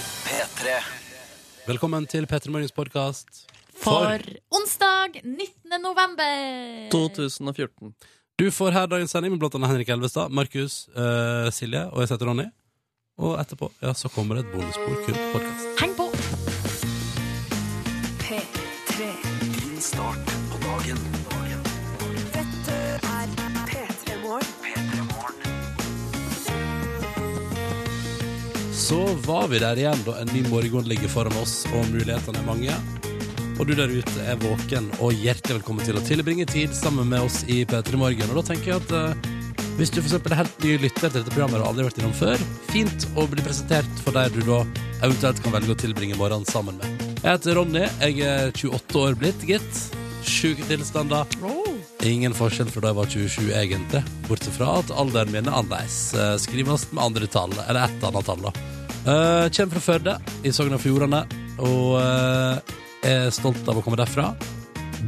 P3. Velkommen til Petter Morgens podkast. For onsdag 19. november. 2014. Du får her dagens sending med blant annet Henrik Elvestad, Markus, eh, Silje og jeg som heter Ronny. Og etterpå ja, så kommer det et bonusspor kun på podkast. Heng på! P3. Din start på dagen. Dette er P3 Morgen. P3 Morgen. Så var vi der igjen, da. En ny morgen ligger foran oss, og mulighetene er mange. Og du der ute er våken, og hjertelig velkommen til å tilbringe tid sammen med oss i P3 Morgen. Og da tenker jeg at eh, hvis du for eksempel er helt ny lytter til dette programmet og aldri har vært innom før, fint å bli presentert for deg du da eventuelt kan velge å tilbringe morgenen sammen med. Jeg heter Ronny, jeg er 28 år blitt, gitt. Sjuke tilstander. Ingen forskjell fra da jeg var 27, egentlig. Bortsett fra at alderen min er annerledes. Eh, Skrives med andre tall, eller ett annet tall, da. Eh, Kjem fra Førde i Sogn og Fjordane, og eh, er stolt av å komme derfra.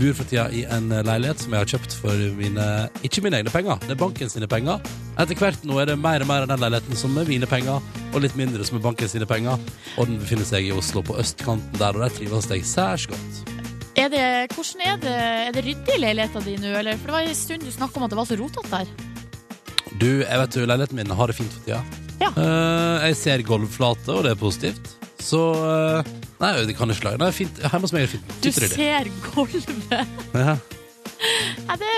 Bor for tida i en eh, leilighet som jeg har kjøpt for mine Ikke mine egne penger, det er banken sine penger. Etter hvert nå er det mer og mer av den leiligheten som er mine penger, og litt mindre som er banken sine penger. Og den befinner seg i Oslo, på østkanten der, og der trives jeg særs godt. Er det, hvordan er det, er det ryddig i leiligheta di nå? Eller? For det var en stund du snakka om at det var så rotete der. Du, jeg vet jo, leiligheten min har det fint for tida. Ja. Eh, jeg ser gulvflate, og det er positivt. Så eh, Nei, det kan jeg ikke lage. Nei, fint. Hjemme hos meg er det fint. Du Fint ryddig. ser gulvet. Ja. Nei, det,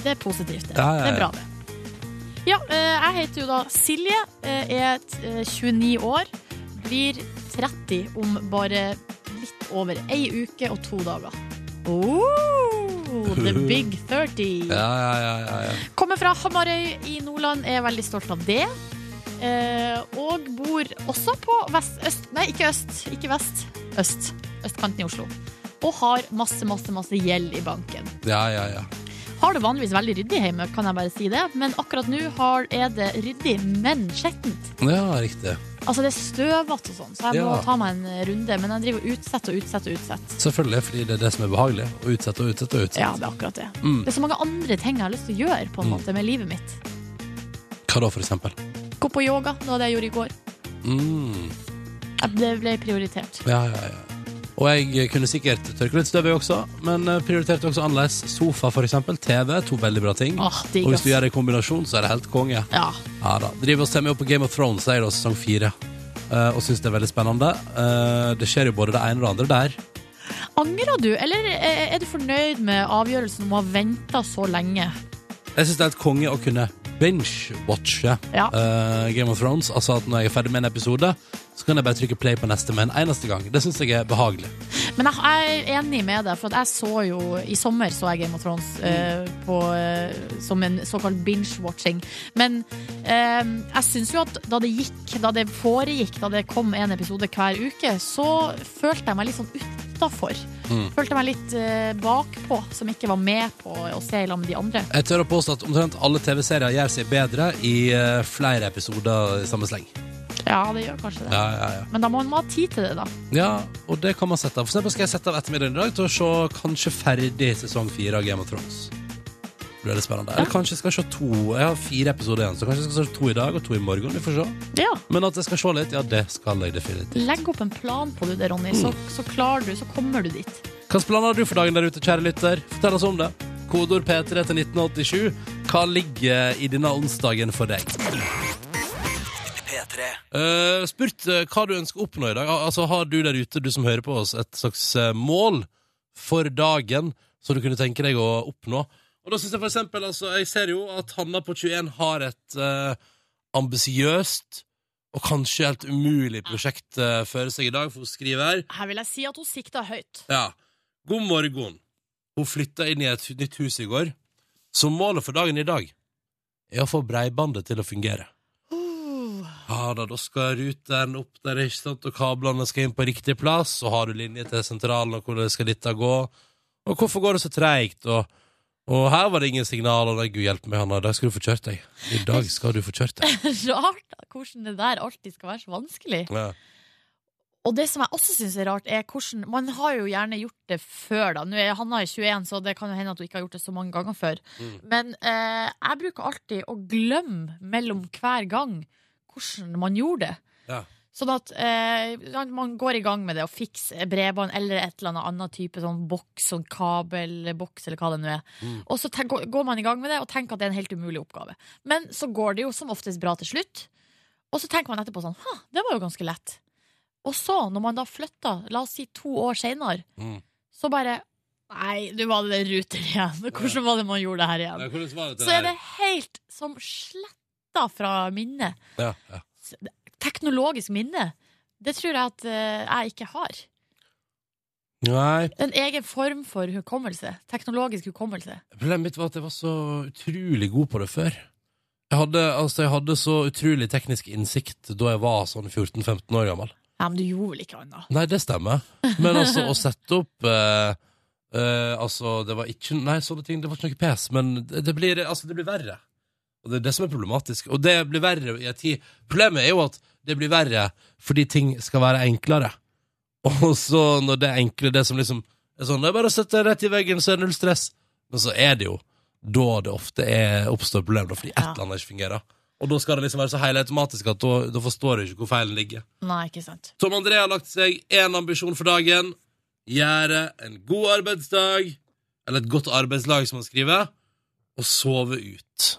det er positivt. Det. Ja, ja, ja. det er bra, det. Ja, eh, jeg heter jo da Silje, eh, er t- eh, 29 år, blir 30 om bare litt over ei uke og to dager. Oh, the big 30. Ja, ja, ja, ja, ja. Kommer fra Hamarøy i Nordland, er veldig stolt av det. Eh, og bor også på vest, øst Nei, ikke øst. Ikke vest. Øst. Østkanten i Oslo. Og har masse, masse, masse gjeld i banken. ja, ja, ja. Har det vanligvis veldig ryddig hjemme, kan jeg bare si det. Men akkurat nå har, er det ryddig, men skjettent. ja riktig. Altså, det er støvete og sånn, så jeg må Ja. ta meg en runde. Men jeg driver og utsetter og utsetter og utsetter. Selvfølgelig, fordi det er det som er behagelig. Å utsette og utsette og utsette. Ja, det er akkurat det. Mm. Det er så mange andre ting jeg har lyst til å gjøre på en Mm. måte med livet mitt. Hva da, for eksempel? Gå på yoga, det var det jeg gjorde i går. Mm. Jeg- Det ble prioritert. Ja, ja, ja. Og jeg kunne sikkert tørke litt støv, jeg også, men eh, prioriterte også annerledes. Sofa, for eksempel. TV. To veldig bra ting. Åh, digg, Og hvis ass. du gjør det i kombinasjon, så er det helt konge. Ja. Ja da. Driver og ser meg opp på Game of Thrones, jeg da, sesong fire. Eh, og syns det er veldig spennende. Eh, det skjer jo både det ene og det andre der. Angrer du, eller er er du fornøyd med avgjørelsen om å ha venta så lenge? Jeg syns det er helt konge å kunne binge-watche Ja. eh, Game of Thrones. Altså at når jeg er ferdig med en episode, så kan jeg bare trykke play på neste med en eneste gang. Det syns jeg er behagelig. Men jeg jeg er enig med deg, for at jeg så jo I sommer så jeg Game of Thrones Mm. eh, på, eh, som en såkalt binge-watching. Men eh, jeg syns jo at da det gikk, da det foregikk, da det kom en episode hver uke, så følte jeg meg litt sånn utafor. Mm. Følte meg litt eh, bakpå, som ikke var med på å se i lag med de andre. Jeg tør å påstå at omtrent alle TV-serier gjør seg bedre i eh, flere episoder i samme sleng. Ja, det gjør kanskje det. Ja, ja, ja. Men da må man ha tid til det, da. ja, og det kan man sette av. For eksempel skal jeg sette av ettermiddagen i dag til å se kanskje ferdig sesong fire av Game of Thrones. Det blir litt spennende. Eller kanskje jeg skal se to. Jeg har fire episoder igjen, så kanskje jeg skal se to i dag og to i morgen. Vi får se. Ja. Men at jeg skal se litt, ja, det skal jeg definitivt. Legg opp en plan på det, Ronny, så, så klarer du, så kommer du dit. Hvilke planer har du for dagen der ute, kjære lytter? Fortell oss om det. Kodord P3 til 1987. Hva ligger i denne onsdagen for deg? P3. Eh, spurt eh, hva du ønsker å oppnå i dag. Al altså, Har du der ute, du som hører på oss, et slags eh, mål for dagen som du kunne tenke deg å oppnå? Og da synes Jeg for eksempel, altså, jeg ser jo at Hanna på 21 har et eh, ambisiøst og kanskje helt umulig prosjekt eh, føre seg i dag, for hun skriver Her vil jeg si at hun sikta høyt. Ja. God morgen. Hun flytta inn i et nytt hus i går. Så målet for dagen i dag er å få breibandet til å fungere. Oh. Ja da, da skal ruteren opp der, ikke sant, og kablene skal inn på riktig plass, og har du linje til sentralen, og hvordan skal dette gå, og hvorfor går det så treigt, og, og her var det ingen signaler, nei, gud hjelpe meg, Hanna, i dag skal du få kjørt deg. I dag skal du få kjørt deg. Rart hvordan det der alltid skal være så vanskelig. Ja. Og det som jeg også syns er rart, er hvordan Man har jo gjerne gjort det før, da. Nå er Hanna i 21, så det kan jo hende at hun ikke har gjort det så mange ganger før. Mm. Men eh, jeg bruker alltid å glemme mellom hver gang hvordan man gjorde det. Ja. Sånn at eh, man går i gang med det å fikse bredbånd eller et eller annet annen type sånn boks, sånn kabelboks eller hva det nå er. Mm. Og så tenk, går man i gang med det og tenker at det er en helt umulig oppgave. Men så går det jo som oftest bra til slutt. Og så tenker man etterpå sånn Hæ, det var jo ganske lett. Og så, når man da flytter, la oss si to år seinere, Mm. så bare Nei, nå var det den ruter igjen. Hvordan var det man gjorde det her igjen? Nei, hvordan var det til Så er det det helt som sletta fra minnet. her? Ja, ja. Teknologisk minne. Det tror jeg at eh, jeg ikke har. Nei, En egen form for hukommelse. Teknologisk hukommelse. problemet mitt var at jeg var så utrolig god på det før. Jeg hadde, altså, jeg hadde så utrolig teknisk innsikt da jeg var sånn 14-15 år gammel. Ja, men du gjorde vel ikke annet? Nei, det stemmer. Men altså, å sette opp eh, eh, Altså, det var ikke Nei, sånne ting, det var ikke noe pes, men det, det, blir, altså, det blir verre. Og det er det som er problematisk. Og det blir verre i en tid Problemet er jo at det blir verre fordi ting skal være enklere. Og så, når det er enkle, det som liksom er sånn Det er bare å sette det rett i veggen, så er det null stress. Men så er det jo da det ofte er, oppstår problemer, fordi et Ja. eller annet ikke fungerer. Og da skal det liksom være så helt automatisk at da, da forstår du ikke hvor feilen ligger. Nei, ikke sant. Tom André har lagt seg én ambisjon for dagen. Gjøre en god arbeidsdag, eller et godt arbeidslag, som han skriver, og sove ut.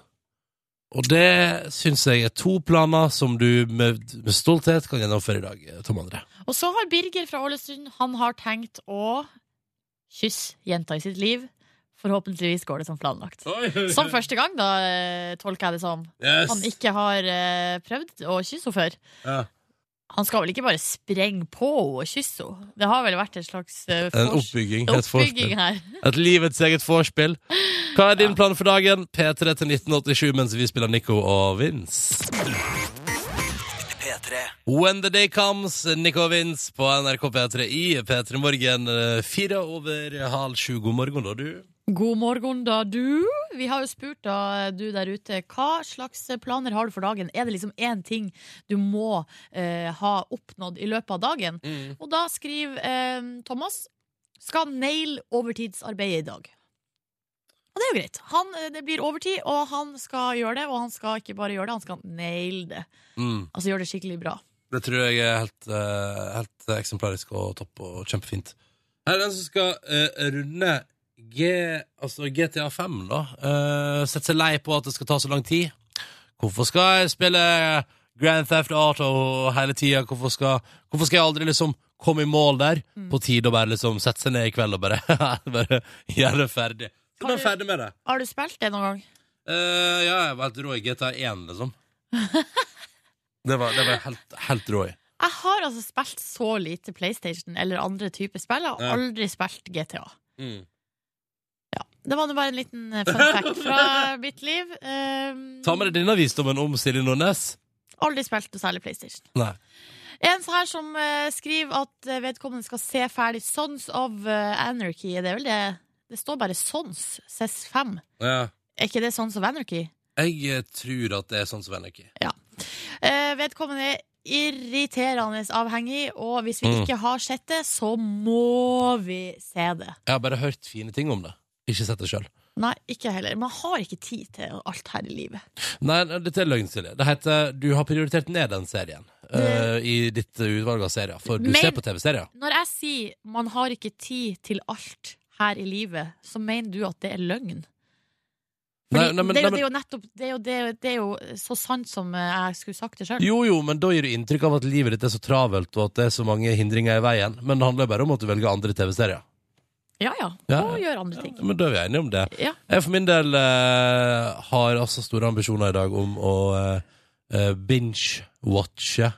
Og det syns jeg er to planer som du med, med stolthet kan gjennomføre i dag, Tom André. Og så har Birger fra Ålesund Han har tenkt å kysse jenta i sitt liv. Forhåpentligvis går det som planlagt. Som første gang, da, eh, tolker jeg det som. Yes. Han ikke har eh, prøvd å kysse henne før. Ja. Han skal vel ikke bare sprenge på henne og kysse henne? Det har vel vært et slags eh, En fors- oppbygging. Et, oppbygging forspill. her. et livets eget vorspiel. Hva er din plan for dagen? P3 til 1987 mens vi spiller Nico og Vince. P3 When the day comes, Nico Vins på NRK P3 i P3 Morgen. eh, Fire over halv sju. God morgen, da, du. God morgen, da, du. Vi har jo spurt da, du der ute, hva slags planer har du for dagen? Er det liksom én ting du må eh, ha oppnådd i løpet av dagen? Og da skriver eh, Thomas skal nail overtidsarbeidet i dag. Og det er jo greit. Han, eh, det blir overtid, og han skal gjøre det. Og han skal ikke bare gjøre det, han skal nail det. Mm. Altså gjøre det skikkelig bra. Det tror jeg er helt, eh, helt eksemplarisk og topp og kjempefint. Her er den som skal eh, runde G, altså GTA 5, da. Eh, Sette seg lei på at det skal ta så lang tid. Hvorfor skal jeg spille Grand Theft Auto hele tida? Hvorfor, skal- hvorfor skal jeg aldri liksom komme i mål der? Mm. På tide å bare liksom sette seg ned i kveld og bare, bare gjøre det ferdig. Så blir jeg ferdig med det. Har du spilt det noen gang? Eh, ja, jeg var helt rå i GTA 1, liksom. Det var, det var jeg helt, helt rå i. Jeg har altså spilt så lite PlayStation eller andre typer spill. Jeg Ja. har aldri spilt GTA. Mm. Det var nå bare en liten eh, fun fact fra mitt liv. Um, Ta med deg denne visdommen om Silje Nordnes. Aldri spilt noe særlig PlayStation. Nei. En så her som eh, skriver at eh, vedkommende skal se ferdig Sons of eh, Anarchy. Er det vel det? Det står bare Sons. CS5. Er ikke det Sons of Anarchy? Jeg eh, tror at det er sånn som Henrik er. Eh, vedkommende er irriterende avhengig, og hvis vi Mm. ikke har sett det, så må vi se det. Jeg har bare hørt fine ting om det. Ikke sett det sjøl. Nei, ikke heller. Man har ikke tid til alt her i livet. Nei, nei, dette er løgn, Silje. Det heter Du har prioritert ned den serien eh, i ditt utvalg av serier. For du Men- ser på TV-serier. Når jeg sier man har ikke tid til alt her i livet, så mener du at det er løgn? Fordi Nei, nei, men- det, er nei, men- jo, det er jo nettopp det er jo, det, er jo- det er jo så sant som eh, jeg skulle sagt det sjøl. Jo, jo, men da gir du inntrykk av at livet ditt er så travelt, og at det er så mange hindringer i veien. Men det handler jo bare om at du velger andre TV-serier. Ja, ja. Ja, Og ja. gjør andre ting. Men da er vi enige om det. Ja. Jeg for min del eh, har altså store ambisjoner i dag om å eh, eh, binge-watche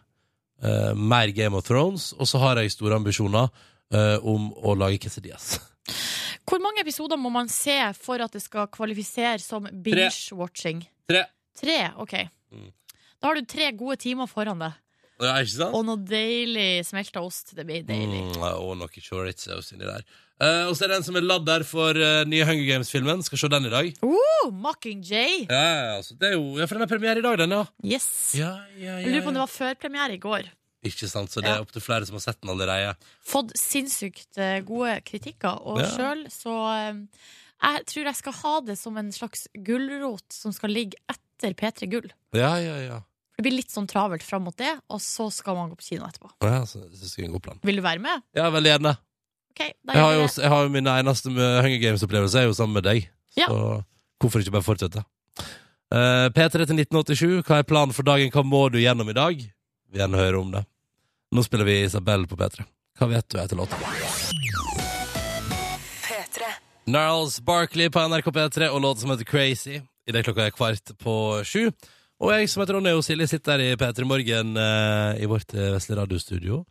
eh, mer Game of Thrones, og så har jeg store ambisjoner eh, om å lage quesadillas. Hvor mange episoder må man se for at det skal kvalifisere som binge-watching? Tre. Tre, OK. Mm. Da har du tre gode timer foran deg. Ja, ikke sant? Og noe deilig smelta ost. Det blir deilig. Mm, ja, og noe chorizo inni der. Eh, og så er det en som er ladd der for eh, nye Hunger Games-filmen. Skal se den i dag. Oh, Mockingjay! Ja, ja, altså, det er jo, ja, for den er premiere i dag, den, ja. Yes. ja, ja, Jeg ja, lurer på om det ja. var førpremiere i går. Ikke sant, så det er Ja. opptil flere som har sett den allerede. fått sinnssykt eh, gode kritikker, og Ja. sjøl så eh, Jeg tror jeg skal ha det som en slags gulrot som skal ligge etter P3 Gull. Ja, ja, ja. Det blir litt sånn travelt fram mot det, og så skal man gå på kino etterpå. Å Ja, så, så skal jeg gå plan. Vil du være med? Ja, veldig gjerne. Ok, da Jeg har gjør jo, vi det. jeg har jo min eneste med Hunger Games-opplevelse er jo sammen med deg. Ja. Så hvorfor ikke bare fortsette? Eh, P3 til 1987, hva er planen for dagen? Hva må du gjennom i dag? Vil gjerne høre om det. Nå spiller vi Isabel på P3. Hva vet du etter låta? P3. Narls Barkley på NRK P3 og låt som heter Crazy. I det klokka er kvart på sju. Og jeg som heter Ronny og Silje sitter her i P3 Morgen eh, i vårt eh, vesle radiostudio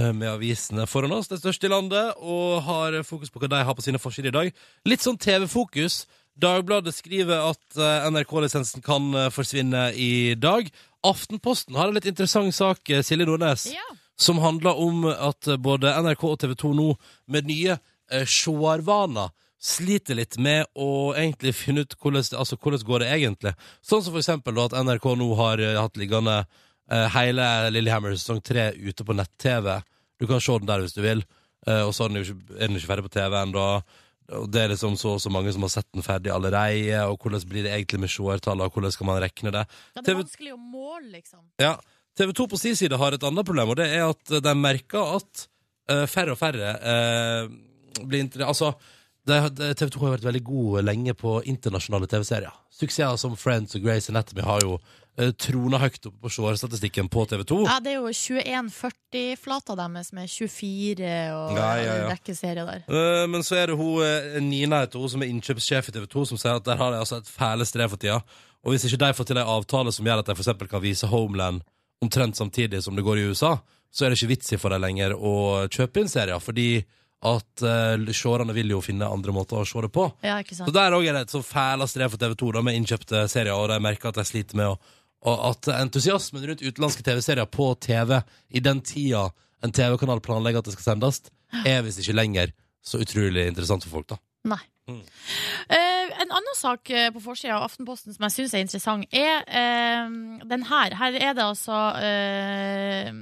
eh, med avisene foran oss, det største i landet, og har fokus på hva de har på sine forsider i dag. Litt sånn TV-fokus. Dagbladet skriver at eh, NRK-lisensen kan eh, forsvinne i dag. Aftenposten har en litt interessant sak, eh, Silje Nordnes Ja. som handler om at eh, både NRK og TV 2 nå med nye eh, seervaner sliter litt med å egentlig finne ut hvordan, altså, hvordan går det egentlig. Sånn som for eksempel da, at NRK nå har eh, hatt liggende eh, hele Lillehammer sesong 3 ute på nett-TV. Du kan se den der hvis du vil, eh, og så er den jo ikke, er den ikke ferdig på TV ennå. Og det er liksom så og så mange som har sett den ferdig allerede, og hvordan blir det egentlig med seertallene, og hvordan skal man rekne det? Ja, Det er TV vanskelig å måle, liksom. ja. TV 2 på sin side har et annet problem, og det er at de merker at eh, færre og færre eh, blir inter... Altså, det, det, TV 2 har vært veldig gode lenge på internasjonale TV-serier. Suksesser som Friends og Grace Anatomy har jo uh, trona høyt oppe på seerstatistikken på TV 2. Ja, det er jo 2140-flata deres med 24 og Ja, ja, ja. en rekke serier der. Eh, men så er det hun, eh, Nina heter hun, som er innkjøpssjef i TV 2, som sier at der har de altså et fæle strev for tida. Og hvis ikke de får til en avtale som gjør at de for eksempel kan vise Homeland omtrent samtidig som det går i USA, så er det ikke vits i for dem lenger å kjøpe inn serier, fordi at uh, seerne vil jo finne andre måter å se det på. Ja, ikke sant? Så der òg er det et så fæla strev for TV 2 da, med innkjøpte serier, og de merker at de sliter med å og at entusiasmen rundt utenlandske TV-serier på TV i den tida en TV-kanal planlegger at det skal sendes, er visst ikke lenger så utrolig interessant for folk, da. Nei. Mm. Eh, en annen sak eh, på forsida av Aftenposten som jeg syns er interessant, er eh, den her. Her er det altså eh,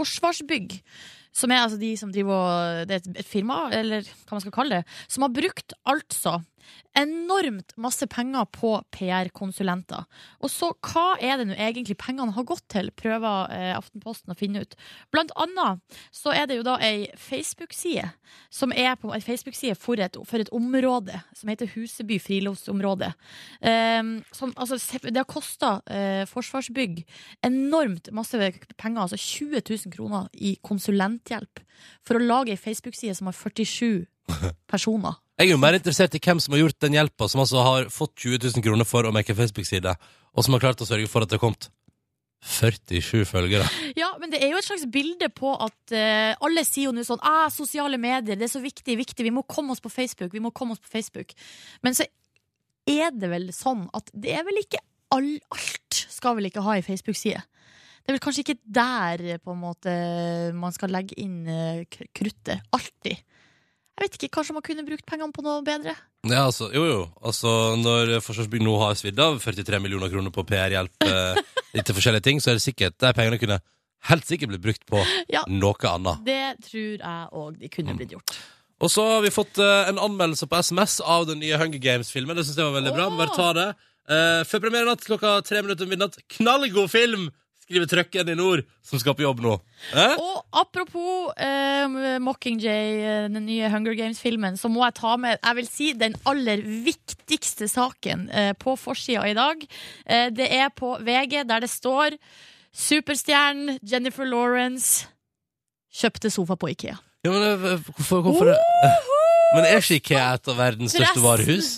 Forsvarsbygg. Som er altså de som driver og Det er et, et firma, eller hva man skal kalle det, som har brukt altså enormt masse penger på PR-konsulenter. Og så hva er det nå egentlig pengene har gått til, prøver eh, Aftenposten å finne ut. Blant annet så er det jo da ei Facebook-side som er på en Facebook-side for, et- for et område som heter Huseby friluftsområde. Ehm, som, altså, se- det har kosta Forsvarsbygg enormt masse penger, altså 20 000 kroner i konsulenthjelp, for å lage ei Facebook-side som har 47 personer. Jeg er jo mer interessert i hvem som har gjort den hjelpa, som altså har fått 20 000 kroner for å make en Facebook-side, og som har klart å sørge for at det har kommet 47 følgere. Ja, men det er jo et slags bilde på at eh, alle sier jo nå sånn ah, sosiale medier, det er så viktig, viktig, vi må komme oss på Facebook, vi må komme oss på Facebook. Men så er det vel sånn at det er vel ikke all, alt skal vel ikke ha ei Facebook-side. Det er vel kanskje ikke der eh, på en måte man skal legge inn eh, kr- kruttet. Alltid. Jeg vet ikke, kanskje man kunne brukt pengene på noe bedre? Ja, altså, jo, jo. Altså, når Forsvarsbygg nå har svidd av 43 millioner kroner på PR-hjelp eh, litt til forskjellige ting, så er det sikkert de pengene kunne helt sikkert blitt brukt på Ja. noe annet. Det tror jeg òg de kunne blitt gjort. Og så har vi fått eh, en anmeldelse på SMS av den nye Hunger Games-filmen. Det syns jeg var veldig bra. Åh! Bare ta det. Eh, før premieren natt klokka tre minutter over midnatt. Knallgod film! Skriver trøkken i nord, som skal på jobb nå. Eh? Og apropos eh, Mockingjay, eh, den nye Hunger Games-filmen, så må jeg ta med jeg vil si, den aller viktigste saken eh, på forsida i dag. Eh, det er på VG, der det står Superstjernen Jennifer Lawrence kjøpte sofa på Ikea. Ja, men eh, hvorfor, hvorfor Men er ikke IKEA et av verdens største Forresten. varehus?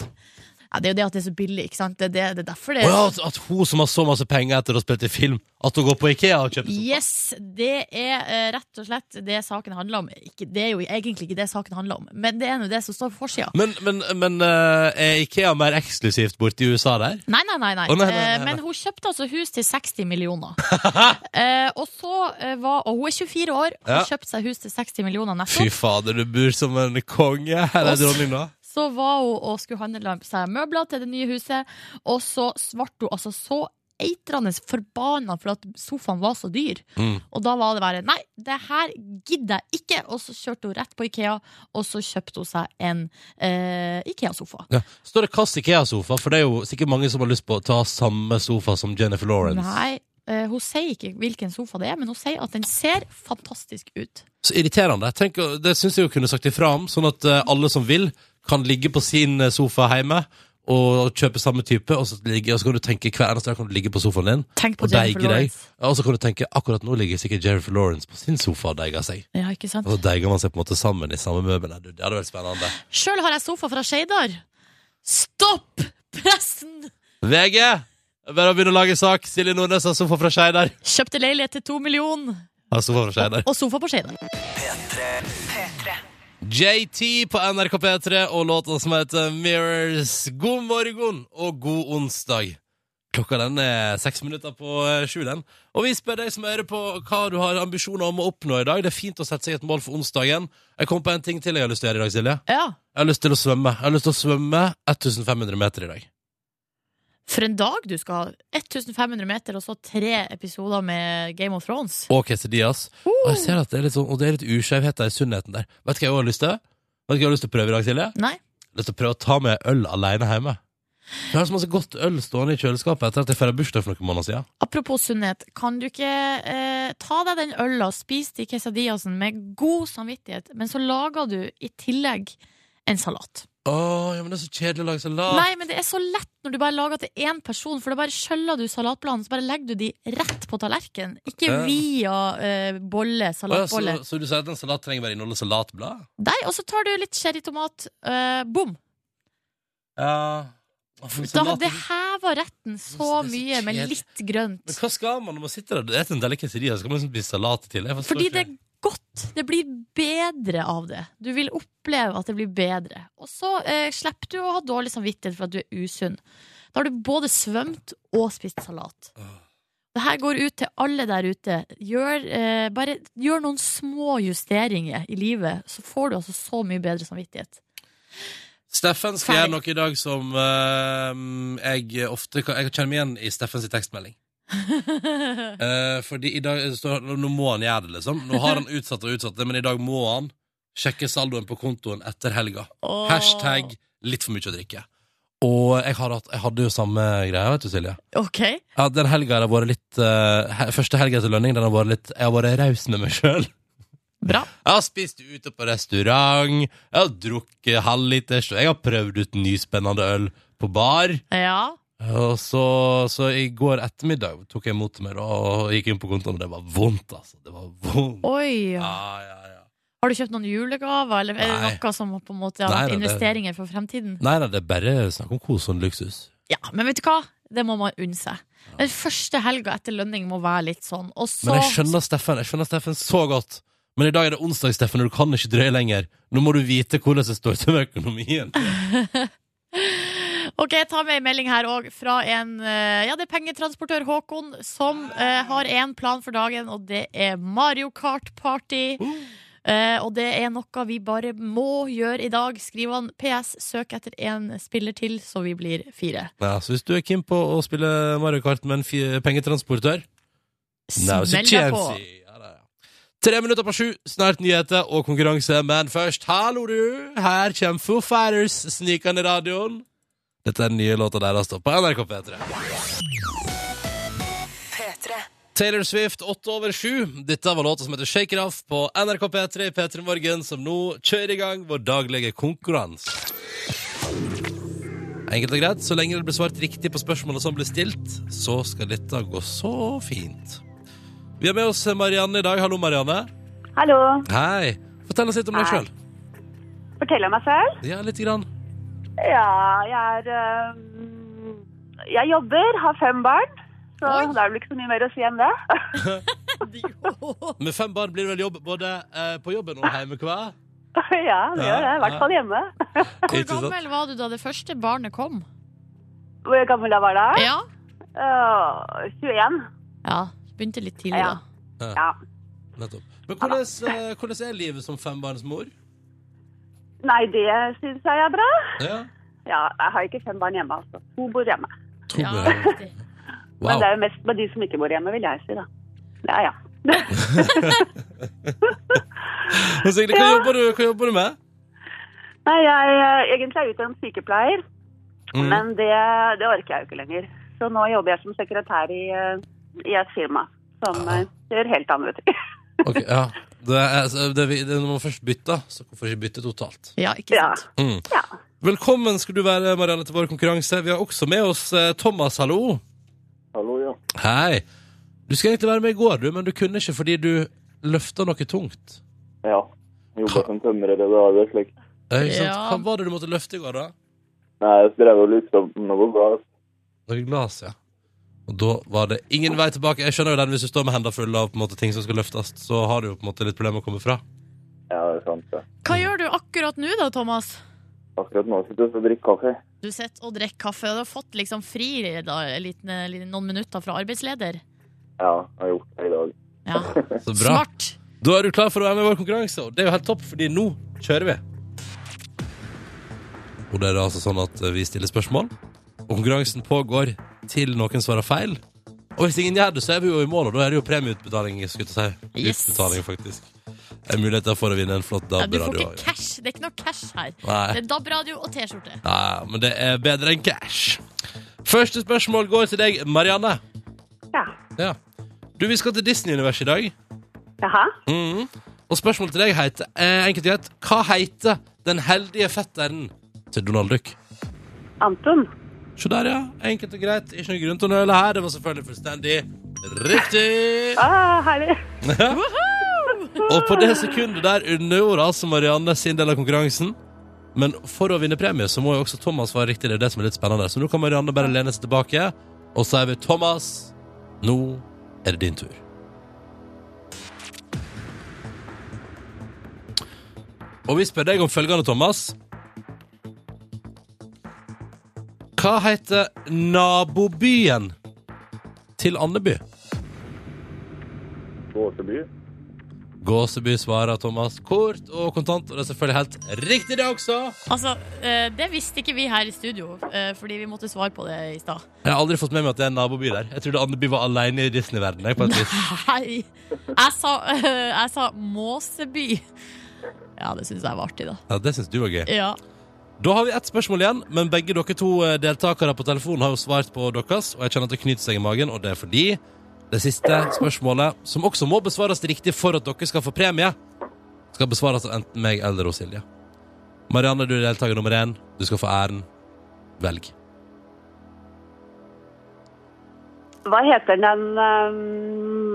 Ja, det er jo det at det er så billig, ikke sant? Det, er det, det er derfor det Å er ja, at, at hun som har så masse penger etter å ha spilt i film, at hun går på Ikea og kjøper sånn. sofa. Yes, det er eh, rett og slett det saken handler om. Ikke, det er jo egentlig ikke det saken handler om, men det er nå det som står på forsida. Men, men, men eh, er Ikea mer eksklusivt borte i USA der? Nei, nei, nei. nei. Å, nei, nei, nei, Eh, Men nei. hun kjøpte altså hus til 60 millioner. eh, og så eh, var Og hun er 24 år. Hun Ja. kjøpte seg hus til 60 millioner Fy nettopp. fader, du bor som en konge. Her er Oss. dronning nå. Så var hun og skulle handle seg møbler til det nye huset, og så ble hun altså så eitrende forbanna for at sofaen var så dyr. Mm. Og da var det bare Nei, det her gidder jeg ikke! Og så kjørte hun rett på Ikea, og så kjøpte hun seg en eh, Ikea-sofa. Ja. Står det 'kast Ikea-sofa'? For det er jo sikkert mange som har lyst på å ta samme sofa som Jennifer Lawrence. Nei, eh, Hun sier ikke hvilken sofa det er, men hun sier at den ser fantastisk ut. Så irriterende. Tenk, å- det syns jeg hun kunne sagt ifra om, sånn at eh, alle som vil, kan ligge på sin eh, sofa hjemme og kjøpe samme type, og så, ligge, og så kan du tenke hver eneste dag kan du ligge på sofaen din Tenk på og Jennifer deige deg. Lawrence. Og så kan du tenke akkurat nå ligger sikkert Jennifer Lawrence på sin sofa og deiger seg. Ja, ikke sant? Og så deiger man seg på en måte sammen i samme møbel. Nei, du, Det hadde vært spennende. Sjøl har jeg sofa fra Skeidar. Stopp pressen! VG! Bare å begynne å lage sak. Silje Nordnes har sofa fra Skeidar. Kjøpte leilighet til to millioner, Har sofa fra Skeidar. og sofa på Skeidar. JT på NRK P3 og låta som heter Mirrors. God morgen og god onsdag. Klokka den er seks minutter på eh, sju, den. Og vi spør deg som hører på hva du har ambisjoner om å oppnå i dag. Det er fint å sette seg et mål for onsdagen. Jeg kom på en ting til jeg har lyst til å gjøre i dag, Silje. Ja, Jeg har lyst til å svømme. Jeg har lyst til å svømme 1500 meter i dag. for en dag du skal ha. 1500 meter og så tre episoder med Game of Thrones. Og Casey Diaz. Og jeg ser at det er litt sånn, og det er litt uskjevheter i sunnheten der. Vet du hva jeg også har lyst til? Vet du hva jeg har lyst til å prøve i dag, Silje? Nei. lyst til å prøve å ta med øl alene hjemme. Jeg har så masse godt øl stående i kjøleskapet etter at jeg feira bursdag for noen måneder siden. Apropos sunnhet, kan du ikke eh, ta deg den øla og spise de quesadillasen med god samvittighet, men så lager du i tillegg en salat? Å, ja, men det er så kjedelig å lage salat. Nei, men det er så lett når du bare lager til én person, for da bare skjøller du salatbladene, så bare legger du de rett på tallerkenen. Ikke Ja. via eh, Å, bolle, ja, så, salatbolle. så du sier at en salat trenger bare inneholde salatblad? Nei, og så tar du litt cherrytomat. Eh, bom! Ja. Da hadde heva retten så Det er så mye med kjedelig. litt grønt. Men hva skal man når man sitter der? Det er en delikat side, skal man liksom spise salat til? Jeg forstår Fordi det ikke. er godt. Det blir bedre av det. Du vil oppleve at det blir bedre. Og så eh, slipper du å ha dårlig samvittighet for at du er usunn. Da har du både svømt og spist salat. Ah. Det her går ut til alle der ute. Gjør, eh, bare gjør noen små justeringer i livet, så får du altså så mye bedre samvittighet. Steffen skal Ferdig. gjøre noe i dag som eh, jeg ofte kan, Jeg kjenner meg igjen i Steffens tekstmelding. Eh, fordi i dag det står, Nå må han gjøre det, liksom. Nå har han utsatt og utsatt det, men i dag må han sjekke saldoen på kontoen etter helga. Åh. Hashtag 'litt for mye å drikke'. Og jeg, har hatt, jeg hadde jo samme greia, vet du, Silje. Ok. Ja, den helga har vært litt eh, he- Første helga til lønning, den har vært litt Jeg har vært raus med meg sjøl. Bra. Jeg har spist ute på restaurant, jeg har drukket halvliters, og jeg har prøvd ut ny spennende øl på bar. Ja. Og så, så i går ettermiddag tok jeg imot meg da, og gikk inn på kontoen, og det var vondt, altså. Det var vondt. Oi. Ja, ja, ja. Har du kjøpt noen julegaver, eller er det Ah. Nei. noe som på en måte har Nei, vært nei, det- investeringer for fremtiden? Nei da, det er bare snakk om kos og luksus. Ja, men vet du hva? Det må man unne seg. Den første helga etter lønning må være litt sånn. Og så Men jeg skjønner Steffen jeg skjønner Steffen så godt. Men i dag er det onsdag, Steffen, og du kan ikke drøye lenger. Nå må du vite hvordan det står til med økonomien. Ok, jeg tar med en melding her òg fra en eh, Ja, det er pengetransportør Håkon som eh, har én plan for dagen, og det er Mario Kart-party. Uh. Eh, og det er noe vi bare må gjøre i dag. Skriver han PS, søk etter en spiller til, så vi blir fire. Ja, så hvis du er keen på å spille Mario Kart med en fi- pengetransportør Now's your Smell deg på. chance. Ja, da, ja. Tre minutter på sju, snart nyheter og konkurranse, men først, hallo du! Her kommer Foo Fighters snikende i radioen. Dette er den nye låta deres da, på NRK P3. P3. Taylor Swift, åtte over sju. Dette var låta som heter Shake It Off på NRK P3 i P3 Morgen, som nå kjører i gang vår daglige konkurranse. Enkelt og greit, så lenge det blir svart riktig på spørsmålet som blir stilt, så skal dette gå så fint. Vi har med oss Marianne i dag. Hallo, Marianne. Hallo. Hei. Fortell oss litt om deg Hei. sjøl. Fortell om meg selv. Ja, lite grann. Ja, jeg er øhm, Jeg jobber, har fem barn. Så Oi. det er vel ikke så mye mer å si enn det. Med fem barn blir det vel jobb både eh, på jobben og hjemme hver? ja, det gjør det. I hvert fall hjemme. Hvor gammel var du da det første barnet kom? Hvor gammel jeg var da? Ja. Øh, 21. ja begynte litt tidlig, Ja. da. Ja. Nettopp. Men hvordan, eh, hvordan er livet som fembarnsmor? Nei, det syns jeg er bra. Ja. Ja, jeg har ikke fem barn hjemme, altså. To bor hjemme. To Ja, barn. riktig. Wow. Men det er jo mest med de som ikke bor hjemme, vil jeg si, da. Ja, ja. Men Signe, hva, jobber du, hva jobber du med? Nei, jeg øh, egentlig er utdannet sykepleier, Mm. men det, det orker jeg jo ikke lenger. Så nå jobber jeg som sekretær i øh, i et firma som eh, gjør helt andre ting. Ok, ja. Det er, så det, vi- det, når man først bytter, så hvorfor ikke bytte totalt? Ja, ikke Ja. sant? Mm. Ja. Velkommen skal du være, Marianne, til vår konkurranse. Vi har også med oss eh, Thomas, hallo. Hallo, ja. Hei. Du skulle egentlig være med i går, du, men du kunne ikke fordi du løfta noe tungt. Ja. Jobba som tømrer i dager slik. Eh, ikke sant? Ja. Hva var det du måtte løfte i går, da? Nei, jeg drev og lukta på noe glass. Noe glass, ja. Og da var det ingen vei tilbake. Jeg skjønner jo den hvis du står med hendene fulle av på en måte, ting som skal løftes, så har du jo på en måte litt problemer med å komme fra. Ja, det er sant, det. Hva gjør du akkurat nå da, Thomas? Akkurat nå sitter jeg og drikker kaffe. Du sitter og drikker kaffe, og du har fått liksom fri da, en liten, liten- noen minutter fra arbeidsleder. Ja, jeg har gjort det i dag. Ja, Så bra. Smart! Da er du klar for å være med i vår konkurranse, og det er jo helt topp, fordi nå kjører vi. Og det er altså sånn at vi stiller spørsmål, og konkurransen pågår til noen svarer feil. Og hvis ingen gjør det, så er vi jo i mål, og da er det jo premieutbetaling. Skulle jeg til å si. Yes. Utbetaling, faktisk. Det er muligheter for å vinne en flott Ja, du får DAB-radio. ikke cash. Det er ikke noe cash her. Nei. Det er DAB-radio og T-skjorte. Nei, men det er bedre enn cash. Første spørsmål går til deg, Marianne. Ja. Ja. Du, vi skal til Disney-universet i dag. Jaha. Mhm. Og spørsmålet til deg heter eh, enkelt og greit Hva heter den heldige fetteren til Donald Duck? Anton. Se der, ja. Enkelt og greit. Ikke noe grunn til å nøle her. Det var selvfølgelig fullstendig riktig. Ah, herlig. Og på det sekundet der undergjorde altså Marianne sin del av konkurransen. Men for å vinne premie så må jo også Thomas være riktig. Det er det som er litt spennende. Så nå kan Marianne bare lene seg tilbake, og så er vi Thomas, nå er det din tur. Og vi spør deg om følgende, Thomas. Hva heter nabobyen til Andeby? Gåseby. Gåseby svarer Thomas kort og kontant, og det er selvfølgelig helt riktig, det også. Altså, eh, det visste ikke vi her i studio, eh, fordi vi måtte svare på det i stad. Jeg har aldri fått med meg at det er en naboby der. Jeg trodde Andeby var alene i Disney-verdenen. jeg, på et vis. Hei! Jeg sa, eh, jeg sa Måseby. Ja, det syns jeg var artig, da. Ja, det syns du var gøy. Ja. Da har vi ett spørsmål igjen, men begge dere to eh, deltakere på telefonen har jo svart på deres, og jeg kjenner at det knyter seg i magen, og det er fordi det siste spørsmålet, som også må besvares riktig for at dere skal få premie, skal besvares av enten meg eller hos Silje. Marianne, du er deltaker nummer én. Du skal få æren. Velg. Hva heter den um,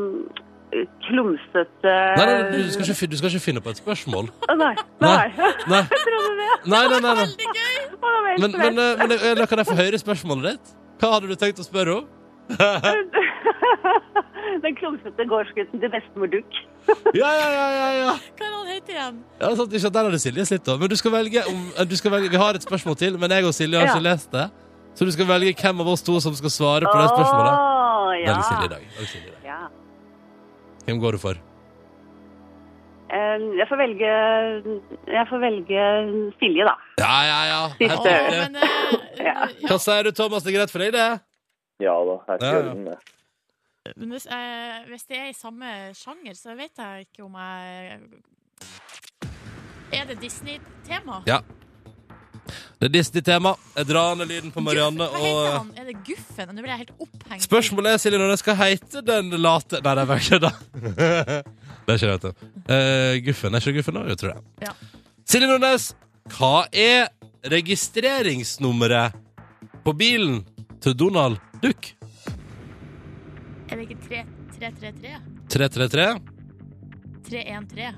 klumsete Nei, nei, du, skal ikke, fin- du skal ikke finne på et spørsmål. Å, nei. Nei. nei. Nei, Jeg trodde det. nei, nei, nei, nei. Veldig gøy! Å, det var helt Men, men, rett. eh, men eh, da kan jeg få høre spørsmålet ditt? Hva hadde du tenkt å spørre om? eh, Den klumsete gårdsgutten til bestemor Duck. Ja, ja, ja, ja, ja. Hva er det han heter igjen? Ja, sant, ikke, sant, der hadde Silje slitt, da. Men du skal velge om eh, du skal velge, Vi har et spørsmål til, men jeg og Silje har ikke lest det. Så du skal velge hvem av oss to som skal svare på det spørsmålet. Å, ja. Velg Silje i dag. Velg Silje i dag. Ja. Hvem går du for? Eh, Jeg får velge Jeg får velge Silje, da. Ja, ja, ja. Å, Helt riktig. men, eh, Ja. Hva sier du, Thomas? Det er greit for deg, det? Ja da, jeg Ja, skal ja. gjøre det. men hvis, eh, hvis det er i samme sjanger, så vet jeg ikke om jeg Er det Disney-tema? Ja. Det er Disney-tema. Jeg drar ned lyden på Marianne Hva og heter eh, han? Er det Guffen? Nå blir jeg helt opphengt. Spørsmålet er, Silje, når den skal heite den late Nei, det er ikke det. det er ikke det, vet du. Eh, guffen er ikke det Guffen, da? Jo, tror jeg. Ja. Silje Nordnes, hva er registreringsnummeret på bilen til Donald Duck? Er det ikke 3 333? 333? 313?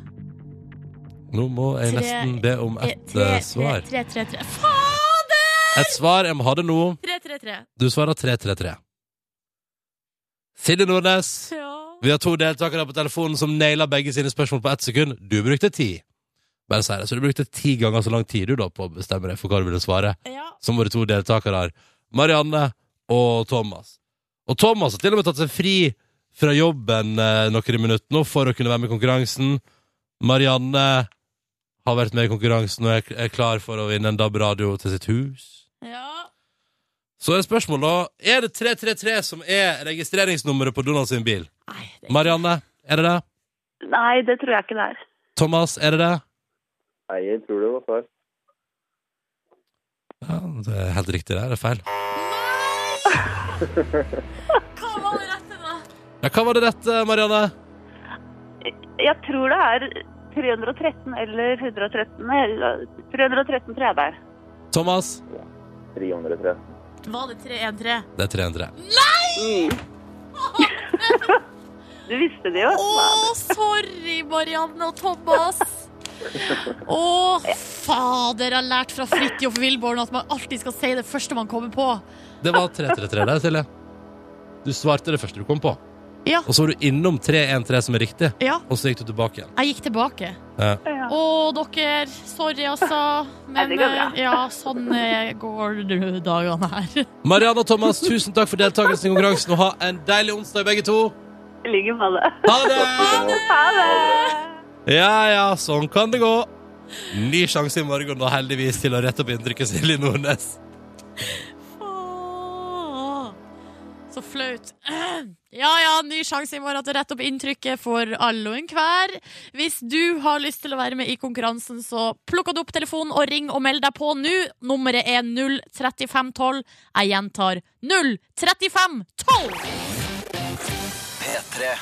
Nå må jeg Tre- nesten be om Eh, et tre- eh, tre- svar. tre- tre- tre. Fader! Et svar. Jeg må ha det nå. 333. Du svarer 333. Silje Nordnes, Ja. vi har to deltakere på telefonen som naila begge sine spørsmål på ett sekund. Du brukte ti. Bare si det. Så du brukte ti ganger så lang tid du da på å bestemme deg for hva du ville svare. ja. som våre to deltakere her. Marianne og Thomas. Og Thomas har til og med tatt seg fri fra jobben eh, noen minutter nå for å kunne være med i konkurransen. Marianne har vært med i konkurransen og er, er klar for å vinne en DAB-radio til sitt hus. Ja. Så er spørsmålet da Er det 333 som er registreringsnummeret på Donald sin bil? Nei, det Marianne, er det det? Nei, det tror jeg ikke det er. Thomas, er det det? Nei, jeg tror det var feil. Ja, det er helt riktig, det. Det er feil. Hva var det rette, da? Ja, hva var det rette, Marianne? Jeg tror det er 313 eller 113 eller 313 tror jeg det er. Thomas? 303. Var det 313? Det er 300. Mm. Du visste det jo. Å, sorry, Marianne og Thomas. Å, fader, jeg har lært fra Fridtjof Wilborn at man alltid skal si det første man kommer på. Det var 333 der, Silje. Du svarte det første du kom på. Ja. Og så var du innom 313, som er riktig. Ja, Og så gikk du tilbake igjen. jeg gikk tilbake. Ja. Å, dere. Sorry, altså. Men Nei, det går bra. eh, ja, sånn eh, går du dagene her. Marianne og Thomas, tusen takk for deltakelsen i konkurransen, og ha en deilig onsdag, begge to. I like måte. Ha det! Ha det! Ja, ja, sånn kan det gå. Ny sjanse i morgen, da heldigvis, til å rette opp inntrykket Silje Nordnes. Åh, Så flaut. Ja ja, ny sjanse i morgen til å rette opp inntrykket for alle og enhver. Hvis du har lyst til å være med i konkurransen, så plukk opp telefonen og ring og meld deg på nå. Nummeret er 03512. Jeg gjentar 03512! P3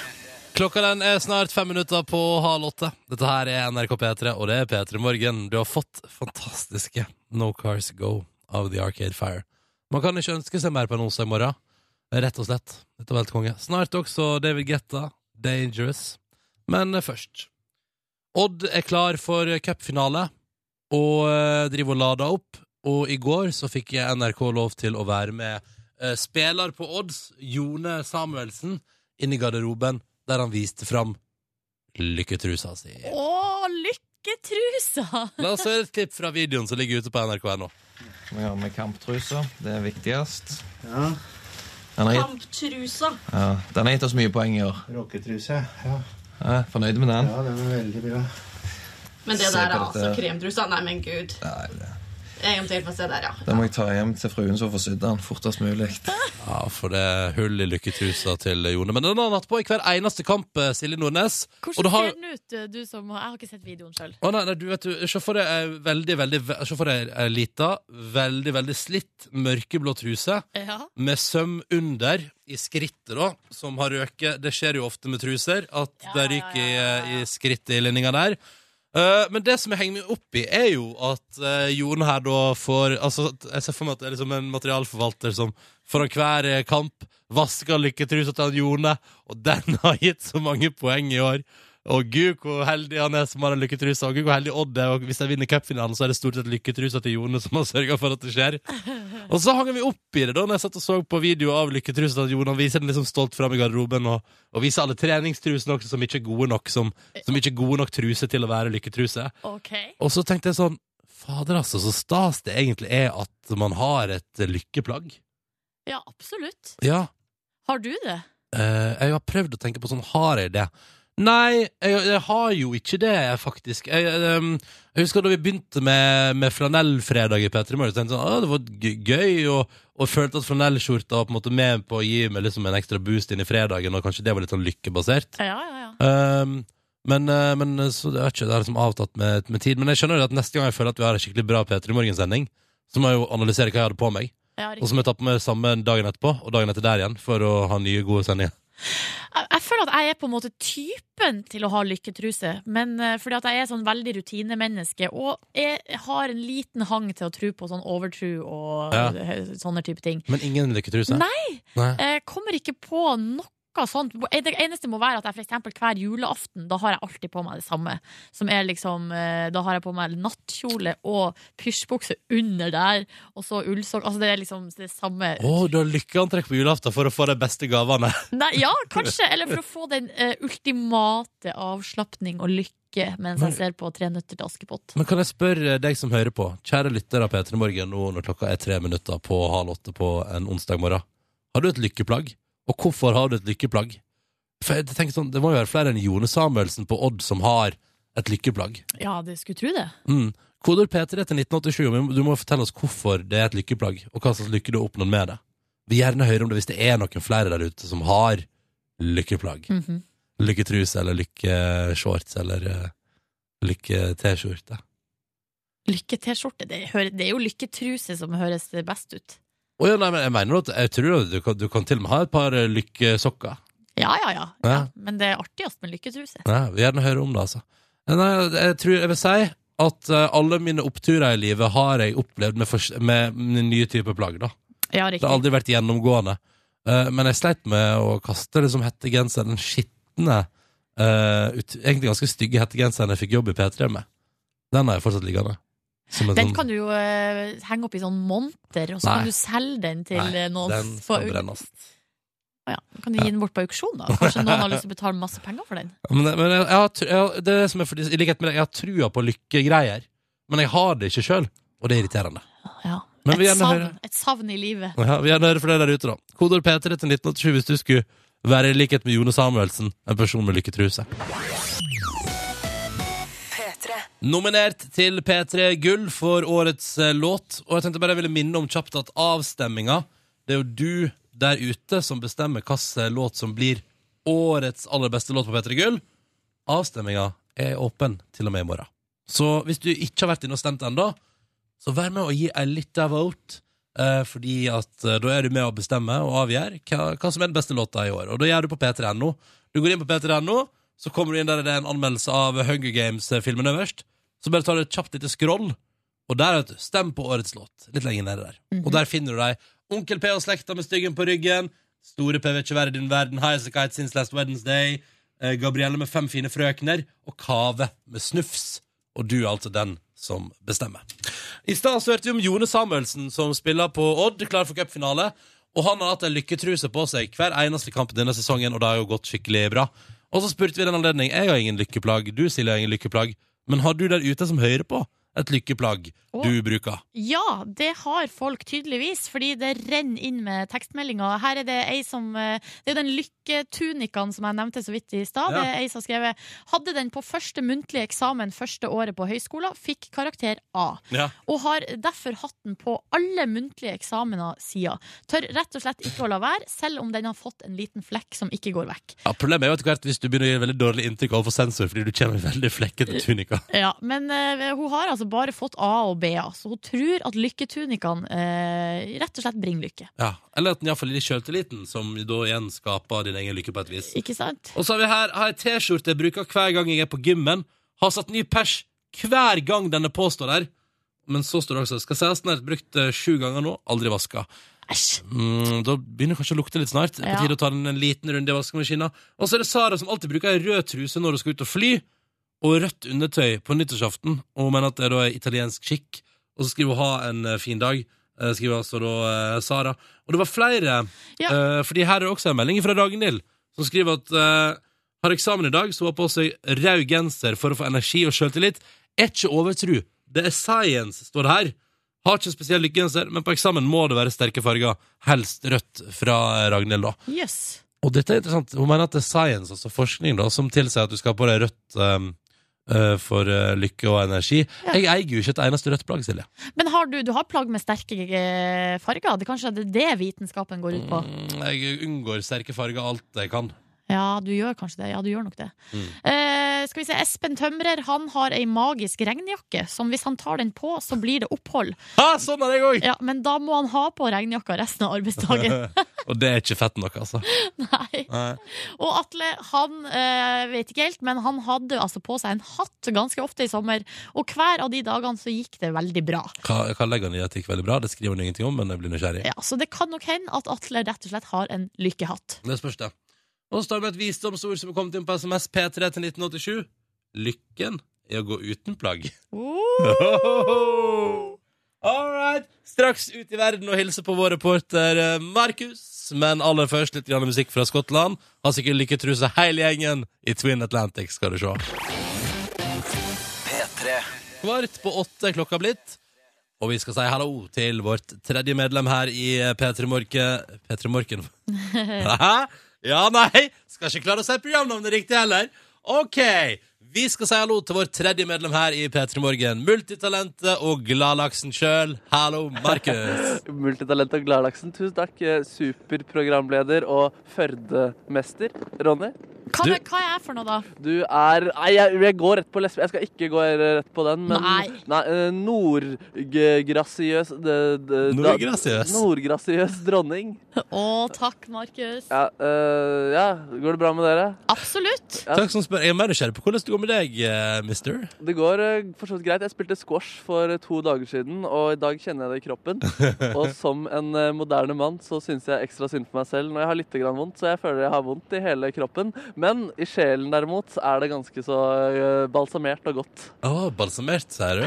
Klokka den er snart fem minutter på halv åtte. Dette her er NRK P3, og det er P3 Morgen. Du har fått fantastiske No Cars Go av The Arcade Fire. Man kan ikke ønske seg mer på en onsdag morgen. Rett og slett. Dette var helt konge. Snart også David Guetta, Dangerous. Men først Odd er klar for cupfinale og eh, driver og lader opp. Og i går så fikk jeg NRK lov til å være med eh, spiller på Odds, Jone Samuelsen, inn i garderoben, der han viste fram lykketrusa si. Å, lykketrusa! La oss høre et klipp fra videoen som ligger ute på nrk.no. Vi har med kamptrusa. Det er viktigst. Den har gitt, Kamptrusa. ja, den har gitt oss mye poeng i år. Rocketruse, ja. Ja, fornøyd med den? ja. Den er veldig bra. Men det Se der er på altså dette. kremtrusa. Nei, men gud. Nei, det. Jeg er omtrent på å se der, ja. Den må jeg ta hjem til fruen, så får sydd den fortest mulig. Ja, for det er hull i lykketrusa til Jone. Men den har han hatt på i hver eneste kamp, eh, Silje Nordnes. Og Hvordan det har- ser den ut, du som har Jeg har ikke sett videoen sjøl. Å nei, nei, du vet du, se for deg ei veldig, veldig ve- Se for deg ei lita, veldig, veldig slitt, mørkeblå truse Ja. med søm under i skrittet, da, som har røket. Det skjer jo ofte med truser, at Ja, det ja, ryker i, ja, ja, ja. i skrittet i linninga der. Eh, men det som jeg henger meg opp i, er jo at uh, Jon her da får altså, at Jeg ser for meg at det er liksom en materialforvalter som foran hver eh, kamp vasker lykketrusa til han Jone, og den har gitt så mange poeng i år. Og gud, hvor heldig han er som har den lykketrusa. Og gud, hvor heldig Odd er. Og hvis de vinner cupfinalen, så er det stort sett lykketrusa til Jone som har sørga for at det skjer. Og så hang vi opp i det da Når jeg satt og så på video av lykketrusen At Jonan viser den liksom stolt frem i garderoben Og, og viser alle treningstrusene også Som ikke er gode nok Som, som ikke er gode nok truse til å være lykketruse OK. Og så tenkte jeg sånn Fader altså, så stas det egentlig er At man har et eh, lykkeplagg Ja, absolutt. Ja Har du det? Eh, jeg har prøvd å tenke på sånn, har jeg det? Nei, jeg, jeg har jo ikke det, faktisk. Jeg, jeg, ehm, jeg husker da vi begynte med, med flanellfredag i P3 Morgen, så tenkte jeg sånn, «Å, det var g- gøy, og, og følte at flanellskjorta var på en måte med på å gi meg liksom en ekstra boost inn i fredagen, og kanskje det var litt sånn lykkebasert. Ja, ja, ja. Ehm, men, eh, men så det er ikke det er liksom avtatt med, med tid. Men jeg skjønner jo at neste gang jeg føler at vi har en skikkelig bra P3 Morgen-sending, så må jeg jo analysere hva jeg hadde på meg, ja og så må jeg ta på meg samme dagen etterpå, og dagen etter der igjen, for å ha nye gode sendinger. jeg, jeg føler at jeg er på en måte typen til å ha lykketruse, men eh, fordi at jeg er sånn veldig rutinemenneske, og jeg har en liten hang til å tro på sånn overtro og Ja. eh, sånne type ting. Men ingen lykketruse? Nei. Nei. Jeg kommer ikke på noe sånt. Det eneste må være at jeg for eksempel hver julaften, da har jeg alltid på meg det samme. Som er liksom, eh, da har jeg på meg nattkjole og pysjbukse under der, og så ullsokk. Altså det er liksom det samme Å, du har lykkeantrekk på julaften for å få de beste gavene. Nei, ja, kanskje. Eller for å få den eh, ultimate avslapning og lykke mens Men- jeg ser på Tre nøtter til Askepott. Men kan jeg spørre deg som hører på, kjære lytter av P3 Morgen, nå når klokka er tre minutter på halv åtte på en onsdag morgen. Har du et lykkeplagg? Og hvorfor har du et lykkeplagg? For jeg tenker sånn, Det må jo være flere enn Jone Samuelsen på Odd som har et lykkeplagg. Ja, du skulle tro det. Mm. Kodord P3 til 1987, men du må fortelle oss hvorfor det er et lykkeplagg, og hva slags lykke du har oppnådd med det. Vi gjerne hører om det hvis det er noen flere der ute som har lykkeplagg. Mhm. lykketruse eller lykkeshorts eller eh, lykke-T-skjorte. Lykke-T-skjorte. Det, hører- det er jo lykketruse som høres best ut. Å ja, nei, men jeg mener jo at jeg tror jo du kan, du kan til og med ha et par eh, lykkesokker. Ja, ja, ja. Ja. ja. Men det er artigst med lykketruse. Nei, vi vil gjerne høre om det, altså. Nei, jeg tror jeg vil si at eh, alle mine oppturer i livet har jeg opplevd med, fors- med, med nye typer plagg, da. Ja, Det riktig. har aldri vært gjennomgående. Eh, men jeg sleit med å kaste liksom hettegenseren, den skitne, eh, ut, egentlig ganske stygge hettegenseren jeg fikk jobb i P3 med. Den har jeg fortsatt liggende. Som en Den sånn- kan du jo eh, henge opp i sånn monter, og så Nei. kan du selge den til Nei, eh, noen. den på- skal brennes. Å ja. Kan du gi den bort på auksjon, da? Kanskje noen har lyst til å betale masse penger for den? Men, men jeg, jeg, har tr- jeg, har- det er som er fordi, I likhet med deg, jeg har trua på lykkegreier, men jeg har det ikke sjøl, og det er irriterende. Ja. Men vi Et, gjerne savn, hører. et savn i livet. Ja, vi gjerne hører fra deg der ute, da. Kodord P3 til 1987 hvis du skulle være i likhet med Jone Samuelsen, en person med lykketruse. P3. Nominert til P3 Gull for årets eh, låt. Og jeg tenkte bare jeg ville minne om kjapt at avstemminga Det er jo du der ute som bestemmer hvilken låt som blir årets aller beste låt på P3 Gull. Avstemminga er åpen til og med i morgen. Så hvis du ikke har vært inne og stemt ennå, så vær med og gi ei lita vote. Eh, fordi at eh, da er du med å bestemme og avgjøre hva, hva som er den beste låta i år. Og da gjør du på p3.no. Du går inn på p3.no, så kommer du inn der det er en anmeldelse av Hunger Games-filmen øverst. Så bare tar du et kjapt lite scroll, og der, vet du, stem på årets låt. Litt lenger nede der. Og der finner du deg Onkel P og slekta med styggen på ryggen. Store P vil ikke være i din verden. Highasakite since last Wednesday. eh, Gabrielle med fem fine frøkner. Og Kave med snufs. Og du er altså den som bestemmer. I stad så hørte vi om Jone Samuelsen, som spiller på Odd, klar for cupfinale. Og han har hatt ei lykketruse på seg hver eneste kamp denne sesongen, og det har jo gått skikkelig bra. Og så spurte vi i den anledning Jeg har ingen lykkeplagg, du Silje har ingen lykkeplagg, men har du der ute som hører på, et lykkeplagg Å. du bruker? Ja, det har folk tydeligvis, fordi det renner inn med tekstmeldinger. Her er det ei som eh, Det er jo den lykketunikaen som jeg nevnte så vidt i stad. Ja. Det er ei som har skrevet Hadde den på første muntlige eksamen første året på høyskolen, fikk karakter A. Ja. Og har derfor hatt den på alle muntlige eksamener siden. Tør rett og slett ikke å la være, selv om den har fått en liten flekk som ikke går vekk. Ja, Problemet er jo etter hvert hvis du begynner å gi veldig dårlig inntrykk overfor sensor fordi du kommer i veldig flekkete tunika. Ja, Men eh, hun har altså bare fått A og B, så hun tror at lykketunikaen eh, rett og slett bringer lykke. Ja. Eller at den iallfall er litt sjøltilliten, som da igjen skaper din egen lykke på et vis. Ikke sant? Og så har vi her har jeg T-skjorte jeg bruker hver gang jeg er på gymmen. Har satt ny pers hver gang denne påstår her. Men så står det også skal sies den er brukt eh, sju ganger nå, aldri vaska. Æsj. Mm, da begynner det kanskje å lukte litt snart. På Ja. tide å ta den en liten runde i vaskemaskina. Og så er det Sara som alltid bruker ei rød truse når hun skal ut og fly, og rødt undertøy på nyttårsaften. Og hun mener at det da er italiensk skikk. Og så skriver hun 'ha en eh, fin dag'. eh, Skriver altså da eh, Sara. Og det var flere, Ja. eh, fordi her er det også en melding fra Ragnhild, som skriver at eh, har eksamen i dag, så hun har på seg rød genser for å få energi og sjøltillit. Er ikke overtru. Det er science, står det her. Har ikke spesiell lykkegenser, men på eksamen må det være sterke farger. Helst rødt fra Ragnhild, da. Jøss. Og dette er interessant. Hun mener at det er science, altså forskning, da, som tilsier at du skal ha på deg rødt ehm, eh, for eh, lykke og energi. Jeg eier jo ikke et eneste rødt plagg, Silje. Men har du, du har plagg med sterke eh, farger? Det er kanskje det, det vitenskapen går ut på? Mm, Jeg unngår sterke farger alt jeg kan. Ja, du gjør kanskje det. Ja, du gjør nok det. Mm. Eh, skal vi se, Espen Tømrer han har ei magisk regnjakke som hvis han tar den på, så blir det opphold. Ha, sånn er jeg òg! Ja, Men da må han ha på regnjakka resten av arbeidsdagen. og det er ikke fett nok, altså. Nei. Nei. Og Atle, han eh, vet ikke helt, men han hadde altså på seg en hatt ganske ofte i sommer. Og hver av de dagene så gikk det veldig bra. Hva, hva legger han i at det gikk veldig bra? Det skriver han ingenting om, men jeg blir nysgjerrig. Ja, Så det kan nok hende at Atle rett og slett har en lykkehatt. Det spørs det. Og så står det med et visdomsord som er kommet inn på SMS P3 til 1987. Lykken i å gå uten plagg. Oh, All right. Straks ut i verden og hilse på vår reporter eh, Markus. Men aller først litt grann musikk fra Skottland. Har sikkert lykketruse hele gjengen i Twin Atlantic, skal du se. P3. Kvart på åtte er klokka blitt. Og vi skal si hallo til vårt tredje medlem her i P3 Morke... P3 Morken. Hæ? ja, nei! Skal ikke klare å si programnavnet riktig heller. OK. Vi skal si hallo til vår tredje medlem her i P3 Morgen. Multitalentet og gladlaksen sjøl. Hallo, Markus. Multitalent og Gladlaksen, tusen takk. Eh, Superprogramleder og Førde-mester, Ronny. Hva, Du- hva er jeg for noe, da? Du er Nei, jeg, jeg går rett på lesbe. Jeg skal ikke gå rett på den, men Nei. eh, Nordgrasiøs det- det- da- Nordgrasiøs? Nordgrasiøs dronning. Å, takk, Markus. Ja, eh, ja, går det bra med dere? Absolutt. Ja. Takk som spør. Jeg er mer nysgjerrig på hvordan det går med deg, eh, mister. Det går eh, for så vidt greit. Jeg spilte squash for eh, to dager siden, og i dag kjenner jeg det i kroppen. Og som en eh, moderne mann så syns jeg ekstra synd på meg selv når jeg har litt grann vondt, så jeg føler jeg har vondt i hele kroppen. Men i sjelen derimot er det ganske så eh, balsamert og godt. Å, balsamert, sier du?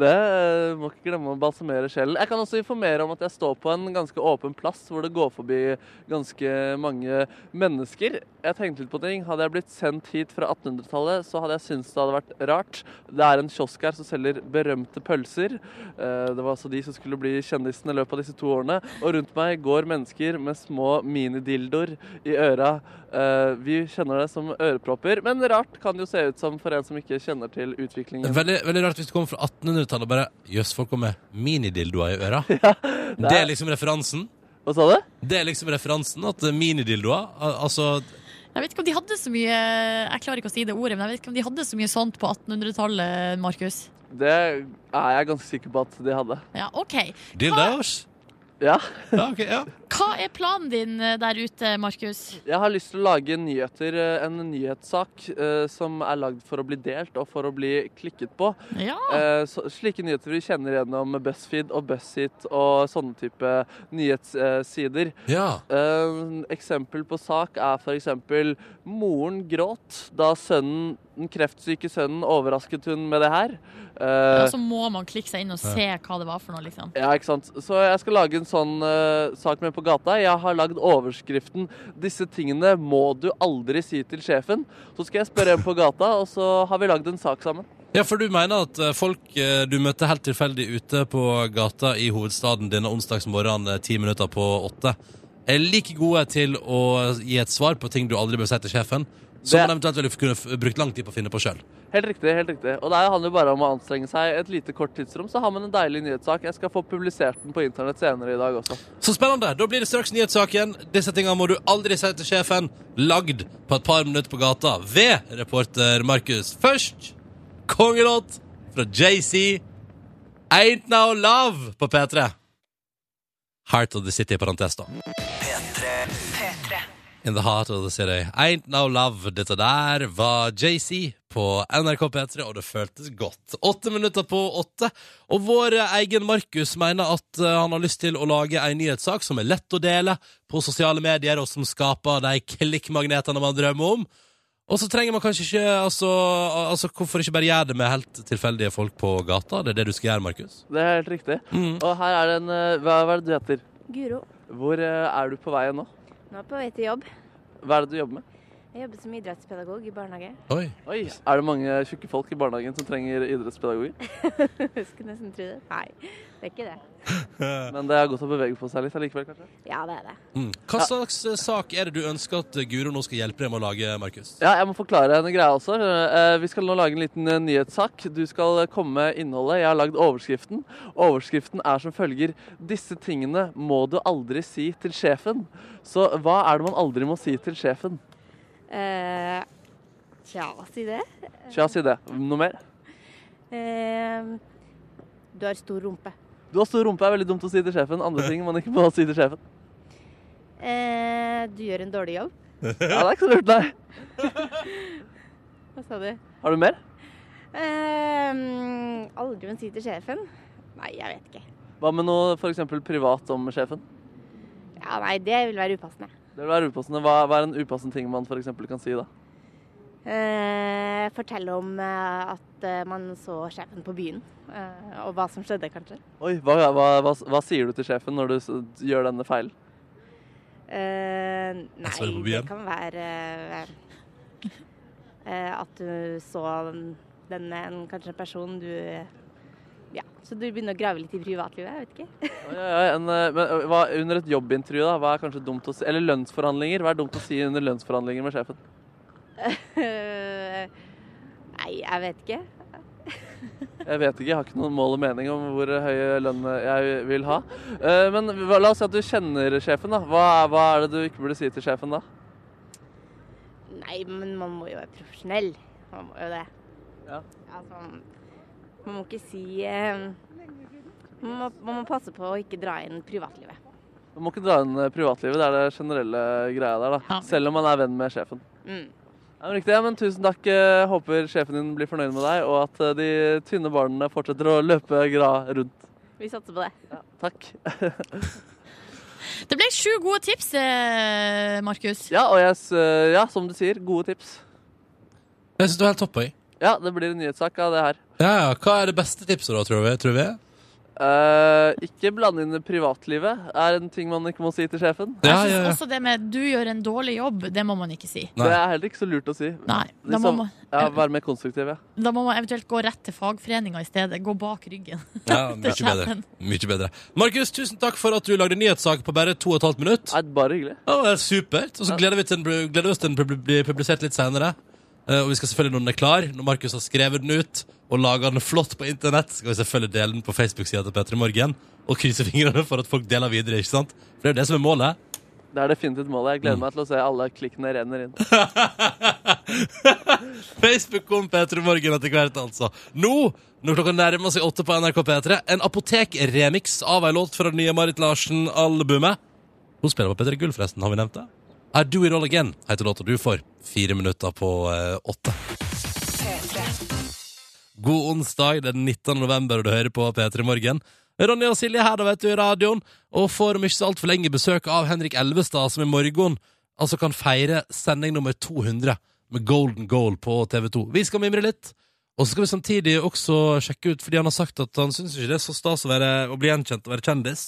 Det eh, må ikke glemme å balsamere sjelen. Jeg kan også informere om at jeg står på en ganske åpen plass hvor det går forbi ganske mange mennesker. Jeg tenkte litt på ting. Hadde jeg blitt sendt hit fra 1800-tallet, så hadde jeg syntes det hadde vært rart. Det er en kiosk her som selger berømte pølser. Eh, Det var altså de som skulle bli kjendisene i løpet av disse to årene. Og rundt meg går mennesker med små minidildoer i øra. Eh, Vi kjenner det som ørepropper, men rart kan det jo se ut som for en som ikke kjenner til utviklingen. Veldig, veldig rart hvis du kommer fra 1800-tallet og bare Jøss, folk kommer med minidildoer i øra. det er liksom referansen. Hva sa du? Det er liksom referansen at eh, minidildoer al- Altså Jeg vet ikke om de hadde så mye Jeg klarer ikke å si det ordet, men jeg vet ikke om de hadde så mye sånt på 1800-tallet, Markus. Det er jeg ganske sikker på at de hadde. Ja, OK. dildoers. Ja. Ja, ok, ja. Hva er planen din eh, der ute, Markus? Jeg har lyst til å lage nyheter, eh, en nyhetssak eh, som er lagd for å bli delt og for å bli klikket på. Ja. Eh, så, slike nyheter vi kjenner gjennom BuzzFeed og BuzzHit og sånne type nyhetssider. ja. Eh, eksempel på sak er f.eks.: Moren gråt da sønnen, den kreftsyke sønnen overrasket hun med det her. Eh, Ja, så altså, må man klikke seg inn og se hva det var for noe, liksom. Ja, ikke sant. Så jeg skal lage en sånn eh, sak med på gata. Jeg har lagd overskriften 'Disse tingene må du aldri si til sjefen'. Så skal jeg spørre en på gata, og så har vi lagd en sak sammen. ja, for du mener at eh, folk eh, du møtte helt tilfeldig ute på gata i hovedstaden denne onsdagsmorgenen eh, ti minutter på åtte, er like gode til å eh, gi et svar på ting du aldri bør si til sjefen, som Det- man eventuelt ville kunne f- brukt lang tid på å finne på sjøl. Helt riktig. helt riktig. Og det handler jo bare om å anstrenge seg et lite kort tidsrom, så har man en deilig nyhetssak. Jeg skal få publisert den på internett senere i dag også. Så spennende! Da blir det straks nyhetssaken. Disse tingene må du aldri si til sjefen. Lagd på et par minutter på gata ved reporter Markus. Først kongelåt fra JC. Ain't Now Love på P3. Heart of the City, parentes, da. In the heart of the city. Ain't no love. Dette der var JC på NRK P3, og det føltes godt. Åtte minutter på åtte, og vår egen Markus mener at eh, han har lyst til å lage ei nyhetssak som er lett å dele på sosiale medier, og som skaper de klikkmagnetene man drømmer om. Og så trenger man kanskje ikke altså, al- altså, Hvorfor ikke bare gjøre det med helt tilfeldige folk på gata? Det er det du skal gjøre, Markus? Det er helt riktig. Mm. Og her er det en eh, Hva, hva er det du heter? Guro, Hvor eh, er du på vei nå? nå er jeg på vei til jobb. Hva er det du jobber med? Jeg jobber som idrettspedagog i barnehage. Oi. Oi, Er det mange tjukke folk i barnehagen som trenger idrettspedagoger? Skulle nesten tro det. Nei, det er ikke det. Men det er godt å bevege på seg litt allikevel, kanskje? Ja, det er det. Mm. Hva slags eh, sak er det du ønsker at eh, Guro nå skal hjelpe deg med å lage, Markus? Ja, jeg må forklare en greie også. Eh, Vi skal nå lage en liten eh, nyhetssak. Du skal eh, komme med innholdet. Jeg har lagd overskriften. Overskriften er som følger Disse tingene må du aldri si til sjefen. Så hva er det man aldri må si til sjefen? Eh, tja, si det. Tja, si det. Noe mer? Eh, du har stor rumpe. Du har stor rumpe, er veldig dumt å si til sjefen. Andre ting man ikke må si til sjefen. Eh, du gjør en dårlig jobb. Ja, det er ikke så lurt, nei. Hva sa du? Har du mer? Eh, mm, aldri men si til sjefen. Nei, jeg vet ikke. Hva med noe f.eks. privat om sjefen? Ja, nei, det vil være upassende. Det vil være upassende. Hva, hva er en upassende ting man f.eks. kan si da? Eh, fortell om eh, at eh, man så sjefen på byen, eh, og hva som skjedde, kanskje. Oi, hva, hva, hva, hva sier du til sjefen når du s gjør denne feilen? Eh, så er det på nei, det byen. kan være eh, at du så den, en, kanskje en person du Ja, så du begynner å grave litt i privatlivet. Jeg vet ikke. Oi, oi, oi, en, eh, men eh, hva, under et jobbintervju, da, hva er kanskje dumt å si? Eller lønnsforhandlinger? Hva er dumt å si under lønnsforhandlinger med sjefen? Eh, nei, jeg vet ikke. Jeg vet ikke, jeg har ikke noen mål og mening om hvor høy lønn jeg vil ha. Eh, Men hva- la oss si at du kjenner sjefen, da. Hva, er- hva er det du ikke burde si til sjefen da? Nei, men man må jo være profesjonell. Man må jo det. Ja. Altså, man må ikke si eh, man, må, man må passe på å ikke dra inn privatlivet. Man må ikke dra inn eh, privatlivet. Det er det generelle greia der, da. Selv om man er venn med sjefen. Mm. Ja, men riktig, ja, men Tusen takk. Eh, Håper sjefen din blir fornøyd med deg, og at eh, de tynne barna fortsetter å løpe gra rundt. Vi satser på det. Takk. Det ble sju gode tips, eh, Markus. Ja, og jeg, s- eh, ja, som du sier, gode tips. Jeg syns du er helt topp, jeg. Ja, det blir en nyhetssak av det her. Ja, ja. Hva er det beste tipset, da, tror vi? Tror vi? Eh, ikke blande inn privatlivet er en ting man ikke må si til sjefen. Ja, Jeg synes Også det med 'du gjør en dårlig jobb', det må man ikke si. Det er heller ikke så lurt å si. Liksom, Nei, da må man- ja, Være mer konstruktiv, ja. Da må man eventuelt gå rett til fagforeninga i stedet. Gå bak ryggen. Ja, til mye bedre. sjefen. Mye bedre. Markus, tusen takk for at du lagde nyhetssak på bare to og et halvt minutt. bare hyggelig. Ja, det er supert. Og så gleder vi til den, gleder vi oss til den pub- blir publisert litt senere. Eh, og vi skal selvfølgelig, når den er klar, når Markus har skrevet den ut og laga den flott på internett, skal vi selvfølgelig dele den på Facebook-sida til Petter i morgen. Og krysse fingrene for at folk deler videre, ikke sant? For det er jo det som er målet. Det er definitivt målet. Jeg gleder Mm. meg til å se alle klikkene renner inn. Facebook kom P3 Morgen etter hvert, altså. Nå, når klokka nærmer seg åtte på NRK P3, en apotek-remix av ei låt fra det nye Marit Larsen-albumet. Hun spiller på P3 Gull, forresten, har vi nevnt det? I Do It All Again heter låta du får. Fire minutter på eh, åtte. God onsdag, det er den 19. november, og du hører på P3 Morgen. Ronny og Silje her, da vet du, i radioen, og får om ikke så altfor lenge besøk av Henrik Elvestad, som i morgen altså kan feire sending nummer 200 med Golden Goal på TV2. Vi skal mimre litt, og så skal vi samtidig også sjekke ut, fordi han har sagt at han syns ikke det er så stas å, være, å bli gjenkjent og være kjendis,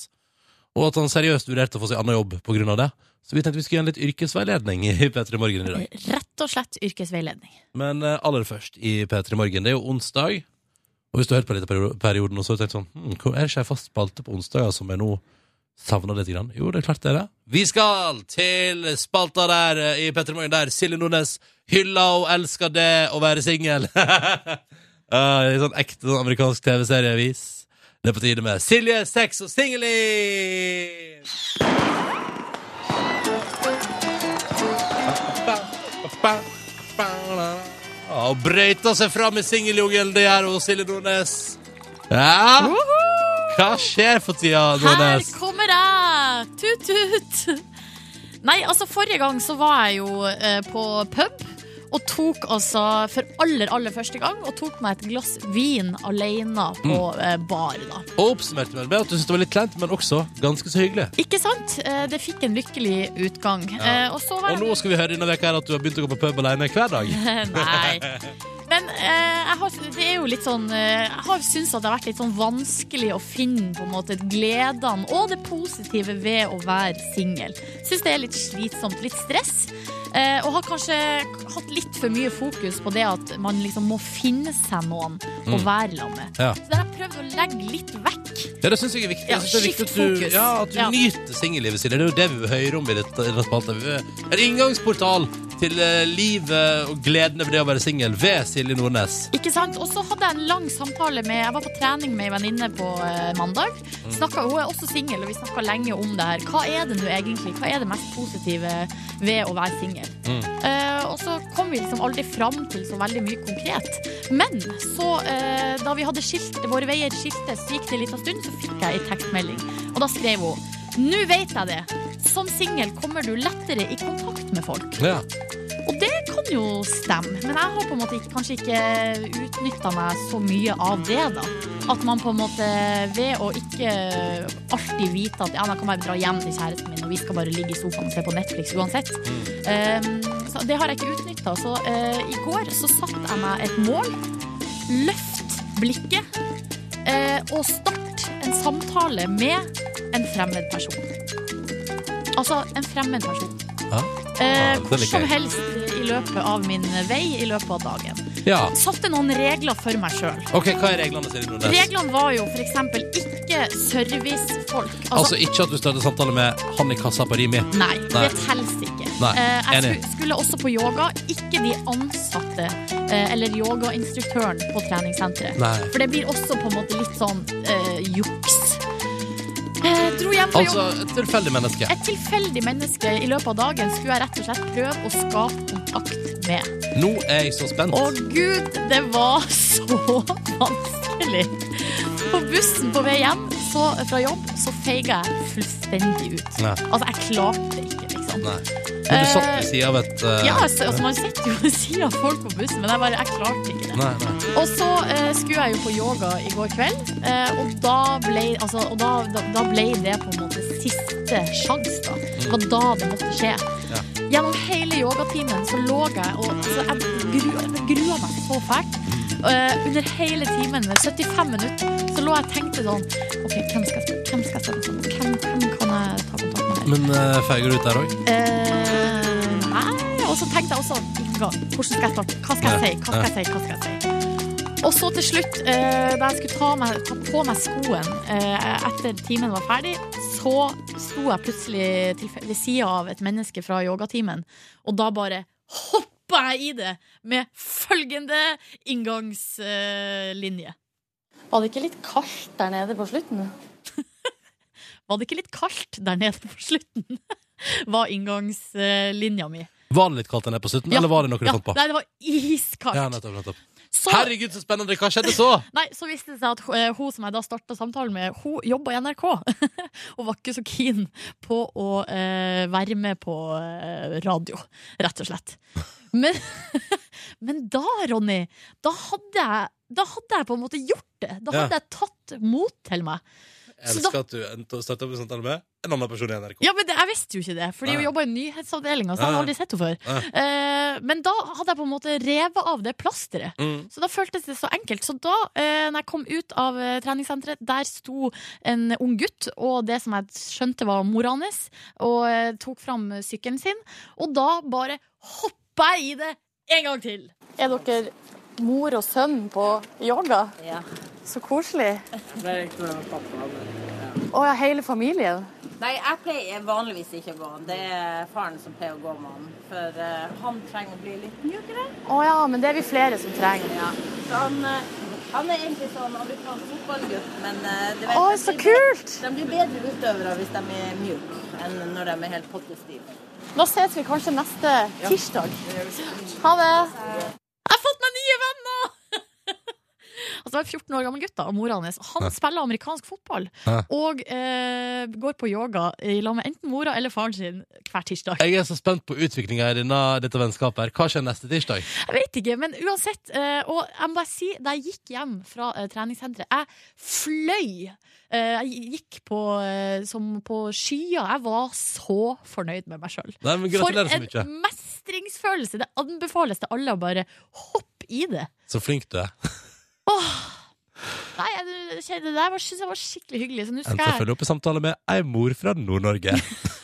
og at han seriøst vurderte å få seg annen jobb på grunn av det. Så vi tenkte vi skulle gi en litt yrkesveiledning i P3 Morgen i dag. Rett og slett yrkesveiledning. Men eh, aller først i P3 Morgen, det er jo onsdag. Og hvis du har hørt på dette perio- perioden, og så har du tenkt sånn hm, hvor- Er det ikke en fast spalte på onsdager som jeg nå savner litt? Grann? Jo, det er klart det er det. Vi skal til spalta der eh, i P3 Morgen, der Silje Nordnes hyller og elsker det å være singel. Ah, det er sånn ekte sånn amerikansk TV-serievis. Det er på tide med Silje, sex og singelliv! Ja, Og brøyta seg fram i singeljungelen, det gjør hun, Silje Nordnes. Ja? Hva skjer for tida, Her Nordnes? kommer jeg! Tut-tut! Nei, altså forrige gang så var jeg jo eh, på pub og tok altså for aller, aller første gang og tok meg et glass vin alene på Mm. eh, bar, da. Og oppsummerte vel med at du syntes det var litt kleint, men også ganske så hyggelig. Ikke sant? Eh, Det fikk en lykkelig utgang. Eh, Og så var Og nå skal vi høre denne veka her at du har begynt å gå på pub alene hver dag. Nei. Men eh, jeg har, det er jo litt sånn eh, Jeg har syntes at det har vært litt sånn vanskelig å finne på en måte gledene og det positive ved å være singel. Syns det er litt slitsomt, litt stress. Eh, og har kanskje hatt litt for mye fokus på det at man liksom må finne seg noen å Mm. være sammen med. Ja. Så det har jeg prøvd å legge litt vekk. Ja, det syns jeg er viktig. Ja, Jeg synes det er viktig skift at du, fokus. ja, at du Ja. nyter singellivet sitt. Det er jo det vi vil høre om i dette- i denne spalten. Vi vil- En inngangsportal til eh, livet og gleden over det å være singel ved Silje Nordnes. Ikke sant? Og så hadde jeg en lang samtale med Jeg var på trening med ei venninne på eh, mandag. Snakket, hun er også singel, og vi snakka lenge om det her. Hva er det nå egentlig? Hva er det mest positive ved å være singel? Eh, og så kom vi liksom aldri fram til så veldig mye konkret. Men så, eh, da vi hadde skilt, våre veier skiltes, så gikk det en liten stund, så fikk jeg ei tekstmelding. Og da skrev hun Nå vet jeg det. Som singel kommer du lettere i kontakt med folk. Ja. Og det kan jo stemme, men jeg har på en måte ikke, kanskje ikke utnytta meg så mye av det, da. At man på en måte, ved å ikke alltid vite at ja, men jeg kan bare dra hjem til kjæresten min, og vi skal bare ligge i sofaen og se på Netflix uansett. Ehm, så det har jeg ikke utnytta. Så eh, i går så satte jeg meg et mål. Løft blikket eh, og start en samtale med en fremmed person. Altså en fremmed person. Eh, hvor som helst i løpet av min vei i løpet av dagen. Ja. Satte noen regler for meg sjøl. OK, hva er reglene, Silje Nordnes? Reglene var jo f.eks. ikke servicefolk. Altså ikke at du starter samtale med han i kassa på Rimi. Nei, det telles ikke. Nei, Eh, jeg enig. sku- skulle også på yoga, ikke de ansatte eh, eller yogainstruktøren på treningssenteret. Nei. For det blir også på en måte litt sånn eh, juks. Eh, du, dro hjem fra Altså jobb. et tilfeldig menneske. Et tilfeldig menneske i løpet av dagen skulle jeg rett og slett prøve å skape kontakt med. Nå er jeg så spent. Å gud, det var så vanskelig. På bussen på vei hjem så, fra jobb så feiga jeg fullstendig ut. Nei. Altså, jeg klarte det ikke, liksom. Nei. Men du satt Eh, ved sida av et eh, Ja, altså, altså, man sitter jo ved siden av folk på bussen, men jeg bare, jeg klarte ikke det. Nei, nei. Og så eh, skulle jeg jo på yoga i går kveld, eh, og, da ble, altså, og da, da, da ble det på en måte siste sjans, da. Det var da det måtte skje. Ja. Gjennom hele yogatimen så lå jeg og altså, jeg grua, jeg grua meg så fælt. Eh, under hele timen, 75 minutter, så lå jeg og tenkte sånn OK, hvem skal jeg spørre? Hvem skal jeg spørre? Sånn, Hvem, hvem kan jeg ta kontakt med? Men uh, feiger du ut der òg? Eh, nei, og så tenkte jeg også hva- Hvordan skal jeg starte? Hva skal jeg si? Hva skal jeg si? Hva skal jeg si? Og så til slutt, eh, da jeg skulle ta, meg, ta på meg skoen eh, etter timen var ferdig, så sto jeg plutselig til, ved sida av et menneske fra yogatimen, og da bare hoppa jeg i det med følgende inngangslinje. var det ikke litt kaldt der nede på slutten? var det ikke litt kaldt der nede på slutten? var inngangslinja mi. Var det litt kaldt den er på slutten, Ja. eller var det noe du Ja, fant på? Nei, det var iskaldt. Ja, nettopp, nettopp. Så- Herregud, så spennende! Hva skjedde så? Nei, så viste det seg at eh, hun som jeg da starta samtalen med, hun jobba i NRK. og var ikke så keen på å eh, være med på eh, radio, rett og slett. Men, men da, Ronny, da hadde, jeg, da hadde jeg på en måte gjort det. Da Ja. hadde jeg tatt mot til meg. Jeg Så da- elsker at du endte å starte opp en samtale med en annen person i NRK. Ja, men det, Jeg visste jo ikke det, Fordi hun Nei. jobba i nyhetsavdelinga. Så jeg Nei. hadde aldri sett henne før. Nei. Eh, men da hadde jeg på en måte revet av det plasteret. Mm. Så da føltes det så enkelt. Så da eh, når jeg kom ut av eh, treningssenteret, der sto en ung gutt og det som jeg skjønte var mora hans, og eh, tok fram sykkelen sin. Og da bare hoppa jeg i det en gang til. Er dere mor og sønn på yoga? Ja. Så koselig. Å ja, hele familien. Nei, jeg pleier vanligvis ikke å gå. Det er faren som pleier å gå med han. For eh, han trenger å bli litt mjukere. Å ja, men det er vi flere som trenger. Ja. Så han, eh, han er egentlig sånn amerikansk fotballgutt, men eh, du vet, Å, de så blir- kult! De blir bedre utøvere hvis de er mjuke, enn når de er helt pottestive. Da ses vi kanskje neste tirsdag. Ha det! Jeg har fått meg nye venner! altså, det er en 14 år gammel gutt da, og mora hans. Han Ja. spiller amerikansk fotball Ja. og eh, går på yoga i lag med enten mora eller faren sin hver tirsdag. Jeg er så spent på utviklinga i denne- dette vennskapet. her Hva skjer neste tirsdag? Jeg vet ikke, men uansett. eh, Og jeg må bare si, da jeg gikk hjem fra eh, treningssenteret, jeg fløy. Eh, Jeg gikk på, eh, som på skyer. Jeg var så fornøyd med meg sjøl. Nei, men gratulerer så For en mye. mestringsfølelse! Det anbefales til alle å bare hoppe i det. Så flink du er. Åh. Nei, jeg, det- det der var, synes jeg var skikkelig hyggelig. Så nå Endte å skal jeg følge opp en samtale med ei mor fra Nord-Norge.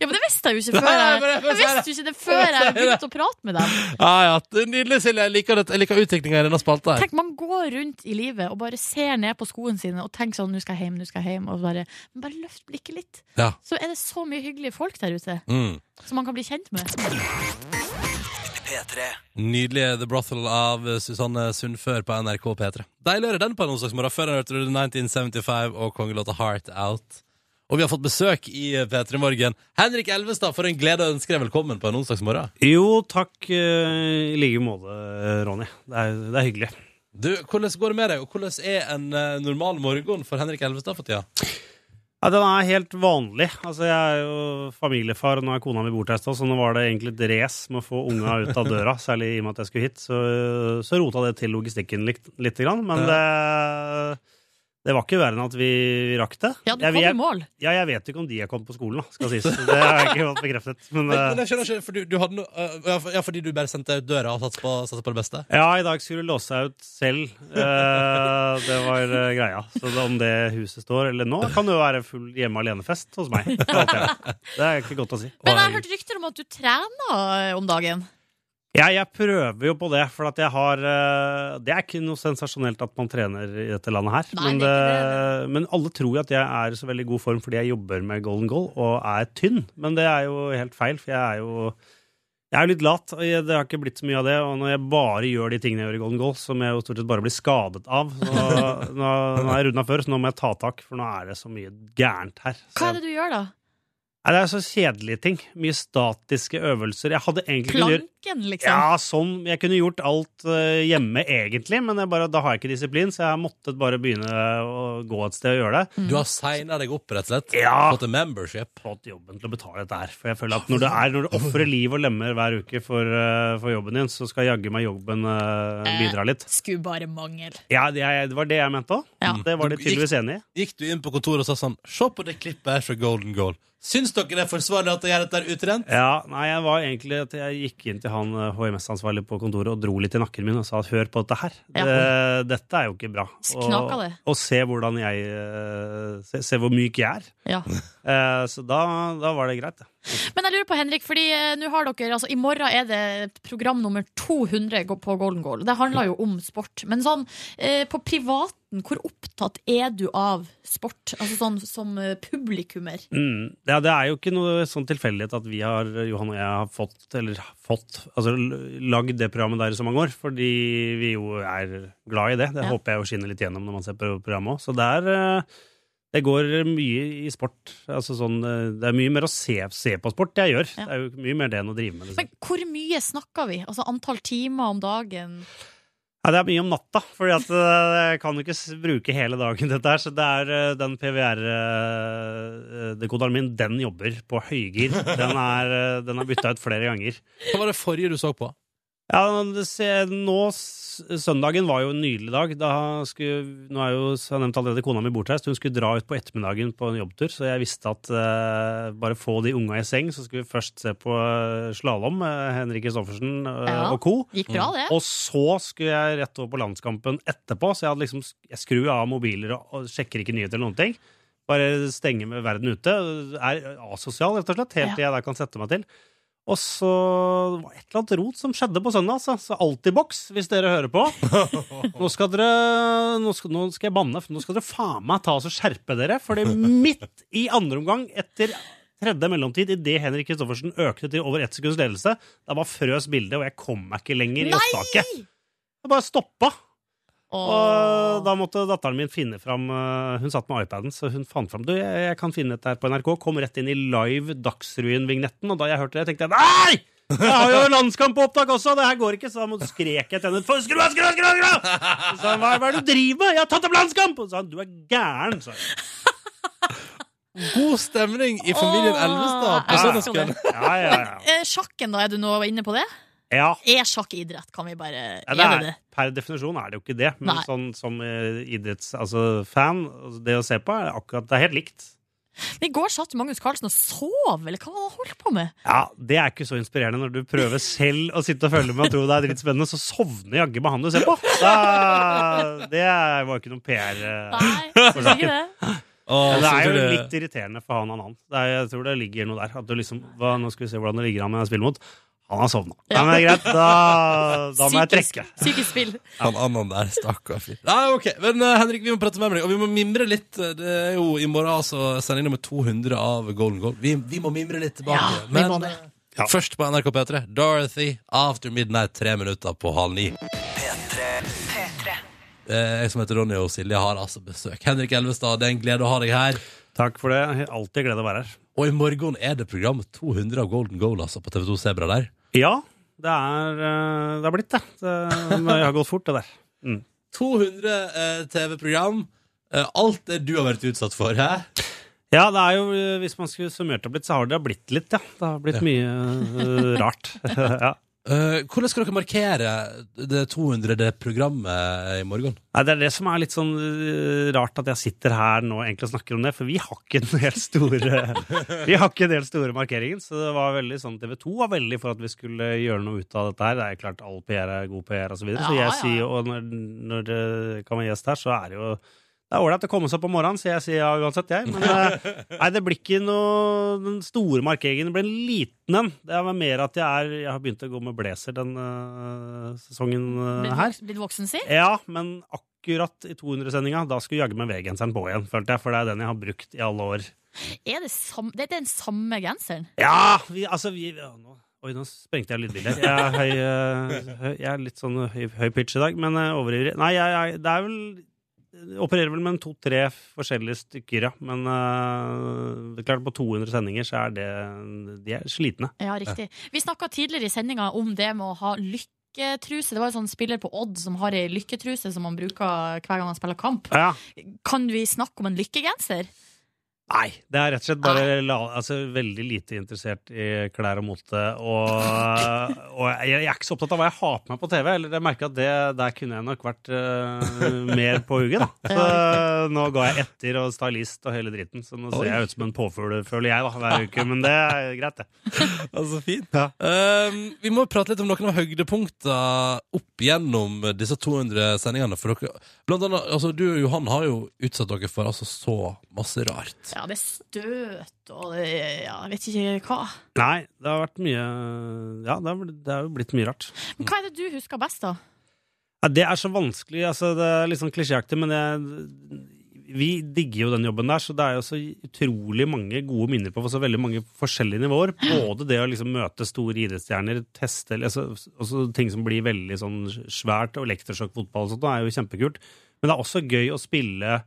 Ja, men det visste jeg jo ikke Nei, før nei, jeg, men jeg får jeg si visste jo det. ikke det før Jeg får jeg si det. begynte å prate med dem. Ah, Ja, ja, det er Nydelig, Silje. Jeg liker, det- jeg liker utviklinga i denne spalta. her Tenk, man går rundt i livet og bare ser ned på skoene sine og tenker sånn 'nå skal jeg hjem', 'nå skal jeg hjem', og bare, men bare løft blikket litt. Ja. Så er det så mye hyggelige folk der ute Mm. som man kan bli kjent med. P3. Nydelige The Brothel av Susanne Sundfør på NRK P3. Deilig å høre den på en onsdagsmorgen. Før hørte du 1975 og kongelåta Heart Out. Og vi har fått besøk i P3 Morgen. Henrik Elvestad, for en glede å ønske deg velkommen på en onsdagsmorgen. Jo, takk eh, i like måte, eh, Ronny. Det er, det er hyggelig. Du, hvordan går det med deg, og hvordan er en eh, normal morgen for Henrik Elvestad for tida? Ja, den er helt vanlig. Altså, jeg er jo familiefar, og nå er kona mi bortreist, også, så nå var det egentlig et race med å få unga ut av døra, særlig i og med at jeg skulle hit. Så, så rota det til logistikken litt, lite grann, men det, det var ikke verre enn at vi rakk det. Ja, du Jeg- kom i jeg- mål. Ja, jeg vet ikke om de er kommet på skolen, da, skal sies. Det har jeg ikke fått bekreftet. Men, Men, eh, men jeg skjønner ikke, for du, du hadde no, eh, ja, for- ja, fordi du bare sendte ut døra og satset på, satset på det beste? Ja, i dag skulle du låse seg ut selv. Eh, det var eh, greia. Så det- om det huset står eller nå, kan det jo være full hjemme alene-fest hos meg. Det er ikke godt å si. Men jeg har hørt rykter om at du trener eh, om dagen. Jeg, jeg prøver jo på det, for at jeg har eh, Det er ikke noe sensasjonelt at man trener i dette landet her. Nei, men, det er det- men alle tror jo at jeg er i så veldig god form fordi jeg jobber med golden goal og er tynn. Men det er jo helt feil, for jeg er jo Jeg er jo litt lat, og jeg- det har ikke blitt så mye av det. Og når jeg bare gjør de tingene jeg gjør i Golden Goal, som jeg jo stort sett bare blir skadet av så Nå, nå har jeg runda før, så nå må jeg ta tak, for nå er det så mye gærent her. Hva er det du gjør, da? Nei, det er så kjedelige ting. Mye statiske øvelser. Jeg hadde egentlig kunnet gjøre- Planken, liksom? Ja, sånn. Jeg kunne gjort alt eh, hjemme, egentlig, men jeg bare, da har jeg ikke disiplin, så jeg har måttet bare begynne å gå et sted og gjøre det. Du har signa deg opp, rett og slett? Ja. Fått en membership? Fått jobben til å betale dette her. For jeg føler at når du, er, når du offrer liv og lemmer hver uke for, eh, for jobben din, så skal jaggu meg jobben eh, bidra litt. Skulle bare mangle. Ja, det, er- det var det jeg mente òg. Det var de tydeligvis enig i. Gikk du inn på kontoret og sa sånn Se på det klippet her fra Golden Goal. Syns dere det er forsvarlig at jeg gjør dette her utrent? Ja, nei, jeg var egentlig at jeg gikk inn til han eh, HMS-ansvarlig på kontoret og dro litt i nakken min og sa at hør på dette her. Ja. Det, dette er jo ikke bra. Og, Knaka det. og se hvordan jeg eh, Se, se hvor myk jeg er. Ja. Eh, Så da, da var det greit. Men jeg lurer på, Henrik, fordi eh, nå har dere altså, I morgen er det program nummer 200 gå- på Golden Goal. Det handler jo om sport. Men sånn eh, på privaten, hvor opptatt er du av sport? Altså sånn som eh, publikummer? Mm. Ja, det er jo ikke noe sånn tilfeldighet at vi har, Johan og jeg har fått, eller fått, altså l- lagd det programmet der i så mange år, fordi vi jo er glad i det. Det Ja. håper jeg jo skinner litt gjennom når man ser på programmet òg. Så det er eh, Det går mye i sport. Altså sånn eh, Det er mye mer å se, se på sport jeg gjør. Det er jo mye mer det enn å drive med det. Men hvor mye snakker vi? Altså antall timer om dagen? Ja, det er mye om natta, for jeg kan jo ikke s- bruke hele dagen dette her. Så det er eh, den PVR-dekoderen eh, min, den jobber på høygir. Den er, eh, den er bytta ut flere ganger. Hva var det forrige du så på? Ja, det se- nå, s- Søndagen var jo en nydelig dag. Da skulle, nå er jo, som jeg nevnte allerede, kona mi bortreist. Hun skulle dra ut på ettermiddagen på en jobbtur, så jeg visste at eh, bare få de unga i seng, så skulle vi først se på slalåm, Henrik Kristoffersen eh, Ja, og co. gikk bra, det. Og så skulle jeg rett over på landskampen etterpå, så jeg hadde liksom, jeg skrur av mobiler og, og sjekker ikke nyheter eller noen ting. Bare stenger med verden ute. Er asosial, rett og slett, helt til jeg der kan sette meg til. Og så det var et eller annet rot som skjedde på søndag, altså. Så Altibox, hvis dere hører på. Nå skal dere Nå skal, nå skal jeg banne, for nå skal dere faen meg ta og så skjerpe dere. For det er midt i andre omgang, etter tredje mellomtid, idet Henrik Kristoffersen økte til over ett sekunds ledelse, da bare frøs bildet, og jeg kom meg ikke lenger i opptaket. Det bare stoppa. Og da måtte datteren min finne fram eh, Hun satt med iPaden, så hun fant fram Du, jeg, jeg kan finne dette her på NRK. Kom rett inn i live Dagsrevyen-vignetten, og da jeg hørte det, tenkte jeg nei! Jeg har jo landskamp på opptak også! Det her går ikke! Så da må- skrek jeg til henne «For Skru av, skru av, skru av! skru av!» Så sa hun hva, hva er det du driver med? Jeg har tatt opp landskamp! Og så sa hun du er gæren, sa hun. God stemning i familien Åh, Elvestad på jeg elsker søndagskvelden. det. Ja, ja, ja. Eh, sjakken, da, er du nå inne på det? ja. Er sjakk idrett? Kan vi bare Ja, Er det det er, per definisjon er det jo ikke det, men Nei. sånn som eh, idretts... Altså fan, altså, det å se på er akkurat Det er helt likt. det? Men I går satt Magnus Carlsen og sov, eller hva var det han holdt på med? Ja, Det er ikke så inspirerende når du prøver selv å sitte og følge med og tro det er dritspennende, så sovner jaggu meg han du ser på! Da, det var jo ikke noen PR. Nei, synes ikke det. Men det så er tror jo du- litt irriterende for han og han. Det er, jeg tror det ligger noe der. At du liksom, hva, nå skal vi se hvordan det ligger an når jeg spiller mot. Han har sovna. Nei, men greit, da, da må jeg Psykisk- trekke. Psykisk spill. Han annen der, stakkar fyr. Nei, ok, men eh, Henrik, vi må prate mer med deg, og vi må mimre litt. eh, Det er jo i morgen altså sending nummer 200 av Golden Goal. Vi, vi må mimre litt tilbake. Ja, vi men må det. eh, først på NRK P3, Dorothy After Midnight, tre minutter på halv ni. Eh, Jeg som heter Ronny og Silje har altså besøk. Henrik Elvestad, det er en glede å ha deg her. Takk for det. Alltid glede å være her. Og i morgen er det program 200 av Golden Goal altså, på TV2 Sebra der. Ja, det er eh, Det har blitt det. det men det har gått fort, det der. 200 eh, TV-program. Eh, alt det du har vært utsatt for, hæ? Ja, det er jo, eh, hvis man skulle summert opp litt, så har det blitt litt, ja. Det har blitt Ja. mye eh, rart. ja. Eh, hvordan skal dere markere det 200. programmet i morgen? Nei, Det er det som er litt sånn eh, rart at jeg sitter her nå egentlig og snakker om det, for vi har ikke en del store Vi har ikke en del store markeringer, så det var veldig sånn TV 2 var veldig for at vi skulle gjøre noe ut av dette her. Det er jo klart all PR er god PR og så videre, så Ja, jeg ja. sier jo og når, når det kan være gjest her, så er det jo det er ålreit å komme seg opp om morgenen, så jeg sier ja uansett, jeg. Men eh, nei, det blir ikke noe Den store markeringen det blir en liten en. Det er mer at jeg, er, jeg har begynt å gå med blazer den eh, sesongen eh, Blitt her. voks- Blitt voksen, si? Ja, men akkurat i 200-sendinga, da skulle jaggu meg V-genseren på igjen, følte jeg, for det er den jeg har brukt i alle år. Er det, sam det er den samme genseren? Ja, vi, altså vi ja, nå Oi, nå sprengte jeg lydbildet. Jeg er, høy, eh, høy, jeg er litt sånn høy, høy pitch i dag, men eh, overivrig. Nei, jeg, jeg, det er vel jeg Opererer vel med en to-tre forskjellige stykker, ja. Men eh, det er klart, på 200 sendinger så er det De er slitne. Ja, riktig. Vi snakka tidligere i sendinga om det med å ha lykketruse. Det var jo sånn spiller på Odd som har ei lykketruse som han bruker hver gang han spiller kamp. Ja. Kan vi snakke om en lykkegenser? Nei, det er rett og slett bare la, altså, veldig lite interessert i klær og mote. Og, og jeg, jeg er ikke så opptatt av hva jeg har på meg på TV. Eller jeg merker at det, Der kunne jeg nok vært eh, mer på hugget. da. Så Nå ga jeg etter og stylist og hele dritten, så Oi. nå ser jeg ut som en påfugl, føler jeg, da, hver uke. Men det er greit, det. Altså, fint. Ehm, vi må prate litt om noen av høydepunktene opp gjennom disse 200 sendingene. For dere, blant annet, altså, du og Johan har jo utsatt dere for altså, så masse rart. Ja, det er støt og det, ja, jeg vet ikke hva. Nei, det har vært mye Ja, det har bl- det har jo blitt mye rart. Men hva er det du husker best, da? Ja, det er så vanskelig. Altså, det er litt sånn klisjéaktig, men det, vi digger jo den jobben der, så det er jo så utrolig mange gode minner på så veldig mange forskjellige nivåer. Både det å liksom møte store idrettsstjerner, teste altså, også ting som blir veldig sånn svært, og elektrosjokkfotball og sånt, det er jo kjempekult. Men det er også gøy å spille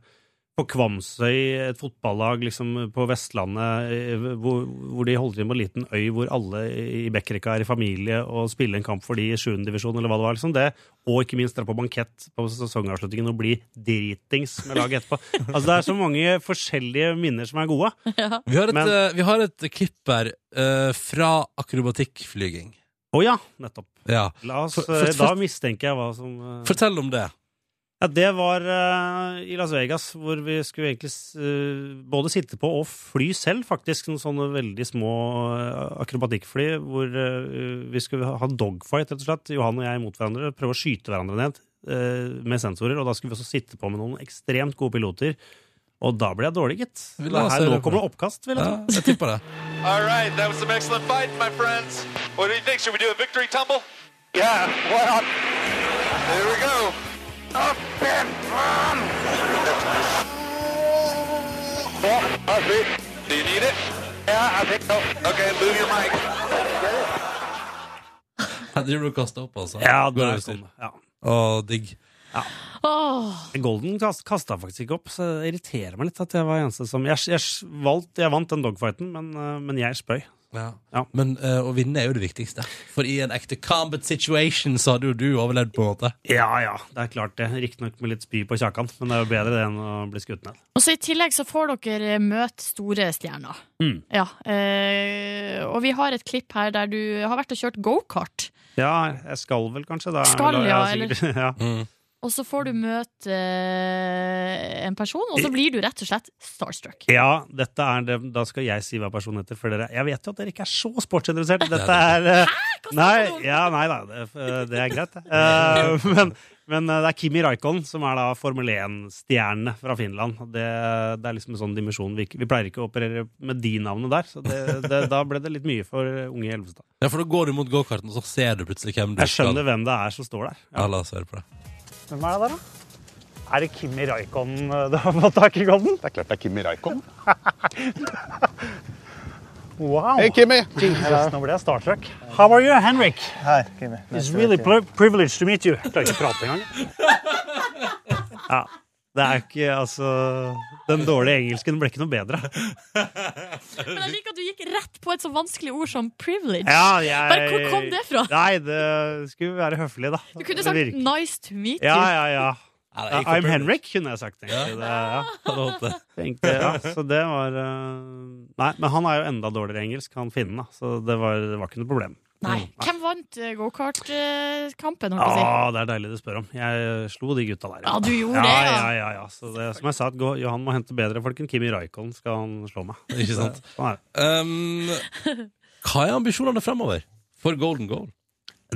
på Kvamsøy, et fotballag liksom, på Vestlandet, eh, hvor, hvor de holder til på en liten øy hvor alle i Bekkerika er i familie, og spille en kamp for de i 7. divisjon, eller hva det var. liksom det, Og ikke minst dra på bankett på sesongavslutningen og bli dritings med laget etterpå. altså Det er så mange forskjellige minner som er gode. Vi har et, Men- eh, vi har et klipp her eh, fra akrobatikkflyging. Å ja, nettopp. Ja. La oss, For- for- eh, da mistenker jeg hva som eh, Fortell om det. Ja, det var eh, i Las Vegas, hvor vi skulle egentlig eh, både sitte på og fly selv, faktisk. Noen sånne veldig små eh, akrobatikkfly hvor eh, vi skulle ha dogfight, rett og slett. Johan og jeg mot hverandre. Prøve å skyte hverandre ned eh, med sensorer. Og da skulle vi også sitte på med noen ekstremt gode piloter. Og da ble jeg dårlig, gitt. Vi la oss Her, høre nå på kommer det oppkast, vil jeg Ja, tro. jeg tipper det. All right, that was some excellent fight, my friends. What do you think? Should we do a victory tumble? Yeah, why not? Here we go. Up and down. Yeah, I think. Do you need it? Yeah, I think so. Okay, move your mic. Her driver du og kaster opp, altså. Ja, Går der det til. kom det. sånn. Ja. Å, digg. Åh, Golden kasta faktisk ikke opp, så det irriterer meg litt at jeg var eneste som Jeg, jeg, valgt, jeg vant den dogfighten, men, eh, men jeg spøy. Ja. Ja. Men eh, å vinne er jo det viktigste. For i en ekte combat situation så hadde jo du overlevd, på en måte. Ja ja, det er klart det. Riktignok med litt spy på kjakan, men det er jo bedre det enn å bli skutt ned. Og så I tillegg så får dere eh, møte store stjerner. Mm. Ja, eh, og vi har et klipp her der du har vært og kjørt gokart. Ja, jeg skal vel kanskje da. Skal, Eller, ja, jeg er sikkert- ja. Og så får du møte eh, en person, og så blir du rett og slett starstruck. ja, dette er det Da skal jeg si hva personen heter, for dere Jeg vet jo at dere ikke er så sportsinteressert. Dette Nei, er eh, Nei, ja, nei da. Det, eh, det er greit, det. Eh, Men, men eh, det er Kimi Raikon som er da Formel 1-stjerne fra Finland. Og Det, det er liksom en sånn dimensjon vi ikke Vi pleier ikke å operere med de navnene der, så det, det, da ble det litt mye for unge Elvestad. Ja, For da går du mot gokarten, og så ser du plutselig hvem du Jeg skjønner hvem det er som står der. Ja, la oss høre på det. Hvem er det der, da? Er det Kimi Raikon eh, du har fått tak i, Golden? Det er klart det er Kimi Raikon. Wow. Hey, Kimi. Jesus, nå ble jeg Star Trek. How are you, Henrik? Hi, Kimi. It's really pri privileged to meet you. Jeg klarer ikke å prate engang. Ja, det er ikke, altså... Den dårlige engelsken ble ikke noe bedre. Men jeg liker at du gikk rett på et så vanskelig ord som privilege. Ja, jeg... Bare, hvor kom det fra? Nei, det skulle være høflig, da. Du kunne Det sagt virker- 'nice to meet you'. Ja, ja, ja. det gikk for I'm privilege. Henrik, kunne jeg sagt. egentlig. Det, ja. Tenkte, jeg, ja. Så det var eh, Nei, men han er jo enda dårligere engelsk, han finnen, da. Så det var, det var ikke noe problem. Nei. Hvem vant eh, gokart-kampen, holdt jeg på å si? Mm. Ah, det er deilig du spør om. Jeg eh, slo de gutta der. Ja, du gjorde ja, det, ja. ja. Ja, ja, Så det, som jeg sa, at gå- Johan må hente bedre folk enn Kimi Raikon skal han slå meg. Ikke sant? Så, sånn er det. Um, hva er ambisjonene fremover for Golden Goal?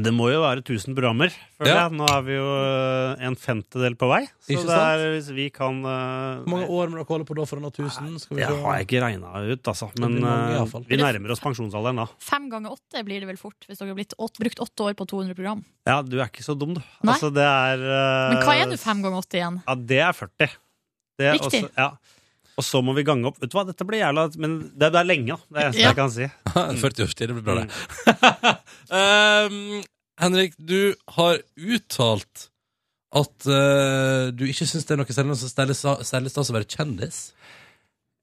Det må jo være 1000 programmer, føler Ja. jeg. Nå er vi jo eh, en femtedel på vei. Så Ikke det sant? er, hvis vi kan eh, Hvor mange år må dere holde på da for å nå 1000? Skal vi Det se. har jeg ikke regna ut, altså. blir Men mange, i eh, hvert fall. vi nærmer oss pensjonsalderen da. Fem ganger åtte blir det vel fort, hvis dere har blitt åt, brukt åtte år på 200 program. Ja, du er ikke så dum, du. Nei. Altså, det er eh, Men hva er nå fem ganger åtte igjen? Ja, det er 40. Det er Riktig. også- ja. Og så må vi gange opp. Vet du hva, dette blir jævla Men det, det er lenge, da. Det er det eneste Ja. jeg kan si. 40 års tid, det blir bra, det. Mm. um, Henrik, du har uttalt at eh, du ikke syns det er noe særlig noe så særlig sa- særlig stas å være kjendis.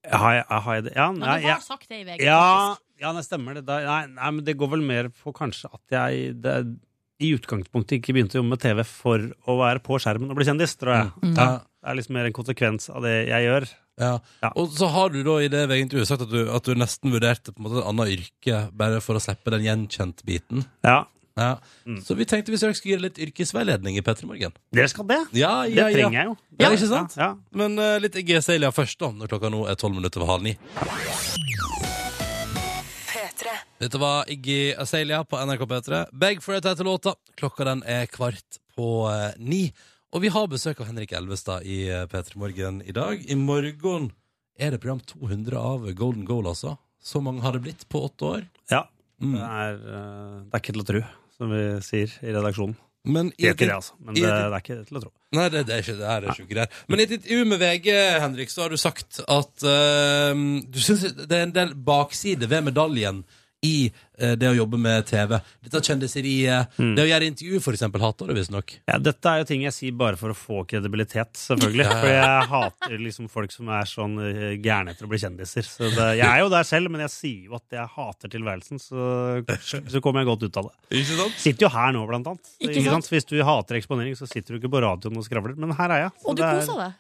Har jeg, har jeg det? Ja, Men du nei, har jeg- sagt det i VG, Ja, faktisk. ja det stemmer det. Da, nei, nei, men det går vel mer på kanskje at jeg det, er- i utgangspunktet ikke begynte å jobbe med TV for å være på skjermen og bli kjendis, tror jeg. Mm. Ja, det er liksom mer en konsekvens av det jeg gjør. Ja. Og så har du da i det VG-intervjuet sagt at du, at du nesten vurderte på en måte et annet yrke bare for å slippe den gjenkjent-biten. Ja. Mm. Så vi tenkte hvis jeg skulle gi deg litt yrkesveiledning i P3 Morgen. Dere skal det? Ja, ja, Det trenger jeg jo. Ja, Ja, ikke sant? ja, ja. Men eh, litt G. Celia først, da, når klokka nå er tolv minutter over halv ni. Dette var Iggy Azalea på NRK P3. Beg for it heter låta. Klokka den er kvart på eh, ni. Og vi har besøk av Henrik Elvestad i eh, P3 Morgen i dag. I morgen er det program 200 av Golden Goal, altså. Så mange har det blitt på åtte år. Ja. Mm. Det, er, eh, det er ikke til å tro, som vi sier i redaksjonen. Men det i er ikke et- det, altså. Men i det, det et- er ikke til å tro. Nei, det, det er ikke det her er sjuke greier. Men i et intervju med VG, Henrik, så har du sagt at eh, du syns det er en del bakside ved medaljen i eh, det å jobbe med TV. Dette kjendiseriet, Mm. det å gjøre intervju, for eksempel, hater du visstnok. Ja, dette er jo ting jeg sier bare for å få kredibilitet, selvfølgelig. For jeg hater liksom folk som er sånn eh, gærne etter å bli kjendiser. Så det, jeg er jo der selv, men jeg sier jo at jeg hater tilværelsen, så, så kommer jeg godt ut av det. Ikke sant? Sitter jo her nå, blant annet. Ikke Ikke sant? sant? Hvis du hater eksponering, så sitter du ikke på radioen og skravler, men her er jeg. Så Og du det er- koser deg.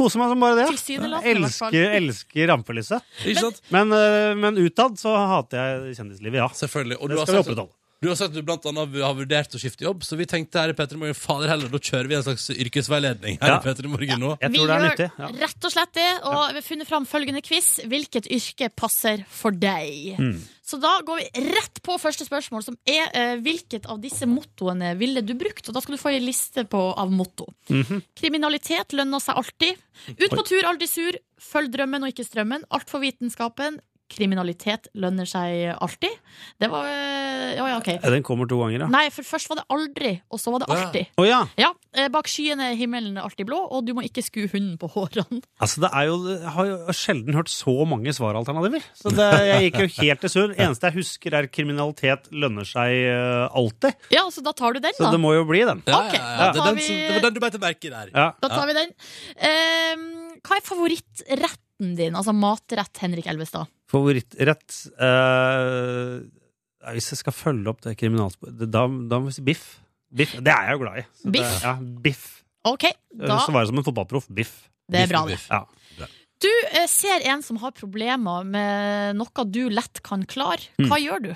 Koser meg som bare det. Tilsynelatende, Jeg i hvert fall. elsker, elsker rampelyset. Ikke sant? Men, eh, men utad så hater jeg kjendislivet, ja. Selvfølgelig. Og du det har skal vi sagt- opprettholde. Du har sagt at du blant annet har vurdert å skifte jobb, så vi tenkte her i Petter Morgen, fader heller, da kjører vi en slags yrkesveiledning her Ja. i Petter Morgen nå. Jeg Vi tror det er gjør nyttig. Ja. rett og slett det, og vi har funnet fram følgende quiz. Hvilket yrke passer for deg? Mm. Så da går vi rett på første spørsmål, som er eh, hvilket av disse mottoene ville du brukt? Og da skal du få ei liste på, av motto. Mhm. Kriminalitet lønner seg alltid. Ut på tur, aldri sur. Følg drømmen og ikke strømmen. Altfor vitenskapen. Kriminalitet lønner seg alltid. Det var eh, Ja, ja, Ja, OK. Den kommer to ganger, ja. Nei, for først var det aldri, og så var det alltid. Å ja. Ja, eh, Bak skyene er himmelen alltid blå, og du må ikke skue hunden på hårene. Altså, det er jo, jeg har jo sjelden hørt så mange svaralternativer. Så det, jeg gikk jo helt til sur. Eneste jeg husker, er kriminalitet lønner seg eh, alltid. Ja, så da tar du den, Så da. det må jo bli den. Ja, ja, ja. Ok, da tar Det er den som- vi- det var den du beit merke i der. Ja. Da tar vi den. Ehm, hva er favorittretten din? Altså matrett, Henrik Elvestad. Favorittrett eh, ja, Hvis jeg skal følge opp det kriminalsporet, da, da må jeg si biff. biff. Det er jeg jo glad i. Så Det, Biff. ja, biff. Ok, Eh, da Da. Svare som en fotballproff. Biff. Det er bra, det. Ja. Du eh, ser en som har problemer med noe du lett kan klare. Hva Mm. gjør du?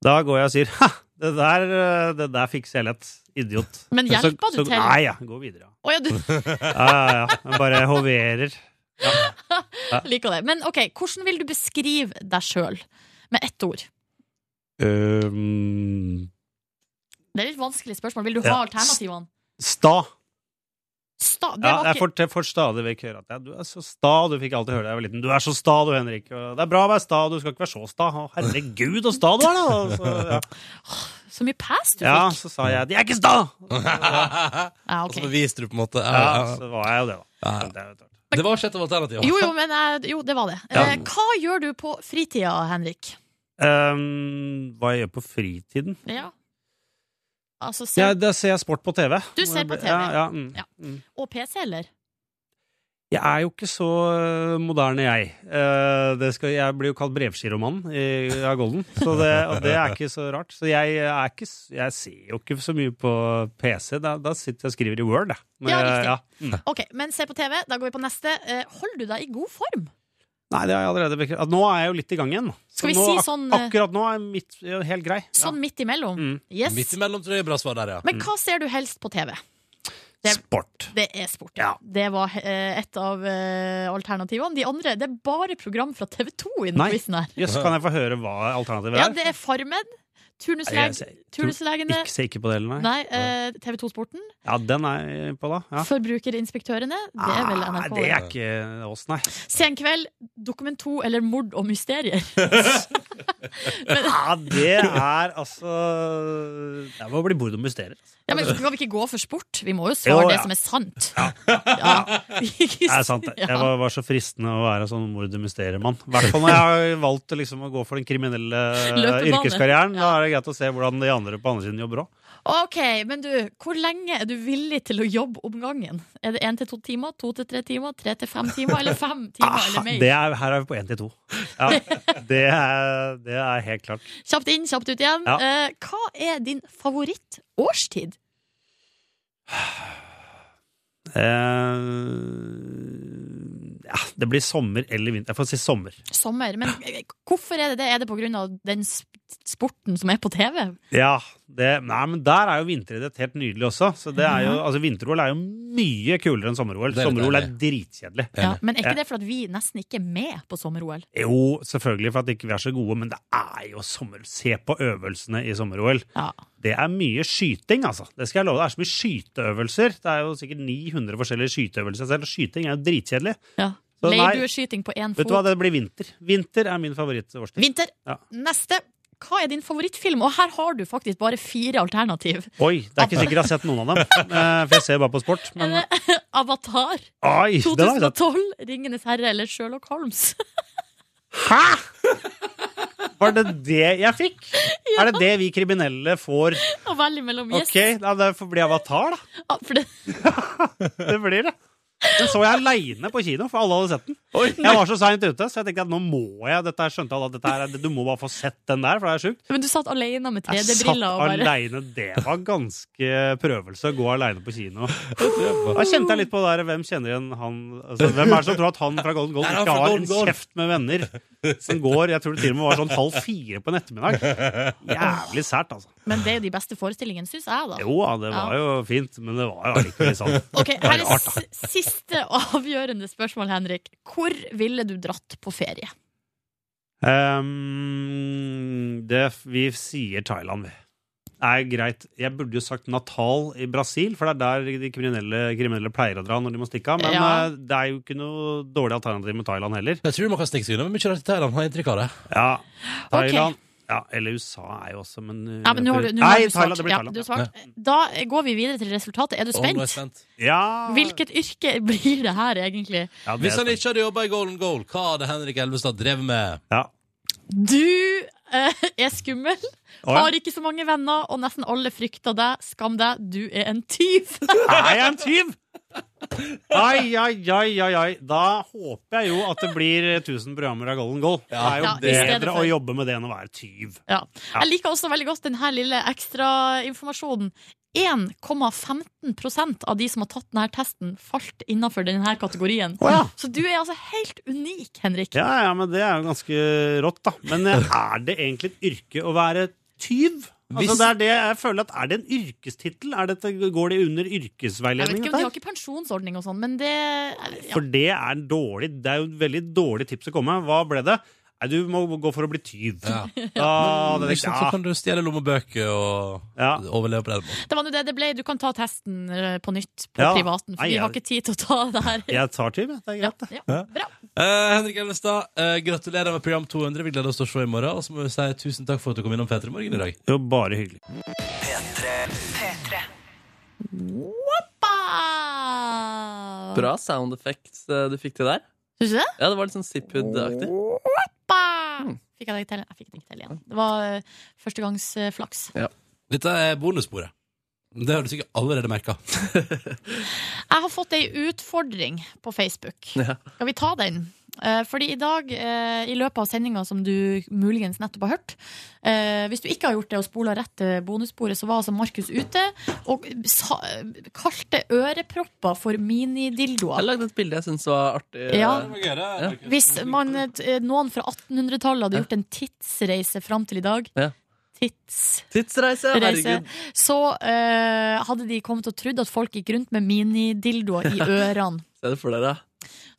Da går jeg og sier ha, det der, eh, det der fikser jeg lett. Idiot. Men Så- hjelper du så- til? Nei, ja. Gå videre. ja. Å ja, du Ja, ja, ja. Jeg Bare hoverer. Ja. liker det. Men ok, hvordan vil du beskrive deg sjøl? Med ett ord. Um, Det er litt vanskelig spørsmål. Vil du Ja. ha alternativene? sta. Sta, det var Ja, jeg ikke får, jeg får stadig vekk høre at jeg, du er så sta, du fikk alltid høre det da jeg var liten. Du er så sta, du, Henrik. Og Det er bra å være sta, du skal ikke være så sta. Å, herregud, så sta du er, da! Og Så, ja. så mye pass du fikk. Ah, ja, så sa jeg 'de er ikke sta'! Ja, Og så beviste du på en måte Ja, så var jeg jo det, da. Det var ikke et alternativ. Jo, jo, men eh, jo, det var det. Ja. Eh, Hva gjør du på fritida, Henrik? Um, hva jeg gjør på fritiden? Ja. Altså, Ja, ser, da ser jeg sport på TV. Du ser på TV. Ja, ja, mm. Ja. Og PC, eller? Jeg er jo ikke så øh, moderne, jeg. Eh, Det skal, jeg blir jo kalt brevskiromann i- av Golden, så det, og det er ikke så rart. Så jeg, eh, er ikke, s- jeg ser jo ikke så mye på PC. Da, da sitter jeg og skriver i Word, jeg. Men, Ja, eh, riktig. mm. Ok, men se på TV. Da går vi på neste. Eh, Holder du deg i god form? Nei, det har jeg allerede bekreftet. At Nå er jeg jo litt i gang igjen. Så Skal vi nå, si ak- sånn, eh, Akkurat nå er mitt ja, Mm. helt grei. Sånn midt imellom? Yes. Midt imellom tror jeg er bra svar der, ja. Mm. Men hva ser du helst på TV? Sport. Det er sport. Ja. Det var eh, et av eh, alternativene. De andre det er bare program fra TV2 i denne Nei, quizen her. Jøss, kan jeg få høre hva alternativet Ja, er? det er Farmen, Nei, jeg turnusleg- ser- tror- Turnuslegene Ikke ser ikke på det heller, nei. Nei, eh, TV2-sporten. Ja, den er jeg på, da. Ja. Forbrukerinspektørene. Det er vel NRK. Nei, det er ikke oss, nei. Senkveld, Dokument 2 eller Mord og mysterier. Ja, det er altså Jeg må bli bordet og mysterier. Ja, men Skal vi ikke gå for sport? Vi må jo svare Jo, ja. det som er sant. Det er sant. det. Jeg var, var så fristende å være sånn mordermysteriemann. I hvert fall når jeg har valgt liksom, å gå for den kriminelle Løpebane. yrkeskarrieren. Da er det greit å se hvordan de andre på andre siden jobber òg. Ok, men du, hvor lenge er du villig til å jobbe om gangen? Er det én til to timer, to til tre timer, tre til fem timer, eller fem timer, eller mer? Ah, Det er- Her er vi på én til to. Ja, det, er, det er helt klart. Kjapt inn, kjapt ut igjen. Ja. Eh, hva er din favorittårstid? Eh, ja, det blir sommer eller vinter. Jeg får si sommer. Sommer. Men eh, hvorfor er det det? Er det på grunn av den sp- sporten som er på TV? Ja, det, nei, men Der er jo vinteridrett helt nydelig også. Så det er jo, altså Vinter-OL er jo mye kulere enn sommer-OL. Det er litt Sommer-OL er dritkjedelig. Ja, men er ikke det Eh, fordi vi nesten ikke er med på sommer-OL? Jo, selvfølgelig for at ikke vi er så gode, men det er jo sommer. Se på øvelsene i sommer-OL. Det er mye skyting, altså. Det skal jeg love. deg. Det er så mye skyteøvelser. Det er jo sikkert 900 forskjellige skyteøvelser. Selv skyting er jo dritkjedelig. Så nei, Leirdueskyting på én Vet du hva, fot. det blir vinter. Vinter er min favorittårstid. Vinter. Ja. Neste. Hva er din favorittfilm? Og her har du faktisk bare fire alternativ. Oi, det er ikke sikkert jeg har sett noen av dem, eh, for jeg ser bare på sport. Men Avatar, Eh, Oi, den har jeg sett. 2012, Ringenes herre eller Sherlock Holmes. Var det det jeg fikk? Er det det vi kriminelle får? Og veldig mellom gjest. Ok, da det får bli avatar, da. Ja, for det... det blir det. Den så jeg aleine på kino, for alle hadde sett den. Jeg var så seint ute, så jeg tenkte at nå må jeg dette her, skjønte alle at dette her, er- du må bare få sett den der, for det er sjukt. Men du satt alene med Jeg satt 3D-briller og bare aleine. Det var ganske prøvelse å gå aleine på kino. Da kjente jeg litt på det der, hvem kjenner igjen han altså, Hvem er det som tror at han fra Golden Er Gold han ikke fra har Golden en Gold? kjeft med venner? Som går Jeg tror det til og med var sånn halv fire på en ettermiddag. Jævlig sært, altså. Men det er jo de beste forestillingene, syns jeg, da. Jo da, det var jo fint, men det var jo allikevel litt sånn. Ok, Det var Her litt er rart, da. s- siste og avgjørende spørsmål, Henrik. Hvor ville du dratt på ferie? Ehm, det, vi sier Thailand, vi. Er greit. Jeg burde jo sagt Natal i Brasil, for det er der de kriminelle, kriminelle pleier å dra når de må stikke av. Men Ja. eh, det er jo ikke noe dårlig alternativ med Thailand heller. Jeg tror man kan stikke seg unna med mye rart i Thailand, har jeg inntrykk av det. Ja, Thailand ja, Eller USA er jo også, men eh, Ja, men nå har du, nå har Nei, du svart. Thailand, det blir Ja, Thailand. du har svart. Da går vi videre til resultatet. Er du spent? Ja. Hvilket yrke blir det her, egentlig? Hvis han ikke hadde jobba i Golden Goal, hva hadde Henrik Elvestad drevet med? Du eh, er skummel, Å, ja. har ikke så mange venner, og nesten alle frykter deg. Skam deg, du er en tyv. Er jeg en tyv? Ai, ai, ai, ai, ai. Da håper jeg jo at det blir 1000 programmer av Golden Goal. Det er jo Ja, i stedet bedre for- å jobbe med det enn å være tyv. Ja. Jeg liker også veldig godt denne lille ekstrainformasjonen. 1,15 av de som har tatt denne testen, falt innenfor denne kategorien. Så du er altså helt unik, Henrik. Ja, ja, men det er jo ganske rått, da. Men eh, er det egentlig et yrke å være tyv? Altså, Hvis- det er det jeg føler at Er det en yrkestittel? Er dette- Går det under Jeg vet yrkesveiledning? ikke om dette De her? har ikke pensjonsordning og sånn, men det ja. For det er en dårlig Det er jo et veldig dårlig tips å komme. Hva ble det? Nei, du må gå for å bli tyv. Ja. Da, det, ah. Ikke sant, så kan du stjele lommebøker og overleve på den måten. Det var nå det det ble. Du kan ta testen eh, på nytt på Ja. privaten, for Nei, vi har jeg- ikke tid til å ta det her. Jeg tar tyv, jeg. Det er greit, det. Eh, Henrik Elvestad, eh, gratulerer med program 200. Vi gleder oss til å se i morgen. Og så må vi si tusen takk for at du kom innom P3 Morgen i dag. Det var bare hyggelig. Woppa! Bra sound effects eh, du fikk til der. Syns du det? Ja, det var litt sånn Zipphood-aktig. Woppa! Fikk jeg det ikke til? Jeg fikk det ikke til igjen. Det var eh, førstegangsflaks. Dette er bonussporet. Det har du sikkert allerede merka. Jeg har fått ei utfordring på Facebook. Ja. Skal vi ta den? Eh, Fordi i dag, eh, i løpet av sendinga som du muligens nettopp har hørt eh, Hvis du ikke har gjort det og spola rett til bonussporet, så var altså Markus ute og sa, kalte ørepropper for Jeg minidildoer. lagde et bilde jeg syntes var artig. Ja. Ja. Hvis man, eh, noen fra 1800-tallet hadde gjort en tidsreise fram til i dag Ja. Tids... Tidsreise, Reise, herregud. så eh, hadde de kommet og trodd at folk gikk rundt med minidildoer i ørene. Se det for dere.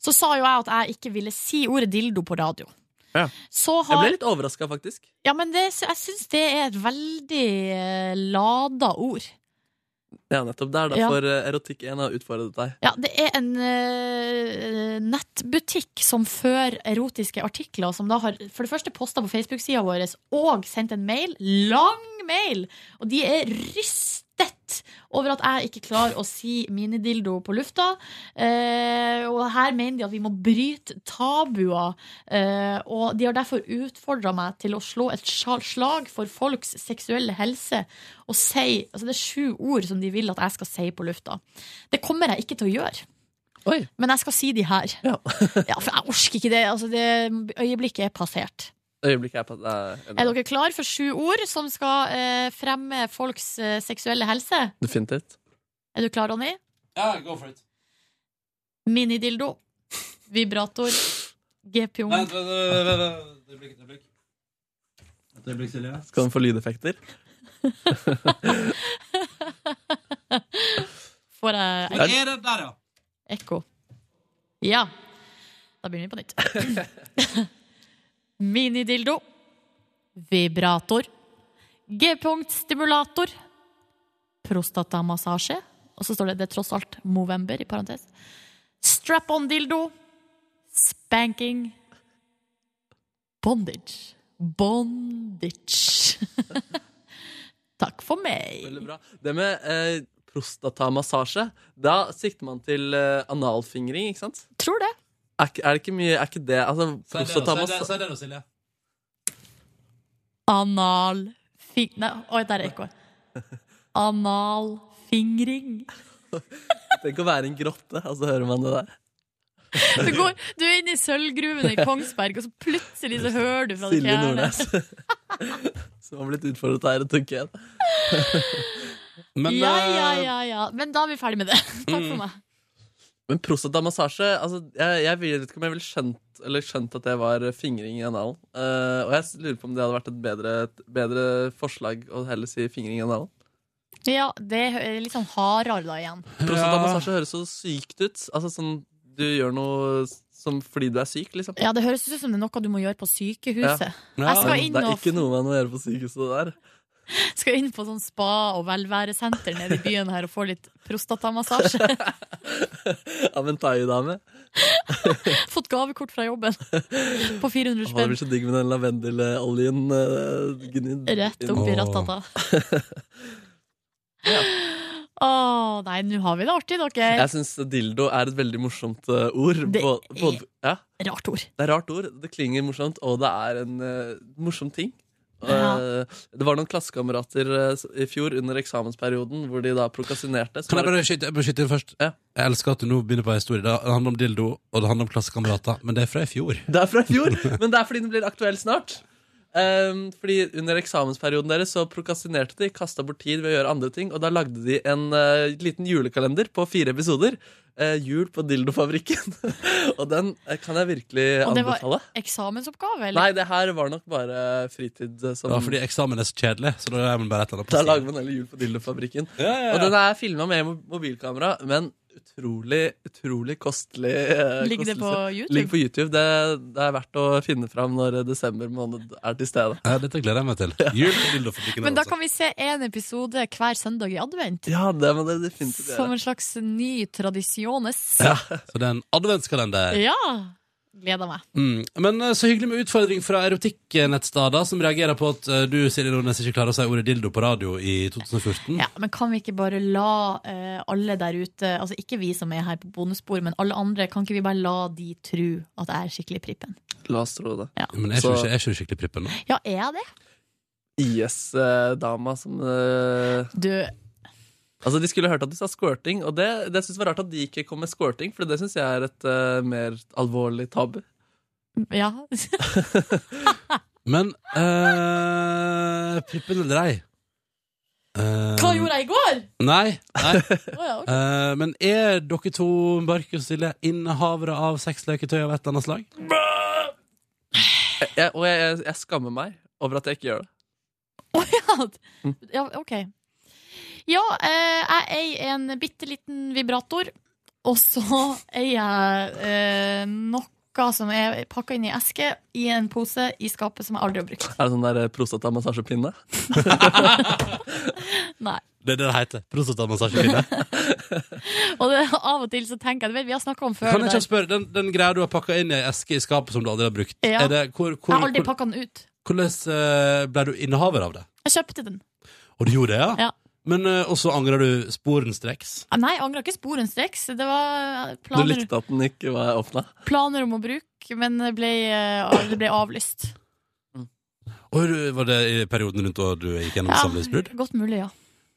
Så sa jo jeg at jeg ikke ville si ordet dildo på radio. Ja. Så Jeg har ble litt overraska, faktisk. Ja, men det, jeg syns det er et veldig eh, lada ord. Ja, nettopp. Det er Ja. derfor eh, Erotikk1 har utfordret deg. Ja, det er en eh, nettbutikk som fører erotiske artikler, som da har for det første posta på Facebook-sida vår og sendt en mail, lang mail, og de er rystet over at jeg ikke klarer å si minidildo på lufta. Eh, og her mener de at vi må bryte tabuer, eh, og de har derfor utfordra meg til å slå et sja- slag for folks seksuelle helse og si Altså det er sju ord som de vil at jeg skal si på lufta. Det kommer jeg ikke til å gjøre. Men jeg skal si de her. ja, for jeg orker ikke det. Altså, det øyeblikket er passert. Øyeblikket er på at det Er dere klar for sju ord som skal eh, fremme folks eh, seksuelle helse? Definitivt. Er du klar, Ronny? Ja, go for it. Minidildo. Vibrator. G-pjong. Vent, vent, vent, vent, vent. Et øyeblikk, et øyeblikk. Et øyeblikk, Silje. Skal den få lydeffekter? Får jeg Der er det, der, ja. Ekko. Ja. Da begynner vi på nytt. Minidildo. Vibrator. G-punktstimulator. Prostatamassasje. Og så står det det er tross alt Movember i parentes. Strap-on-dildo. Spanking. Bondage. Bondage. Takk for meg. Veldig bra. Det med eh, prostatamassasje, da sikter man til eh, analfingring, ikke sant? Tror det. Er, ikke- er det ikke mye Er ikke det altså, Si det, da, si det, prostatamassa- si det da, Silje. Anal fing... Nei, oi, der er ekkoet. Analfingring. Tenk å være i en grotte, og så hører man det der. Du, går, du er inne i sølvgruven i Kongsberg, og så plutselig så hører du fra det Silje fjerne. Nordnes. Som har blitt utfordret av Erotikk1. Men, eh, Ja, ja, ja, ja. Men da er vi ferdig med det. Takk Mm. for meg. men prostatamassasje altså, jeg, jeg vet ikke om jeg ville skjønt, eller skjønt at det var fingring i analen. Eh, og jeg lurer på om det hadde vært et bedre, et bedre forslag å heller si fingring i analen. Ja, det er litt sånn hardere da igjen. eh, Prostatamassasje høres så sykt ut. Altså sånn du gjør noe som fordi du er syk, liksom. Ja, det høres ut som det er noe du må gjøre på sykehuset. Ja. Jeg skal inn, Det er og, ikke noe man må gjøre på sykehuset der. skal inn på sånn spa- og velværesenter nede i byen her og få litt prostatamassasje. Av en thai-dame. Fått gavekort fra jobben på 400 Å, Det spenn. blir så digg med den lavendeloljen eh, gnidd Rett opp i inn. rattata. Å, nei, nå har vi det artig, dere. Jeg syns dildo er et veldig morsomt eh, ord. Det Bå- både- ja. Rart ord. Det er rart ord. Det klinger morsomt, og det er en eh, morsom ting. Ja. Eh, det var noen klassekamerater eh, s- i fjor under eksamensperioden hvor de da prokastinerte. så Kan jeg var bare det- skyte, jeg bare skyte inn først? Jeg elsker at du nå begynner på en historie. Det handler om dildo, og det handler om klassekamerater, men det er fra i fjor. Det er fra i fjor, men det er fordi den blir aktuell snart. Ehm, fordi Under eksamensperioden deres så prokastinerte de, kasta bort tid ved å gjøre andre ting, og da lagde de en eh, liten julekalender på fire episoder. Eh, jul på dildofabrikken. og den eh, kan jeg virkelig Og det anbefale. var eksamensoppgave, eller? Nei, det her var nok bare fritid eh, som Det var fordi eksamen er så kjedelig, så da er man bare et eller annet Da på lager man heller jul på dildofabrikken. Og den er filma med mo- mobilkamera, men utrolig, utrolig kostelig. eh, Ligger det kostelig- på YouTube? Ligger på YouTube. Det, det er verdt å finne fram når eh, desember måned er til stede. Ja, dette gleder jeg meg til. Jul på dildofabrikken. altså. Men da kan vi se én episode hver søndag i advent. Ja, altså. det må dere definitivt Som gjøre. en slags ny tradisjones. Ja, så det er en adventskalender. Ja! Gleder meg. Mm. Men eh, så hyggelig med utfordring fra erotikknettsteder som reagerer på at eh, du Silje Nordnes, ikke klarer å si ordet dildo på radio i 2014. Ja, men kan vi ikke bare la eh, alle der ute, altså ikke vi som er her på bonusbordet, men alle andre, kan ikke vi bare la de tro at jeg er skikkelig prippen? La oss tro det. Men er ikke, du- er ikke du skikkelig prippen nå? Ja, er jeg det? IS-dama som eh, Du Altså, De skulle hørt at du sa squirting, og det, det synes jeg var rart at de ikke kom med squirting, for det syns jeg er et eh, mer alvorlig tabu. Ja. Men eh, prippen eller ei? Eh, Um, Hva gjorde jeg i går? Nei. nei. ja, ok. Eh, men er dere to, Markus og Silje, innehavere av sexleketøy av et eller annet slag? Jeg, og jeg, jeg, jeg skammer meg over at jeg ikke gjør det. Ja, ok. Ja, eh, jeg eier en bitte liten vibrator, og så eier jeg eh, noe som er pakka inn i eske i en pose i skapet som jeg aldri har brukt. Er det sånn der eh, prostatamassasjepinne? Nei. Det er det det heter. Prostatamassasjepille. Og det, av og til så tenker jeg det vet, Vi har snakka om før. Kan jeg det ikke der. spørre, den, den greia du har pakka inn i ei eske i skapet som du aldri har brukt, Ja. er det, hvor, jeg hvor, har aldri hvor, pakka den ut. hvordan eh, ble du innehaver av det? Jeg kjøpte den. Og du gjorde det, ja? Ja. Men, eh, og så angrer du sporenstreks? Ah, Nei, jeg angrer ikke sporenstreks. Det var planer, at den ikke var åpna? planer om å bruke, men det ble, eh, det ble avlyst. Og du- var det i perioden rundt da du gikk gjennom Ja, samlivsbrudd? Godt mulig, ja.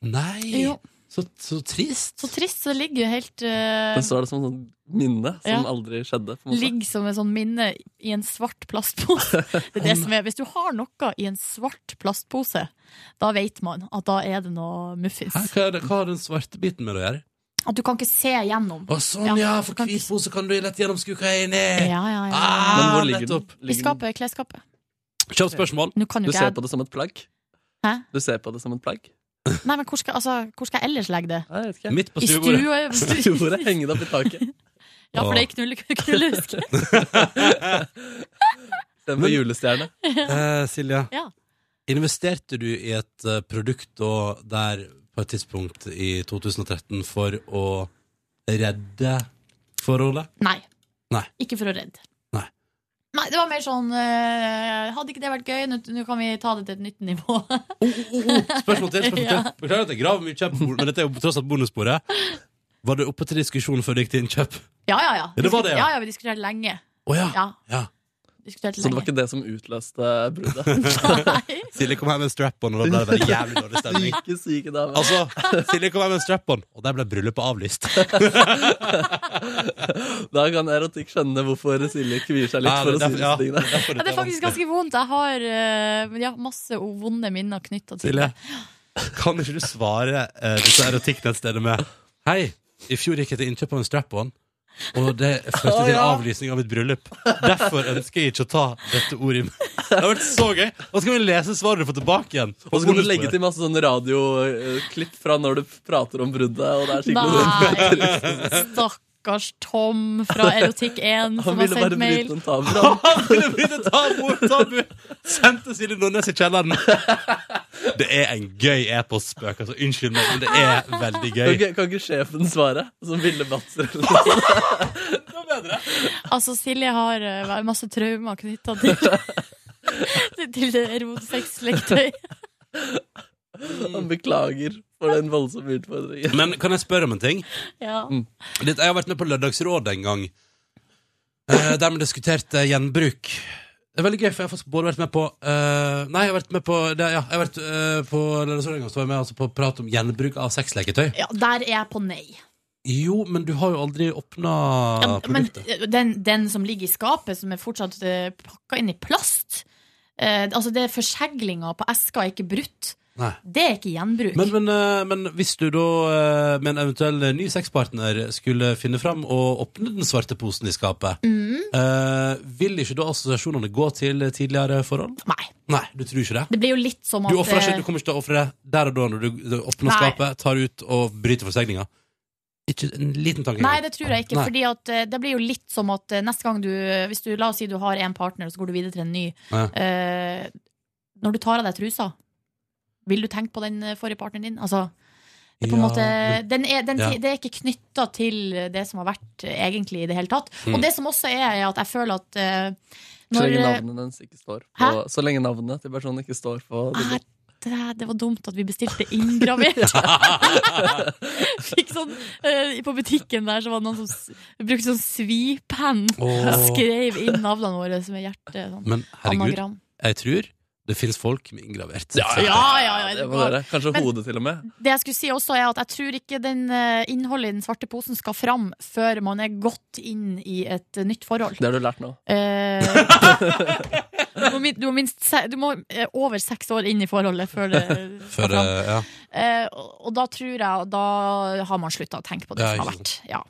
Nei! Jo. Så, så trist. Så trist. så Det ligger jo helt eh, Den står der som et sånt minne som Ja. aldri skjedde. på en måte. Ligger som et sånn minne i en svart plastpose. Det er det som er. Hvis du har noe i en svart plastpose, da vet man at da er det noe muffins. Hæ, hva, er det, hva har den svarte biten med det å gjøre? At du kan ikke se gjennom. Å, sånn, ja, for hvit pose kan du lett gjennomskue hva jeg er inni. Ja, ja, ja, ja. Ah, Men hvor ligger den? nettopp. I skapet, klesskapet. Kjapt spørsmål. Nå kan jo Du ikke ser jeg- på det som et plagg? Hæ? Du ser på det som et plagg? Nei, men hvor skal, altså, hvor skal jeg ellers legge det? Midt på I stuebordet. stue- Stuebordet henge det opp i taket. Ja, for det er knulle, knullehuske. Den med julestjerne. Eh, Silja, Ja. investerte du i et eh, produkt da, der på et tidspunkt i 2013 for å redde forholdet? Nei, Nei. ikke for å redde. Nei. Nei, det var mer sånn eh, Hadde ikke det vært gøy? Nå, nå kan vi ta det til et nytt nivå. Spørsmål til. spørsmål til Ja. Beklager at jeg graver mye, kjapt, men dette er jo tross alt bonussporet. Var det oppe til diskusjon før du gikk til innkjøp? Ja, ja, ja. Ja, det var det, ja. ja, ja vi diskuterte lenge. Å ja. Ja, ja. diskuterte Så det var lenge. ikke det som utløste bruddet? Silje kom her med en strap-on, og da ble det bare jævlig dårlig stemning. Syke, syke dame. Altså, Silje kom her med en strap-on, og der ble bryllupet avlyst. Da kan erotikk skjønne hvorfor Silje kvier seg litt Ja, for det er å si derfor- disse ja, tingene. Ja, det er faktisk ganske vondt. Jeg har eh, ja, masse vonde minner knytta til Silje, det. kan ikke du svare uh, disse erotikknettstedene med Hei, i fjor gikk jeg til innkjøp av en strap-on, og det førte Å, til ja. avlysning av mitt bryllup. Derfor ønsker jeg ikke å ta dette ordet i meg. Det har vært så gøy! Og så kan vi lese svaret du får tilbake igjen. Og så kan du legge til masse sånn radioklipp fra når du prater om bruddet. Og det er skikkelig Nei, stakkars Tom fra Erotikk1 Han som har ville sendt bare mail. bryte en tabu. han. Han ville begynne å ta bort tabu! Sendte Silje Nordnes i kjelleren. Det er en gøy e-postspøk. Altså, unnskyld meg, men det er veldig Kan gøy. ikke, kan ikke sjefen svare? Som Ville Batzer. Altså, Silje har eh, masse traumer knytta til Til det erotikksleketøy. Han beklager for den voldsomme utfordringen. Men kan jeg spørre om en ting? Ja. Litt, jeg har vært med på Lørdagsråd en gang, eh, der vi diskuterte gjenbruk. Det er veldig gøy, for jeg har faktisk både vært med på eh, Nei, jeg har vært med på det, ja, jeg har vært eh, på Lørdagsråd en gang, så var jeg med altså, på prat om gjenbruk av sexleketøy. ja, der er jeg på nei. Jo, men du har jo aldri åpna Ja, men eh, produktet. den, den som ligger i skapet, som er fortsatt pakka inn i plast eh, Altså, det er forseglinga på eska er ikke brutt. Nei. Det er ikke gjenbruk. Men, men, eh, men hvis du da eh, med en eventuell ny sexpartner skulle finne fram og åpne den svarte posen i skapet, Mm. eh, vil ikke da assosiasjonene gå til tidligere forhold? Nei. Nei, du tror ikke det? Det blir jo litt som at Du offrer eh, ikke, du kommer ikke til å ofre det der og da når du du åpner Nei. skapet, tar ut og bryter forsegninga. Ikke en liten tanke. Nei, det tror jeg ikke. Nei. Fordi at eh, det blir jo litt som at eh, neste gang du Hvis du, la oss si du har en partner, og så går du videre til en ny. Ja. eh, når du tar av deg trusa, vil du tenke på den eh, forrige partneren din? Altså, det er på en Ja, måte men- den er, den, Ja. Det er ikke knytta til det som har vært, eh, egentlig, i det hele tatt. Mm. Og det som også er, er at jeg føler at eh, Så når lenge eh, navnet dens ikke står på Så lenge navnet til personen ikke står på Ah, det, det var dumt at vi bestilte inngravert. Fikk sånn eh, På butikken der så var det noen som s brukte sånn svipenn. Åh. Skrev inn navnene våre som er hjerte. Sånn. Men herregud, Anagram. jeg tror det fins folk med inngravert. Ja, ja, ja, ja, det det må går. dere. Kanskje Men- hodet, til og med. Det jeg skulle si også er at jeg tror ikke den eh, innholdet i den svarte posen skal fram før man er godt inn i et eh, nytt forhold. Det har du lært nå. Eh, du, må, min- du må minst se- Du må eh, over seks år inn i forholdet før det skal For, fram. eh, ja. Eh, og- og da tror jeg Da har man slutta å tenke på det Ja, som har ikke vært. Ja.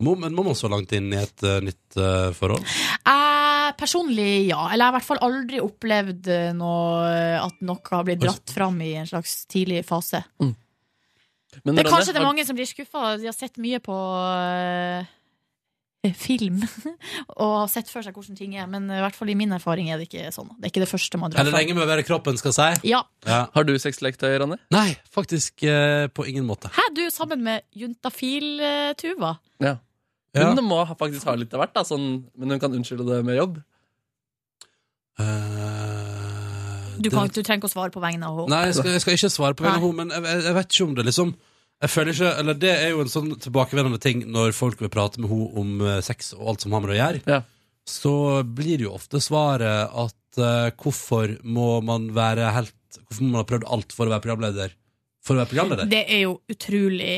må, men må man så langt inn i et eh, nytt eh, forhold? Jeg personlig ja. Eller jeg har i hvert fall aldri opplevd eh, noe, at noe har blitt dratt fram i en slags tidlig fase. Men det er Ronny, kanskje det er har- mange som blir skuffa. De har sett mye på eh, eh, film og har sett for seg hvordan ting er, men eh, i hvert fall i min erfaring er det ikke sånn. Det er ikke det første man drar Eller lenge med å være kroppen, skal jeg si. Ja. Har du sexleketøy, Ronny? Nei, faktisk eh, på ingen måte. Hæ, du, sammen med juntafil-tuva? Ja. Ja. Hun må ha- faktisk ha litt av hvert, da, sånn, men hun kan unnskylde det med jobb. Eh, Du, kan- du trenger ikke å svare på vegne av henne. Nei, jeg skal, jeg skal ikke svare på vegne av henne, men jeg, jeg- jeg vet ikke om det liksom jeg føler ikke, eller Det er jo en sånn tilbakevendende ting når folk vil prate med henne om eh, sex og alt som har med det å gjøre. Så blir jo ofte svaret at eh, hvorfor må man være helt Hvorfor må man ha prøvd alt for å være programleder? For å være programleder? Det er jo utrolig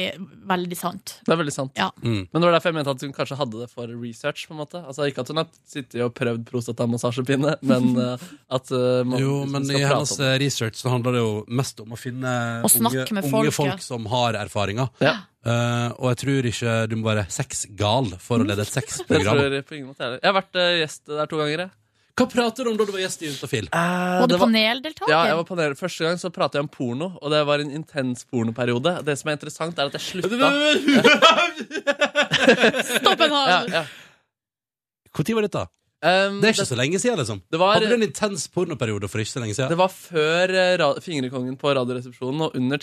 veldig sant. Det er veldig sant. Ja. Mm. Men det var derfor jeg mente at hun kanskje hadde det for research. på en måte Altså Ikke at hun har sittet og prøvd prostatamassasjepinne, men eh, at eh, man Jo, liksom men skal i prate hennes om det. eh, research så handler det jo mest om å finne Å snakke unge, med unge folket. folk som har erfaringer. Eh, og jeg tror ikke du må være sexgal for å lede et Det tror sexprogram. jeg på ingen måte jeg er. Jeg har vært eh, gjest der to ganger. Jeg. Hva prater du om da du var gjest i Juntafil? Var du paneldeltaker? Ja, jeg var panel. Første gang så pratet jeg om porno, og det var en intens pornoperiode. Det som er interessant, er at jeg slutta. Stopp en hal! Ja, ja. Når var dette? det er ikke så lenge siden, liksom. Det var- Hadde du en intens pornoperiode for ikke så lenge siden? Det var før eh, ra Fingrekongen på Radioresepsjonen og under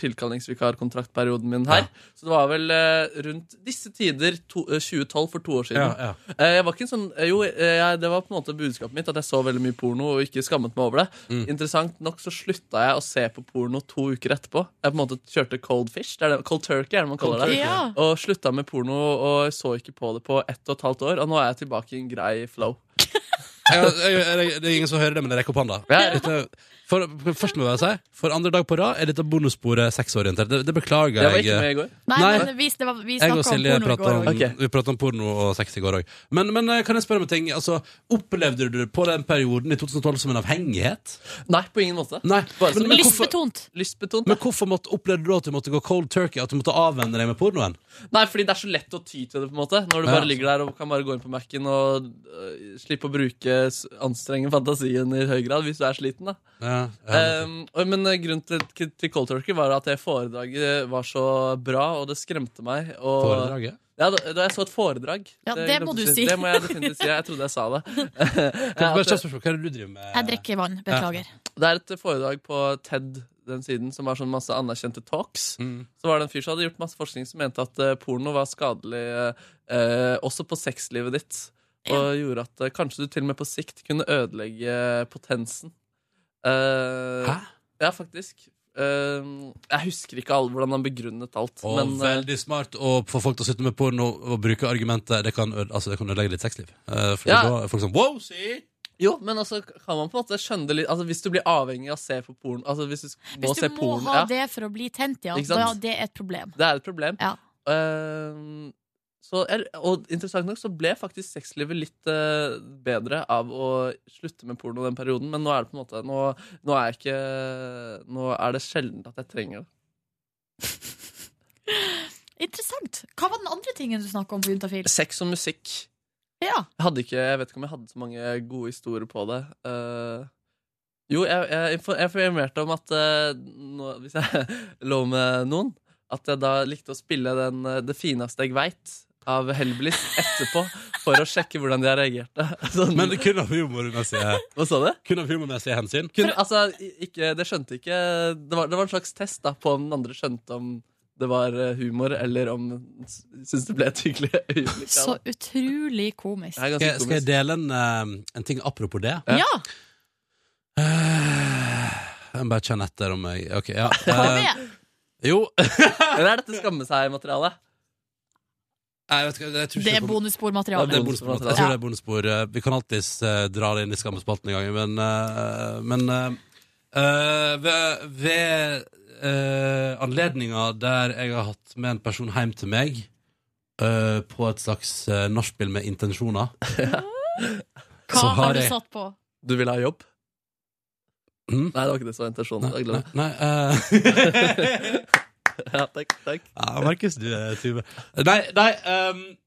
tilkallingsvikarkontraktperioden min her. Så det var vel eh, rundt disse tider, to, eh, 2012, for to år siden. Ja, ja. Eh, jeg var ikke en sånn eh, Jo, eh, jeg, det var på en måte budskapet mitt at jeg så veldig mye porno og ikke skammet meg over det. Mm. Interessant nok så slutta jeg å se på porno to uker etterpå. Jeg på en måte kjørte cold fish. Det er det, cold turkey er det man kaller det. Ja. Og slutta med porno og så ikke på det på ett og et halvt år. Og nå er jeg tilbake i en grei flow. jeg, jeg, jeg, det er ingen som hører det, men jeg rekker opp hånda. Dette- For, for, først må jeg si, for andre dag på rad er dette bonussporet sexorientert. Det, det beklager Jeg var jeg. ikke med i går. Nei, Nei. men vi, det var, vi Jeg snakka og om Silje porno i pratet går om, òg. vi pratet om porno og sex i går òg. Men, men eh, kan jeg spørre om en ting? Altså, opplevde du det på den perioden i 2012 som en avhengighet? Nei, på ingen måte. Nei, Bare som- Lystbetont. Lystbetont. Men hvorfor måtte, opplevde du at du måtte gå cold turkey? At du måtte avvenne deg med pornoen? Nei, fordi det er så lett å ty til det, på en måte. Når du Ja. bare ligger der og kan bare gå inn på Mac-en og øh, slippe å bruke s- anstrenge fantasien i høy grad hvis du er sliten, da. Ja, Ehm, og- men eh, grunnen til, til til Cold Turkey var at det foredraget var så bra, og det skremte meg. Og, Foredraget? Ja, da, da jeg så et foredrag. Ja, jeg det glemte må å du si. Det må jeg definitivt si. Jeg trodde jeg sa det. Kan jeg bare kjapt spørsmål, Hva er det du driver med? Jeg drikker vann. Beklager. Det er et foredrag på TED den siden som var sånn masse anerkjente talks. Mm. Så var det en fyr som hadde gjort masse forskning som mente at eh, porno var skadelig eh, også på sexlivet ditt. Og gjorde at eh, kanskje du til og med på sikt kunne ødelegge eh, potensen. Hæ? Ja, faktisk. Eh, jeg husker ikke all, hvordan han begrunnet alt. Og men, eh, veldig smart å få folk til å slutte med porno og bruke argumentet Det kan, øde- altså, det kan ødelegge ditt sexliv. Eh, fordi Ja. da er folk sånn wow, si! Jo, men altså, kan man på en måte skjønne det litt Altså, Hvis du blir avhengig av å se på porno altså, Hvis du, sk- må Hvis se du må porno, ha ja. det for å bli tent, ja, Ikke sant? da det er et problem. Det er et problem. Ehm, så, er- og interessant nok så ble faktisk sexlivet litt eh, bedre av å slutte med porno den perioden, men nå er det på en måte Nå, nå er jeg ikke Nå er det sjelden at jeg trenger det. Interessant. Hva var den andre tingen du snakka om på Juntafil? Sex og musikk. Ja. Jeg hadde ikke Jeg vet ikke om jeg hadde så mange gode historier på det. Eh, jo, jeg, jeg, info- jeg informerte om at eh, nå, hvis jeg lå med noen, at jeg da likte å spille den, eh, Det fineste jeg veit av Hellbillies etterpå, for å sjekke hvordan de har reagert. Sånn- Men det kun av humormessige Hva sa du? Kun av humormessige hensyn. Kun, altså, i- ikke, det skjønte ikke det var, det var en slags test da på om den andre skjønte om det var eh, humor, eller om den s- syntes det ble et hyggelig øyeblikk. av Så det. utrolig komisk. Det er ganske Skal, skal jeg dele en, eh, en ting apropos det? Ja! Jeg må bare kjenne etter om jeg Ok, ja. Kom Eh, jo. Eller er dette skamme seg-materialet? Nei, vet du hva, jeg tror ikke Det er kommer- Ja, bonusspormateriale. det er bonusspor. Jeg tror det er bonusspor. Eh, Vi kan alltids eh, dra det inn i skammespalten en gang, men, eh, men eh, eh, ved, ved eh, anledninga der jeg har hatt med en person hjem til meg eh, på et slags eh, nachspiel med intensjoner Hva så har har du jeg- satt på? Du ville ha jobb? Mm. Nei, det var ikke det som var intensjonen. Jeg glemmer. Nei, eh, ja, takk, takk. Ja, Markus, du er tyve. Nei, nei ehm,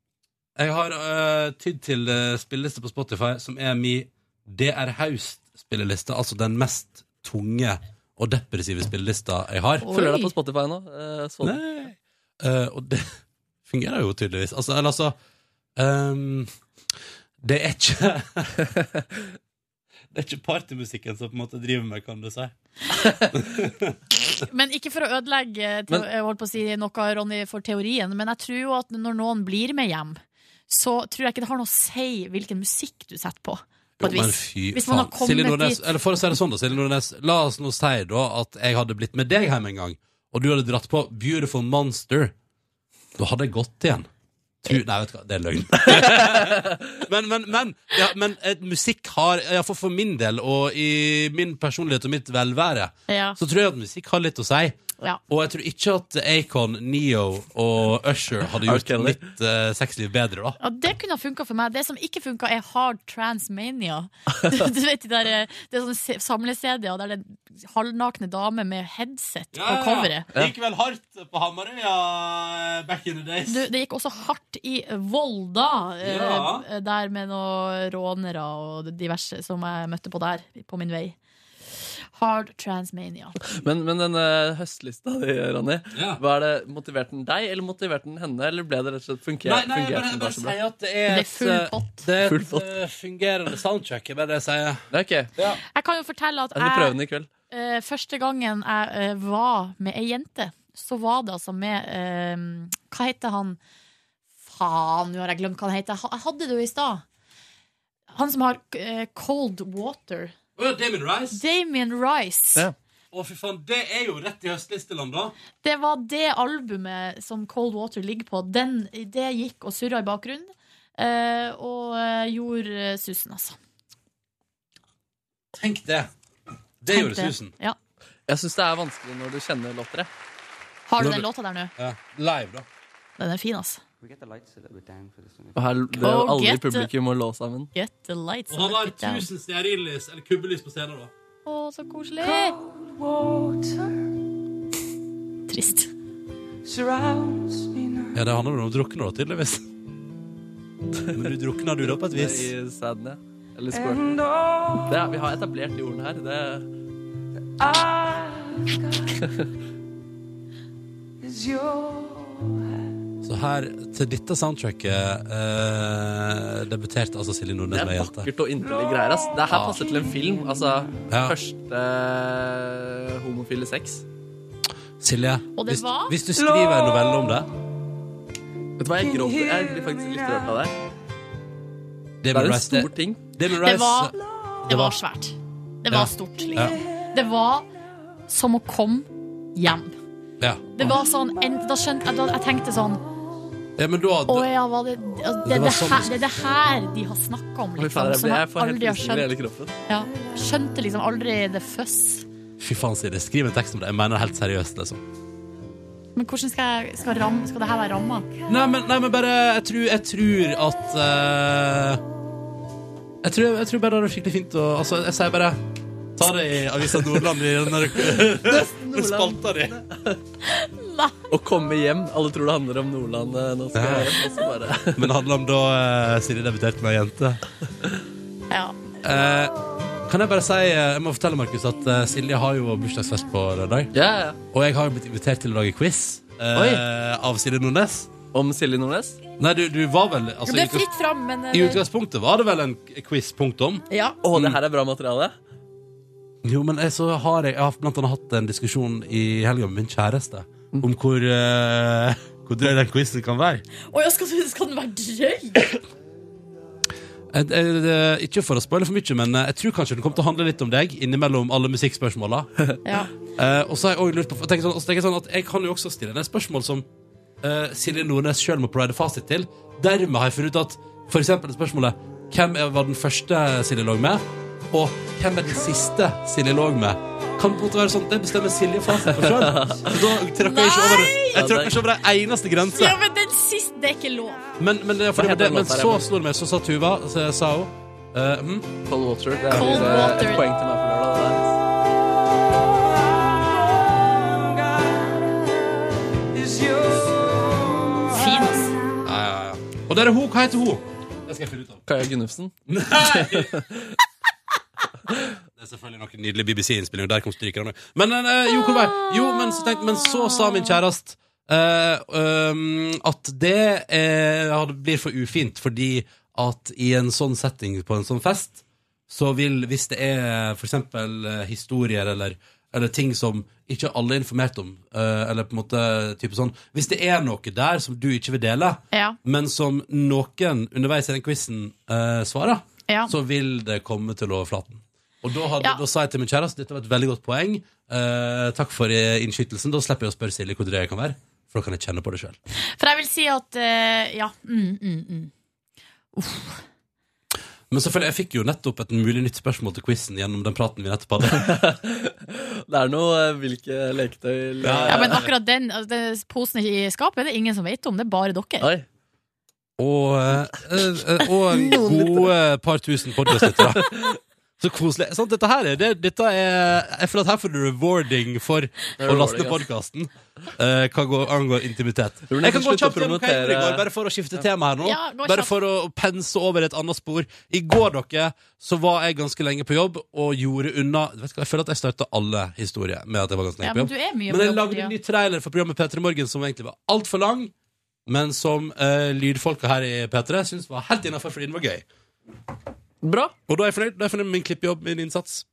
jeg har eh, tydd til eh, spilleliste på Spotify, som er min DR Haust-spilleliste. Altså den mest tunge og depressive spillelista jeg har. Følger deg på Spotify nå? Eh, så- Nei. Eh, og det fungerer jo tydeligvis. Altså, eller altså Ehm, det er ikke Det er ikke partymusikken som på en måte driver meg, kan du si. Men ikke for å ødelegge teo- Men- jeg holdt på å si noe Ronny, for teorien, men jeg tror jo at når noen blir med hjem, så tror jeg ikke det har noe å si hvilken musikk du setter på. Jo, På et men vis. fy Hvis man har faen. Silje kommet Nordnes, dit. eller for å si det sånn da, Silje Nordnes, la oss nå si da at jeg hadde blitt med deg hjem en gang, og du hadde dratt på Beautiful Monster. Da hadde jeg gått igjen. Tu, Eh. nei, vet du hva, det er løgn. men, men, men, ja, men eh, musikk har, ja, for, for min del, og i min personlighet og mitt velvære, Ja. så tror jeg at musikk har litt å si. Ja. Og jeg tror ikke at Akon, Neo og Usher hadde R. gjort Kelly. mitt eh, sexliv bedre da. Ja, det kunne ha funka for meg. Det som ikke funka, er Hard Transmania. Du, du vet, de der, eh, det er sånne se- samle-CD-er der det er halvnakne damer med headset på coveret. vel hardt på Hamarøya eh, back in the days. Du, det gikk også hardt i Volda, eh, Ja. der med noen rånere og diverse som jeg møtte på der, på min vei. Hard Transmania. Men, men den eh, høstlista di, Ronny, hva er det, motiverte den deg, eller motiverte den henne? Eller ble det rett og slett funker, Nei, nei, jeg fungerte bare, den bare så bra? sier at det er, Det er full et, eh, pott. Det er Full et eh, fungerende soundtrack, er bare det jeg sier. Det er ok. Jeg kan jo fortelle at Jeg skal prøve den jeg, i kveld. eh, første gangen jeg eh, var med ei jente, så var det altså med eh, Hva heter han Faen, nå har jeg glemt hva han heter. Jeg ha- Jeg hadde det jo i stad. Han som har eh, Cold Water. Å, Damien Rice. Damien Rice. Å, fy faen, det er jo rett i høstlisteland, da. Det var det albumet som Cold Water ligger på. Den, det gikk og surra i bakgrunnen. eh, og eh, gjorde eh, susen, altså. Tenk det. Det Tenk gjorde susen. Ja. Jeg syns det er vanskelig når du kjenner låter, jeg. Har du den låta der nå? Ja. Live, da. Den er fin, altså. Og her ble jo Oh, alle i get the- publikum og lå sammen. Get the lights Og han on har it down. tusen stearinlys, eller kubbelys, på scenen, da. Å, så koselig! Trist. Ja, det handler vel om å drukne, da, tydeligvis. Men du drukna du, da, på et vis? Det er I sadden, ja. Eller squirt. Det er, vi har etablert de ordene her. Det er Så her, til dette soundtracket, eh, debuterte altså Silje Nordnes Det med er ei jente. vakkert og inderlig greier. Ass. Det her Ja. passer til en film. Altså Ja. første eh, homofile sex. Silje, Og det hvis, var- hvis du skriver en novelle om det Vet du hva, jeg gråter. Jeg blir faktisk litt rørt av det. Det er en Rice, det- stor ting. Damon Det Rice, var, det det var- var svært. Det Ja. var stort, Ja. liksom. Det var som å komme hjem. Ja. Det var sånn en, Da skjønte jeg da, Jeg tenkte sånn ja, men da Å ja, var det altså, det, Det er var det, sånn her, det det er det her de har snakka om, Oi, liksom. fader, jeg, Som blir- jeg jeg får helt aldri har frysninger i hele skjønt. kroppen. Ja, skjønte liksom aldri the fuss. Fy faen, Silje, skriv en tekst om det. Jeg mener det helt seriøst, liksom. Men hvordan skal, jeg, skal, ram, skal det her være ramma? Nei, men, nei, men bare Jeg tror, jeg tror at eh, jeg, tror, jeg tror bare det er skikkelig fint å Altså, jeg sier bare Ta det i Avisa Nordland i den der den spalta di. Å komme hjem. Alle tror det handler om Nordland. eh, Nå skal jeg hjem, og så bare Men det handler om da eh, Silje debuterte med ei jente. Ja. Eh, kan jeg bare si eh, Jeg må fortelle, Markus, at eh, Silje har jo bursdagsfest på lørdag. Og jeg har jo blitt invitert til å lage quiz eh, Oi. av Silje Nordnes. Om Silje Nordnes? Nei, du, du var vel altså, det i er fritt fram, men eh, utgangs- I utgangspunktet var det vel en quiz, punktum. Ja. Å, det her er bra materiale. Jo, men jeg, så har jeg, jeg har blant annet hatt en diskusjon i helga med min kjæreste Mm. om hvor, eh, hvor drøy den quizen kan være. Å ja, skal, skal den være drøy? Jeg, jeg, jeg, ikke for å spoile for mye, men eh, jeg tror kanskje den kommer til å handle litt om deg innimellom alle musikkspørsmåla. Ja. Eh, og så har jeg også lurt på for jeg tenker sånn, og så tenker jeg sånn at jeg kan jo også stille deg spørsmål som eh, Silje Nordnes sjøl må provide fasit til. Dermed har jeg funnet ut at for eksempel spørsmålet Hvem er- var den første Silje lå med? Og hvem er den siste Silje lå med? Kan på en måte være sånn, Det bestemmer Silje fasit for sjøl. Da tråkker jeg ikke over Jeg tråkker ikke over ei eneste grense. ja, men den siste Det er ikke lov. Men, men, det, for Hva det, heter det, den men låta der, så Emil? slo det meg, så sa Tuva, så sa hun eh, hm? Cold Water. Det er Cold Cold Water. et poeng til meg for lørdag. det der. Fin, ass. Ja, ja, ja. Og der er hun. Hva heter hun? Det skal jeg finne ut av. Kaja Gunnufsen. Det er selvfølgelig noen eh, nydelige BBC-innspillinger. Der kom strykerne. Men, eh, jo, hvor var jeg? jo, men, så tenkte, men så sa min kjæreste eh, um, at det eh, hadde- blir for ufint, fordi at i en sånn setting på en sånn fest, så vil, hvis det er for eksempel eh, historier eller, eller ting som ikke alle er informert om, eh, eller på en måte type sånn, hvis det er noe der som du ikke vil dele, Ja. men som noen underveis i den quizen eh, svarer, Ja. så vil det komme til overflaten. Og da, hadde, Ja. da sa jeg til min kjæreste dette var et veldig godt poeng. Eh, takk for eh, innskytelsen. Da slipper jeg å spørre Silje hvor drøy jeg kan være. For da kan jeg kjenne på det sjøl. For jeg vil si at eh, Ja. Mm, mm, mm. Men selvfølgelig, jeg fikk jo nettopp et mulig nytt spørsmål til quizen gjennom den praten vi nettopp hadde. Det er noe eh, hvilke leketøy Ja, men akkurat den altså, det- posen i skapet det er ingen som vet om. Det er bare dere. Oi. Og, eh, eh, og gode par tusen podkastlyttere. Så koselig. Sant, dette her er, det, dette er Jeg føler at her får du rewarding for å laste ned podkasten. Eh, hva går, angår intimitet. du Jeg kan gå slutte å kjapt gjennom hva jeg gjorde i går, promotere- bare for å skifte tema her nå. Ja, gå bare kjapt. for å pense over et annet spor. I går, dere, så var jeg ganske lenge på jobb og gjorde unna Vet du hva, Jeg føler at jeg starta alle historier med at jeg var ganske lenge Ja, på men jobb. du er mye på men jeg jobb for lagde en ny trailer for programmet P3 Morgen som egentlig var altfor lang, men som eh, lydfolka her i P3 syntes var helt innafor fordi den var gøy. Bra. Og da er jeg fornøyd. Da er jeg fornøyd med min klippjobb, min innsats.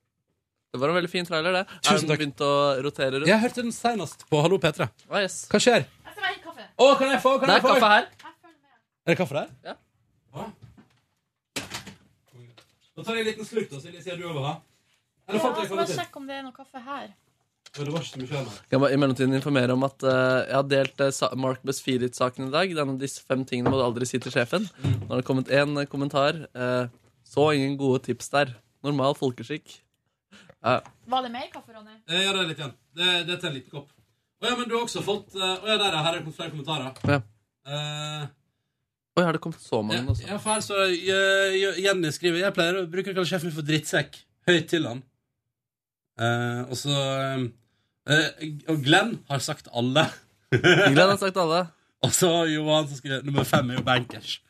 Det var en veldig fin trailer, det. Tusen er den takk. begynt å rotere rundt? Jeg hørte den senest på Hallo P3. Ah, yes. Hva skjer? Å, kan jeg få? Kan det jeg er få? kaffe her. Er det kaffe der? Ja. Å. Da tar jeg en liten slurk, da, Silje, siden du over her. Eller fant jeg bare kvalitet? sjekke om det er noe kaffe her. Det var ikke så mye av meg. Kan jeg bare i mellomtiden informere om at eh, jeg har delt eh, sa- Mark Besfirit-saken i dag. Den, disse fem tingene må du aldri si til sjefen. Nå har det kommet én eh, kommentar. eh, så ingen gode tips der. Normal folkeskikk. Ja. Var det mer kaffe, Ronny? Eh, Ja, det er litt igjen. Det, det er til en liten kopp. Å ja, men du har også fått eh, Å ja, der er Her er det flere kommentarer. Ja. Eh, Oi, har det kommet så mange også? ja, for her står det eh, J- Jenny skriver Jeg pleier å bruke å kalle sjefen min for drittsekk. Høyt til han. Eh, og så eh, eh, Og Glenn har sagt alle. Glenn har sagt alle. Og så Johan som skriver nummer fem er jo bankers.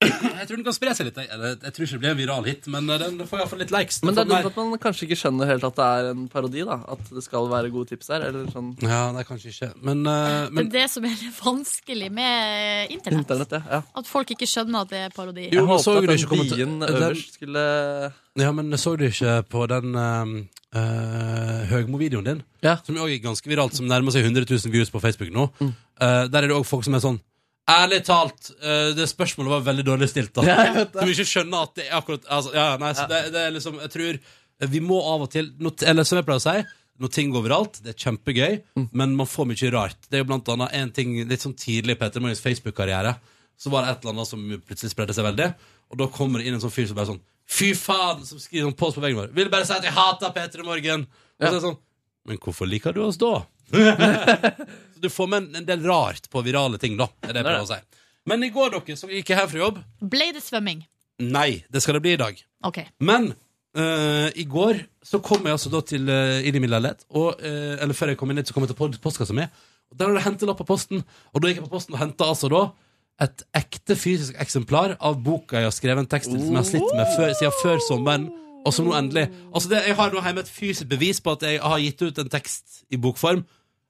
Jeg tror den kan spre seg litt. Jeg, eller, jeg tror ikke det blir en viral hit, men eh, den får iallfall litt likes. Den Men det får er dumt mer- at man kanskje ikke skjønner helt at det er en parodi. da At det skal være gode tips der. Eller sånn Ja, det er kanskje ikke Men, eh, Det men er det som er vanskelig med internett. Internett, ja. ja. At folk ikke skjønner at det er parodi. Jo, men så Håpet du at ikke den kommet- dien den- øverst skulle Ja, men så du ikke på den eh, eh, Høgmo-videoen din? Som jo også er ganske viralt, som nærmer seg 100 000 views på Facebook nå. Eh, der er det òg folk som er sånn Ærlig talt, eh, det spørsmålet var veldig dårlig stilt. da Ja, jeg vet Som ikke skjønner at det er akkurat altså, ja, ja, nei, så det, det er liksom, Jeg tror vi må av og til når- Eller som jeg pleier å si, når ting går viralt, det er kjempegøy, men man får mye rart. Det er jo blant annet en ting litt sånn tidlig i Peter Morgens Facebook-karriere. Så var det et eller annet som plutselig spredde seg veldig, og da kommer det inn en sånn fyr som bare sånn Fy faen! Som skriver sånn post på veggen vår. Vil bare si at jeg hater Peter Morgen! Og så er det sånn Men hvorfor liker du oss da? så du får med en, en del rart på virale ting, da. Er det jeg prøver å si. Men i går, dere, så gikk jeg her fra jobb. Ble det svømming? Nei, det skal det bli i dag. OK. Men eh, i går så kom jeg altså da til, eh, inn i min leilighet, og, eh, eller før jeg kom inn hit, så kom jeg til pod- postkassa mi. Og der hadde jeg hentet lapp på posten, og da gikk jeg på posten og hentet altså da et ekte fysisk eksemplar av boka jeg har skrevet en tekst til som jeg har slitt med før, siden før sommeren, og som nå endelig Altså, det, jeg har nå hjemme et fysisk bevis på at jeg har gitt ut en tekst i bokform.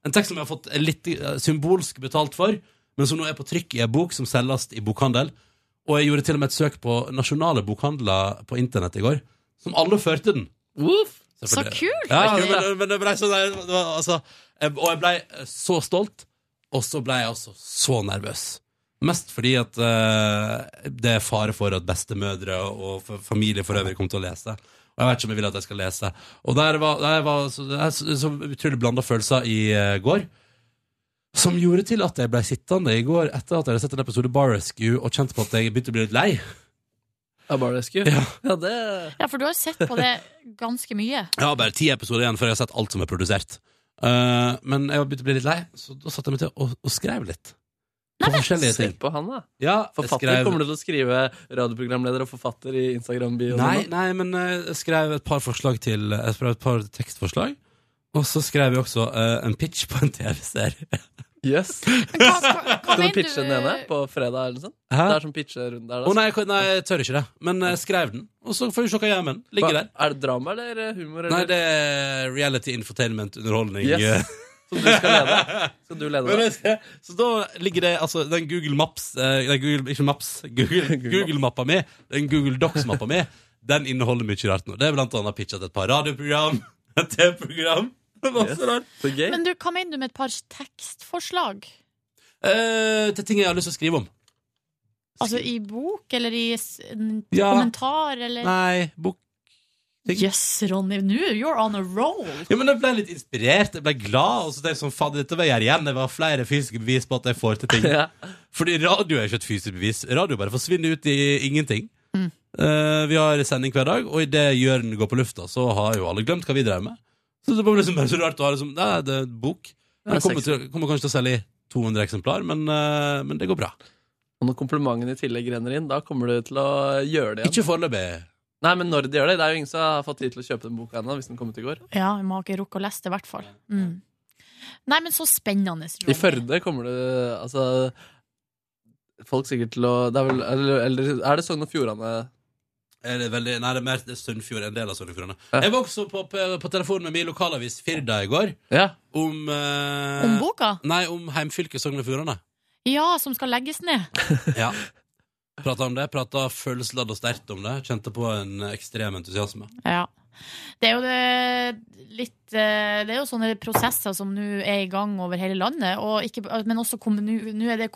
En tekst som jeg har fått litt eh, symbolsk betalt for, men som nå er på trykk i en bok som selges i bokhandel. Og jeg gjorde til og med et søk på nasjonale bokhandler på internett i går, som alle førte den. Så kult! Ja, men, men det ble sånn der, det var, altså, jeg, Og jeg ble så stolt, og så ble jeg altså så nervøs. Mest fordi at eh, det er fare for at bestemødre og f- familie for øvrig kommer til å lese. Og jeg vet ikke om jeg vil at jeg skal lese. Og der var, der var så, det er så, så utrolig blanda følelser i eh, går. Som gjorde til at jeg ble sittende i går etter at jeg hadde sett en episode Bar Rescue og kjente på at jeg begynte å bli litt lei. Ja, Bar Rescue? Ja. Ja, det Ja, for du har sett på det ganske mye. Jeg har bare ti episoder igjen før jeg har sett alt som er produsert. Eh, men jeg har begynt å bli litt lei, så da satte jeg meg til og, og skrev litt. På forskjellige Se ting. på han, da. Ja, jeg Forfatter skrev- kommer du til å skrive radioprogramleder og forfatter i Instagram-bioen? Nei, nei, men eh, jeg skrev et par forslag til Jeg skrev et par tekstforslag. Og så skrev jeg også eh, en pitch på en TV-serie. Yes. Skal du pitche den ene på fredag? eller noe sånt? Hæ? Det er sånn pitcherunde der, Å nei, jeg kan- nei, jeg tør ikke det. Men jeg skrev den, og så får vi se hva jeg gjør med den. Ligger der. Er det drama eller eh, humor? Eller? Nei, det er reality infotainment underholdning. eh, Yes. som du skal lede. Skal du lede Men da? jeg skal- Så da ligger det altså den Google Maps eh, nei, Google, Ikke Maps, Google, Google-mappa mi, den Google Docs-mappa mi, den inneholder mye rart nå. Det er blant annet pitchet et par radioprogram, et TV-program Masse Yes. rart. Men du, hva mener du med et par tekstforslag? Eh, til ting jeg har lyst til å skrive om. Altså i bok, eller i s- en Ja. kommentar, eller Nei, bok Jøss, yes, Ronny, nå you're on a roll! Ja, men Jeg ble litt inspirert, jeg ble glad. Og så tenkte jeg sånn, fader, dette vil jeg gjøre igjen. Det var flere fysiske bevis på at jeg får til ting. Fordi radio er jo ikke et fysisk bevis. Radio bare forsvinner ut i ingenting. Mm. Eh, vi har sending hver dag, og idet Jørn går på lufta, så har jo alle glemt hva vi drev med. Så det blir liksom bare så rart å ha det som Nei, det er bok. Ja, Jeg kommer, sexy. til, kommer kanskje til å selge i 200 eksemplar, men, eh, men det går bra. Og når komplimentene i tillegg renner inn, da kommer du til å gjøre det igjen. Ikke foreløpig. Nei, men når de gjør det. Det er jo ingen som har fått tid til å kjøpe den boka ennå, hvis den kom ut i går. Ja, jeg må ikke rukke å lese det, i hvert fall. Mm. Nei, men så spennende. I Førde kommer det altså Folk sikkert til å det er, vel, eller, eller er det Sogn og Fjordane? Er det veldig, nei, det er mer det er Sunnfjord, en del av Sunnfjordene. Jeg var også på, på, på telefon med min lokalavis Firda i går. Om, eh, Om boka? Nei, om heimfylket Sogn og Fjordane. Ja, som skal legges ned. Ja. Prata om det, prata følelsesladd og sterkt om det. Kjente på en ekstrem entusiasme. Ja. Det er jo det litt eh, Det er jo sånne prosesser som nå er i gang over hele landet. Og ikke, men også kommunu- nå er det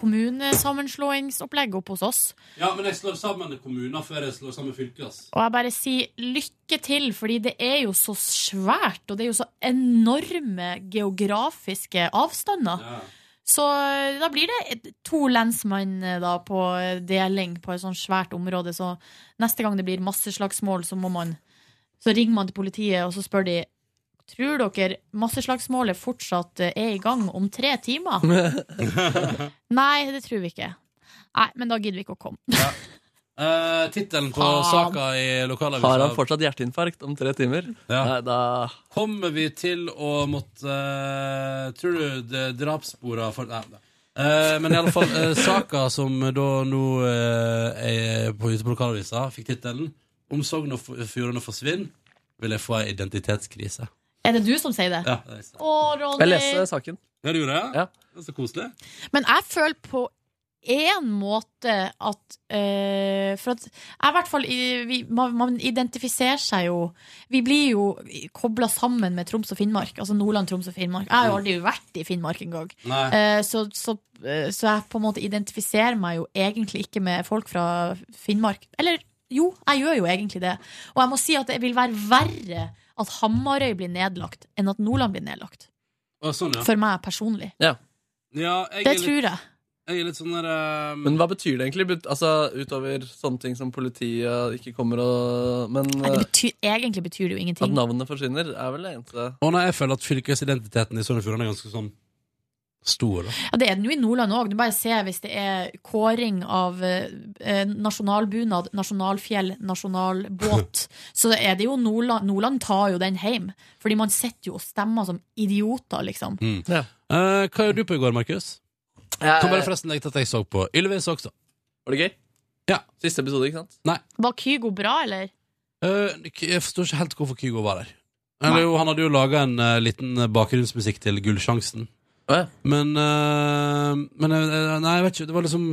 kommunesammenslåingsopplegg oppe hos oss. Ja, men jeg slår sammen kommuner før jeg slår sammen fylker. Og jeg bare sier lykke til, fordi det er jo så svært, og det er jo så enorme geografiske avstander. Så eh, da blir det to lensmann eh, da på deling på et sånt svært område, så neste gang det blir masseslagsmål, så må man Så ringer man til politiet, og så spør de Tror dere masseslagsmålet fortsatt eh, er i gang om tre timer? Nei, det tror vi ikke. Nei, men da gidder vi ikke å komme. Uh, Tittelen på Faen. saka i lokalavisa Har han fortsatt hjerteinfarkt om tre timer? Nei, da Kommer vi til å måtte eh, Tror du det drapssporene for Nei. nei. Eh, men i alle fall, eh, saka som da nå eh, er på ute på lokalavisa, fikk tittelen 'Om Sogn og F- Fjordane forsvinner, vil jeg få ei identitetskrise'. Er det du som sier det? Ja, det er sant. Å, Ronny. saken. Ja, du gjorde det? Ja. Det er så koselig. Men jeg føler på en måte at eh, For at jeg i hvert fall i- vi, man, man identifiserer seg jo Vi blir jo kobla sammen med Troms og Finnmark. Altså Nordland, Troms og Finnmark. Jeg har Mm. jo aldri vært i Finnmark engang. Nei. Eh, så, så, eh, så jeg på en måte identifiserer meg jo egentlig ikke med folk fra Finnmark. Eller jo, jeg gjør jo egentlig det. Og jeg må si at det vil være verre at Hamarøy blir nedlagt, enn at Nordland blir nedlagt. Å, sånn, ja. For meg personlig. Ja, jeg Det er litt- tror jeg. Jeg er litt sånn der eh, Men hva betyr det egentlig? But- Altså, Utover sånne ting som politiet ikke kommer og Men Nei, det eh, betyr, egentlig betyr det jo at ingenting. navnet forsvinner, er vel det eneste Å nei, jeg føler at fylkesidentiteten i Sogn og Fjordane er ganske sånn stor. da. Ja, det er den jo i Nordland òg. Du bare ser hvis det er kåring av eh, eh, nasjonalbunad, nasjonalfjell, nasjonalbåt, så er det jo Nordland Nordland tar jo den hjem. Fordi man sitter jo og stemmer som idioter, liksom. Mm. Eh, hva gjorde du på i går, Markus? Eh. Kan bare forresten legge til at jeg så på Ylvis også. Var det gøy? Ja. Siste episode, ikke sant? Nei. Var Kygo bra, eller? Eh, jeg forstår ikke helt hvorfor Kygo var der. Eller, jo, han hadde jo laga en eh, liten bakgrunnsmusikk til Gullsjansen. Men, eh, men eh, Nei, jeg vet ikke. Det var liksom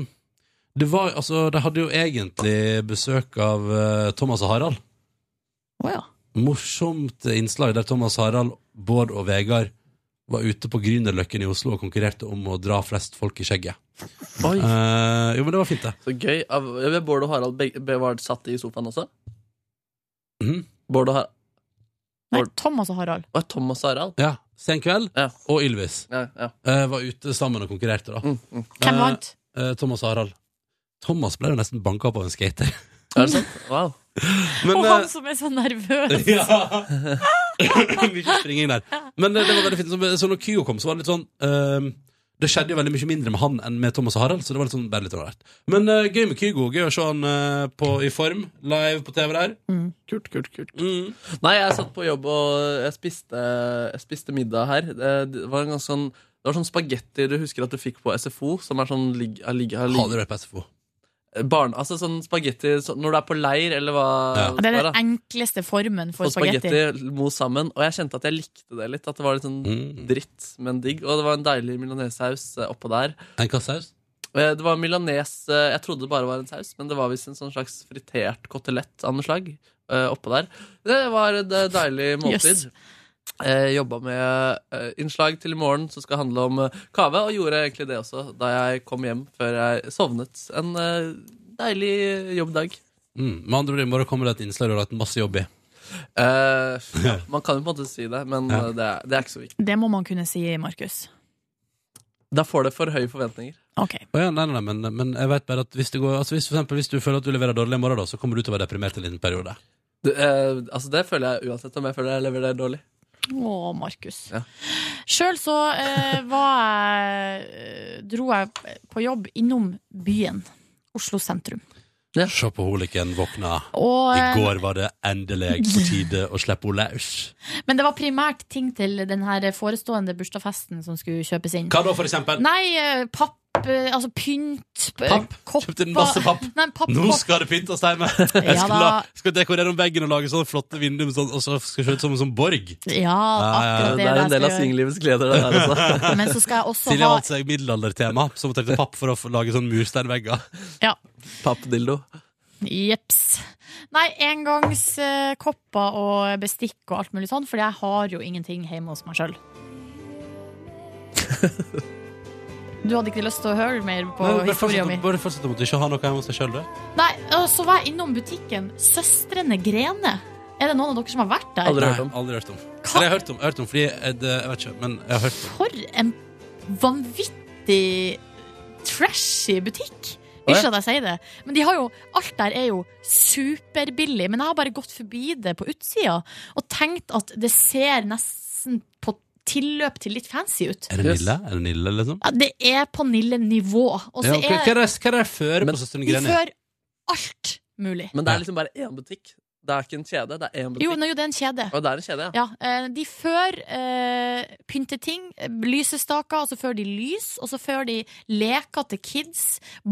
Det var altså De hadde jo egentlig besøk av eh, Thomas og Harald. Morsomt innslag der Thomas Harald, Bård og Vegard var ute på Grünerløkken i Oslo og konkurrerte om å dra flest folk i skjegget. Oi. Eh, jo, men det var fint, det. Så gøy. Av- jeg vet Bård og Harald beg- be- var satt i sofaen også? Mhm. Bård og Harald Nei, Thomas og Harald. Hva er Thomas og Harald? Ja, Sen kveld og Ylvis Ja, ja. eh, var ute sammen og konkurrerte. da Hvem vant? Eh, eh, Thomas og Harald. Thomas ble jo nesten banka opp av en skater. Er det sant? Wow. eh, og han som er så nervøs! Ja. Mye springing der. Men eh, det, det var veldig fint. Så, så når Kygo kom, så var det litt sånn ehm, Det skjedde jo veldig mye mindre med han enn med Thomas og Harald, så det var litt sånn, bare litt rart. Men eh, gøy med Kygo. Gøy å se han eh, på, i form live på TV der. Kult, kult, kult. Mm. Nei, jeg satt på jobb og jeg spiste, jeg spiste middag her. Det, det var en ganske sånn det var sånn spagetti du husker at du fikk på SFO. Som er sånn ligg- har ligg- har ligg- Har du vært på SFO? barn, altså sånn spagetti så, når du er på leir, eller hva Det er hva den enkleste formen for og spagetti spagetti. mos sammen. Og jeg kjente at jeg likte det litt. At det var litt sånn Mm. dritt, men digg. Og det var en deilig milanesaus eh, oppå der. En hva saus? Eh, Det var milanes eh, Jeg trodde det bare var en saus, men det var visst en sånn slags fritert kotelett av noe slag eh, oppå der. Det var et eh, deilig måltid. Jøss. Eh, jobba med eh, innslag til i morgen som skal handle om eh, kave, og gjorde egentlig det også da jeg kom hjem før jeg sovnet. En eh, deilig jobbdag. Mm. Med andre ord, i morgen kommer det et innslag du har lagt masse jobb i. Eh, ja, man kan jo på en måte si det, men Ja. eh, det, er, det er ikke så viktig. Det må man kunne si, Markus. Da får det for høye forventninger. Ok. Å ja, nei, nei, nei, men, men jeg vet bare at hvis, det går, altså hvis, for eksempel, hvis du føler at du leverer dårlig i morgen, da, så kommer du til å være deprimert en liten periode. Du, eh, altså Det føler jeg uansett om jeg føler jeg leverer det dårlig. Å, Markus. Ja. Sjøl så eh, var jeg eh, Dro jeg på jobb innom byen. Oslo sentrum. Se på holiken våkna. Og, I eh, går var det endelig på tide å slippe henne løs. Men det var primært ting til den her forestående bursdagsfesten som skulle kjøpes inn. Hva da, for eksempel? Nei, eh, papp, eh, altså pynt, p- Papp? kopper Kjøpte en masse papp. Nei, papp, Nå kopp- skal det pyntes hjemme! Jeg Ja skal, da. la, skal dekorere om veggen og lage sånne flotte vinduer, med sånn, og så skal det se ut som en sånn borg. Ja, akkurat det. Det er en jeg del av skal gjøre. singellivet. gleder deg der altså. også. Men så skal jeg også Silje ha- valgte seg middelaldertema, som hun trengte papp for å få lage sånn mursteinvegger. Ja. Pappdildo. Jeps. Nei, engangskopper og bestikk og alt mulig sånn, for jeg har jo ingenting hjemme hos meg sjøl. Du hadde ikke lyst til å høre mer på Nei, bare historien fortsett- min? Bare fortsett å måtte ikke ha noe hjemme hos deg sjøl, du. Nei, og så var jeg innom butikken Søstrene Grene. Er det noen av dere som har vært der? Aldri hørt om. Aldri hørt om. Eller jeg har hørt om, jeg har hørt om fordi jeg, det, jeg vet ikke, men jeg har hørt om. For en vanvittig trashy butikk. Å, ja. Unnskyld at jeg sier det, men de har jo, alt der er jo superbillig. Men jeg har bare gått forbi det på utsida og tenkt at det ser nesten på tilløp til litt fancy ut. Er det Nille? Er det Nille, liksom? Ja, det er på Nille-nivå. Og så Ja, ok. Hva er er det hva er det jeg fører på Søstrene de Greni? fører alt mulig. Men det er liksom bare én butikk. Det er ikke en kjede, det er én butikk. Jo, nei, jo, det er en kjede. Og det er en kjede, ja. Ja, eh, de før eh, pynteting, eh, lysestaker, og så før de lys, og så før de leker til kids,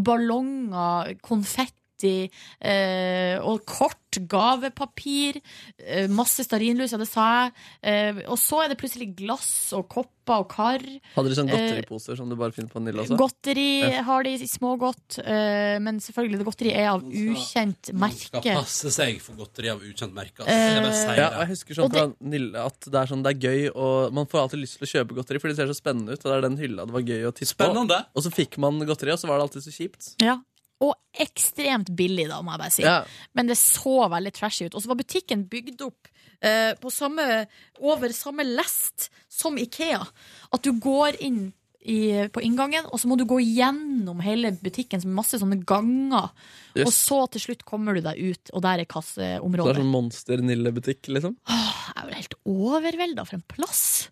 ballonger, konfetti eh, og kort, gavepapir, eh, masse stearinlys, ja, det sa jeg. Eh, og så er det plutselig glass og kopper og kar. Hadde de sånn Eh, godteriposer som du bare finner på Nilla også? Godteri Ja. har de smågodt, eh, men selvfølgelig, det godteri er av ukjent Skal merke. passe seg for godteri av ukjent merke. ass. Jeg Eh, bare sier Ja, og det. jeg husker sånn fra Nille at det er sånn det er gøy, og man får alltid lyst til å kjøpe godteri, for de ser så spennende ut. Og det er den hylla det var gøy å titte Spennende. på. Og så fikk man godteri, og så var det alltid så kjipt. Ja. Og ekstremt billig, da, må jeg bare si. Ja. Men det så veldig trashy ut. Og så var butikken bygd opp eh, på samme, over samme lest som Ikea. At du går inn i, på inngangen, og så må du gå gjennom hele butikken med masse sånne ganger. Yes. Og så til slutt kommer du deg ut, og der er Så det er kasseområdet. sånn monster-Nille-butikk, liksom. Jeg er jo helt overvelda for en plass.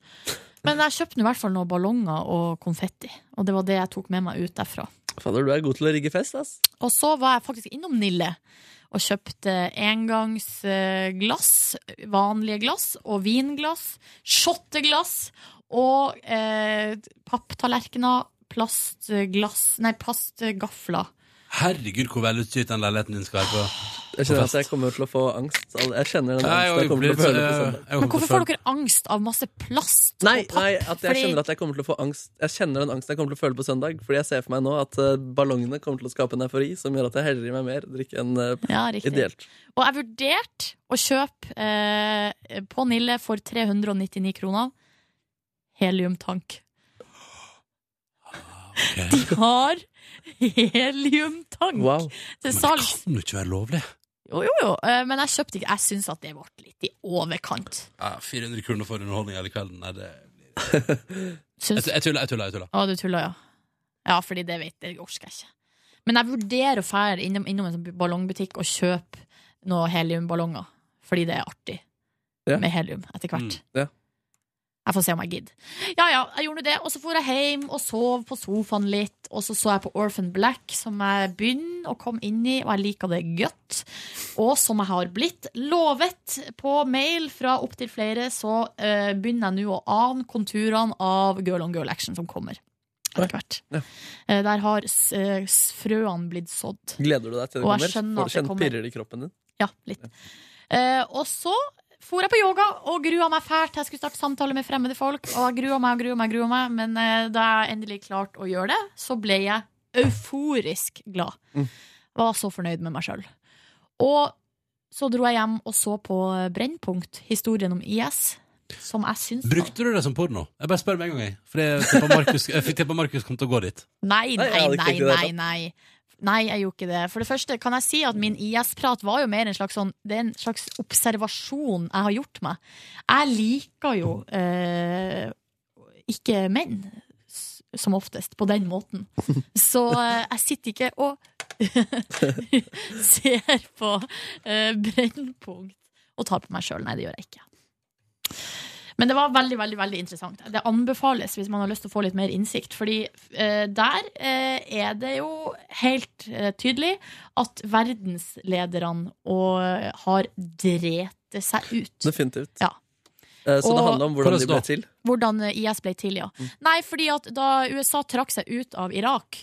Men jeg kjøpte nå i hvert fall noen ballonger og konfetti, og det var det jeg tok med meg ut derfra. Fader, du er god til å rigge fest, ass. Og så var jeg faktisk innom Nille og kjøpte engangsglass, vanlige glass og vinglass, shotteglass og eh, papptallerkener, plastglass, nei, plastgafler. Herregud, hvor velutstyrt den leiligheten din skal være på. Jeg kjenner at jeg kommer til å få angst. Al- Jeg kjenner den Nei, angsten jeg jeg kommer til å blir- føle på sånn- jeg- søndag. jeg Men hvorfor får dere angst av masse plast Nei, og papp? nei, at jeg Fordi- kjenner at jeg kommer til å få angst Jeg kjenner den angsten jeg kommer til å føle på søndag. Fordi jeg ser for meg nå at eh, ballongene kommer til å skape en eufori som gjør at jeg heller i meg mer drikke enn eh, Ja, riktig. ideelt. Og jeg vurderte å kjøpe eh, på Nille for 399 kroner heliumtank. De har heliumtank Wow. til salgs. Kan jo ikke være lovlig. Jo, jo, jo. Eh, Men jeg kjøpte ikke. Jeg syns at det ble litt i overkant. Ja, 400 kroner for underholdning hele kvelden. Nei, det Syns- Jeg tuller, jeg tuller. Jeg tuller. Å, du tuller, ja. Ja, fordi det vet jeg, det orker jeg ikke. Men jeg vurderer å fære innom, innom en sånn ballongbutikk og kjøpe noen heliumballonger. Fordi det er artig Ja. Mm, med helium etter hvert. Ja. Jeg får se om jeg gidder. Ja, ja, jeg gjorde nå det, og så dro jeg hjem og sov på sofaen litt. Og så så jeg på Orphan Black, som jeg begynner å komme inn i, og jeg liker det godt. Og som jeg har blitt lovet på mail fra opptil flere, så eh, begynner jeg nå å ane konturene av Girl on Girl Action som kommer. etter hvert. Eh, Der har s- eh, s- frøene blitt sådd. Gleder du deg til det Og jeg kommer? skjønner Får at det du kjent kommer. pirrer det i kroppen din? Ja, litt. Eh, og så for jeg på yoga og grua meg fælt. Jeg skulle starte samtale med fremmede folk. Og jeg grua meg og grua meg, grua meg men eh, da jeg endelig klarte å gjøre det, så ble jeg euforisk glad. Mm. Var så fornøyd med meg sjøl. Og så dro jeg hjem og så på Brennpunkt, historien om IS, som jeg syns var Brukte du det som porno? Jeg bare spør med en gang, jeg. For jeg tippa Markus- jeg fikk tippa Markus kom til å gå dit. Nei, Nei, nei, jeg hadde ikke nei, tenkt det i det nei, nei. Nei, jeg gjorde ikke det. For det første kan jeg si at min IS-prat var jo mer en slags sånn Det er en slags observasjon jeg har gjort meg. Jeg liker jo eh, ikke menn, s- som oftest, på den måten. Så eh, jeg sitter ikke og ser på eh, Brennpunkt og tar på meg sjøl. Nei, det gjør jeg ikke. Men det var veldig veldig, veldig interessant. Det anbefales hvis man har lyst til å få litt mer innsikt. Fordi eh, der eh, er det jo helt eh, tydelig at verdenslederne og, eh, har drete seg ut. Definitivt. Ja. Eh, Så det Og- handler om hvordan de ble til? Hvordan eh, IS ble til, ja. Nei, fordi at da USA trakk seg ut av Irak,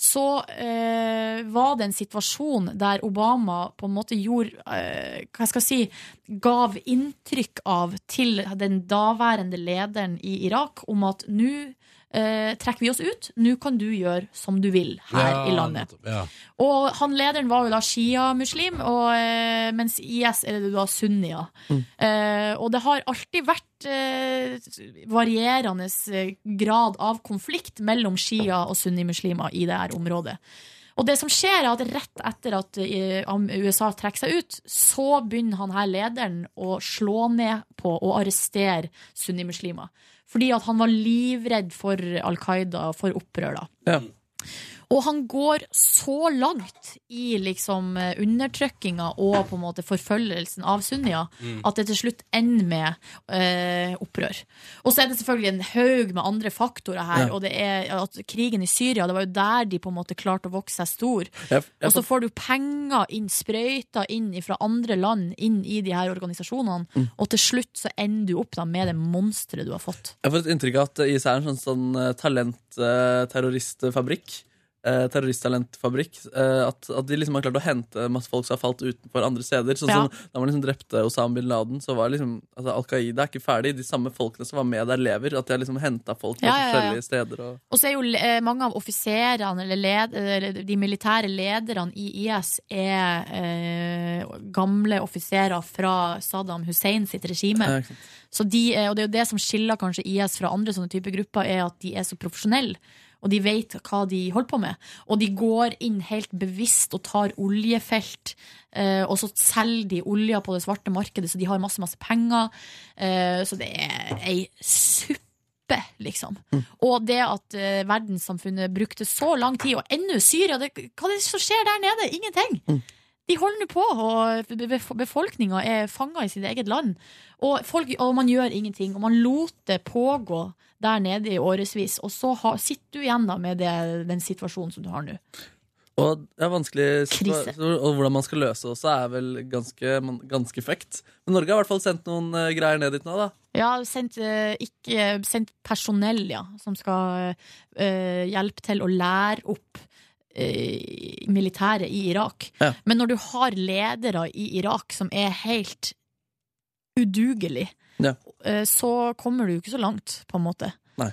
så eh, var det en situasjon der Obama på en måte gjorde eh, Hva skal jeg si Gav inntrykk av til den daværende lederen i Irak om at nå eh, trekker vi oss ut, nå kan du gjøre som du vil her Ja, i landet. nettopp, Ja. Og han lederen var jo da shia-muslim, og, eh, mens IS er det da sunnier. Mm. Eh, og det har alltid vært eh, varierende eh, grad av konflikt mellom shia- og sunnimuslimer i det her området. Og det som skjer er at rett etter at eh, am- USA trekker seg ut, så begynner han her lederen å slå ned på og arrestere sunnimuslimer. Fordi at han var livredd for Al Qaida, for opprør, da. Ja. Og han går så langt i liksom eh, undertrykkinga og på en måte forfølgelsen av sunnia Mm. at det til slutt ender med eh, opprør. Og så er det selvfølgelig en haug med andre faktorer her. Ja. Og det er at krigen i Syria, det var jo der de på en måte klarte å vokse seg stor. Jeg, Og jeg, så får du penger inn, sprøyter inn fra andre land inn i de her organisasjonene. Mm. Og til slutt så ender du opp da med det monsteret du har fått. jeg får et inntrykk av at IS er en sånn, sånn eh, talent eh, terroristfabrikk. Eh, terroristtalentfabrikk. Eh, at, at de liksom har klart å hente masse folk som har falt utenfor andre steder. Sånn Ja. som Da man liksom drepte Osama bin Laden, så var liksom altså, Al Qaida er ikke ferdig. De samme folkene som var med der, lever. At de har liksom henta folk fra Ja, ja, ja. forskjellige steder. Og, Og så er jo eh, mange av offiserene, eller led, eller de militære lederne i IS, er eh, gamle offiserer fra Saddam Hussein sitt Ja, regime. ikke sant. Så de, er- og det er jo det som skiller kanskje IS fra andre sånne typer grupper, er at de er så profesjonelle. Og de vet hva de holder på med. Og de går inn helt bevisst og tar oljefelt. eh, og så selger de olja på det svarte markedet, så de har masse, masse penger. Eh, så det er ei suppe, liksom. Og det at eh, verdenssamfunnet brukte så lang tid, og ennå Syria det, Hva er det som skjer der nede? Ingenting! De holder nå på, og bef- befolkninga er fanga i sitt eget land. Og, folk, og man gjør ingenting. Og man lot det pågå der nede i årevis. Og så har, sitter du igjen da med det, den situasjonen som du har nå. Og det er vanskelig Krise. Og hvordan man skal løse det også, er vel ganske, man- ganske fucked. Men Norge har i hvert fall sendt noen eh, greier ned dit nå, da. Ja, sendt, eh, ikke, sendt personell, ja, som skal eh, hjelpe til å lære opp eh, militæret i Irak. Ja. Men når du har ledere i Irak som er helt udugelig, Ja. eh, så kommer du jo ikke så langt, på en måte. Nei.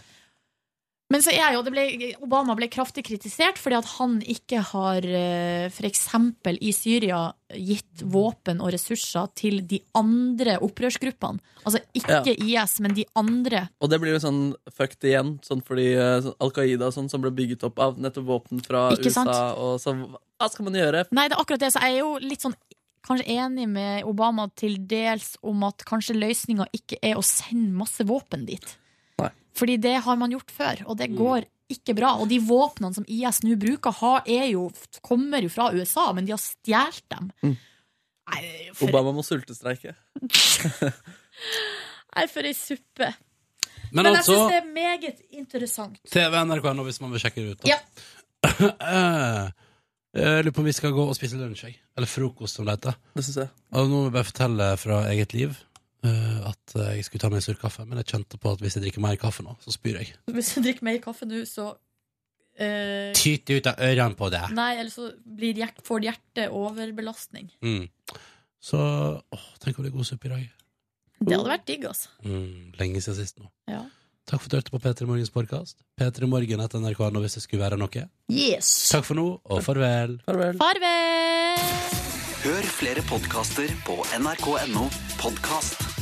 Men så er jo, det ble, Obama ble kraftig kritisert fordi at han ikke har eh, for eksempel i Syria gitt våpen og ressurser til de andre opprørsgruppene. Altså ikke IS, men de andre. Og det blir jo sånn fucked igjen, sånn fordi eh, sånn Al Qaida og sånn, som ble bygget opp av nettopp våpen fra Ikke USA. sant? Og så, hva skal man gjøre? Nei, det er akkurat det. Så jeg er jo litt sånn kanskje enig med Obama til dels om at kanskje løsninga ikke er å sende masse våpen dit. Fordi det har man gjort før, og det går ikke bra. Og de våpnene som IS nå bruker, har, er jo, kommer jo fra USA, men de har stjålet dem. Obama må sultestreike. Nei, for ei suppe. Men Men, altså- jeg syns det er meget interessant. TV NRK nå, hvis man vil sjekke det ut. da. Ja. Eh, Jeg lurer på om vi skal gå og spise lunsj, jeg. Eller frokost, som det heter. Det synes jeg. Og nå må jeg bare fortelle fra eget liv eh, at eh, jeg skulle ta meg en sur kaffe, men jeg kjente på at hvis jeg drikker mer kaffe nå, så spyr jeg. Hvis du drikker mer kaffe nå, så eh, Tyte ut av ørene på deg. Nei, eller så blir hjert, får hjertet overbelastning. Mm. Så åh, tenk om det er god suppe i dag. Det hadde vært digg, altså. Mm, lenge siden sist nå. Ja. Takk for at du hørte på P3 Morgens podkast. P3 Morgen etter NRK nå hvis det skulle være noe. Yes. Takk for nå, og farvel. Farvel! Hør flere podkaster på nrk.no podkast.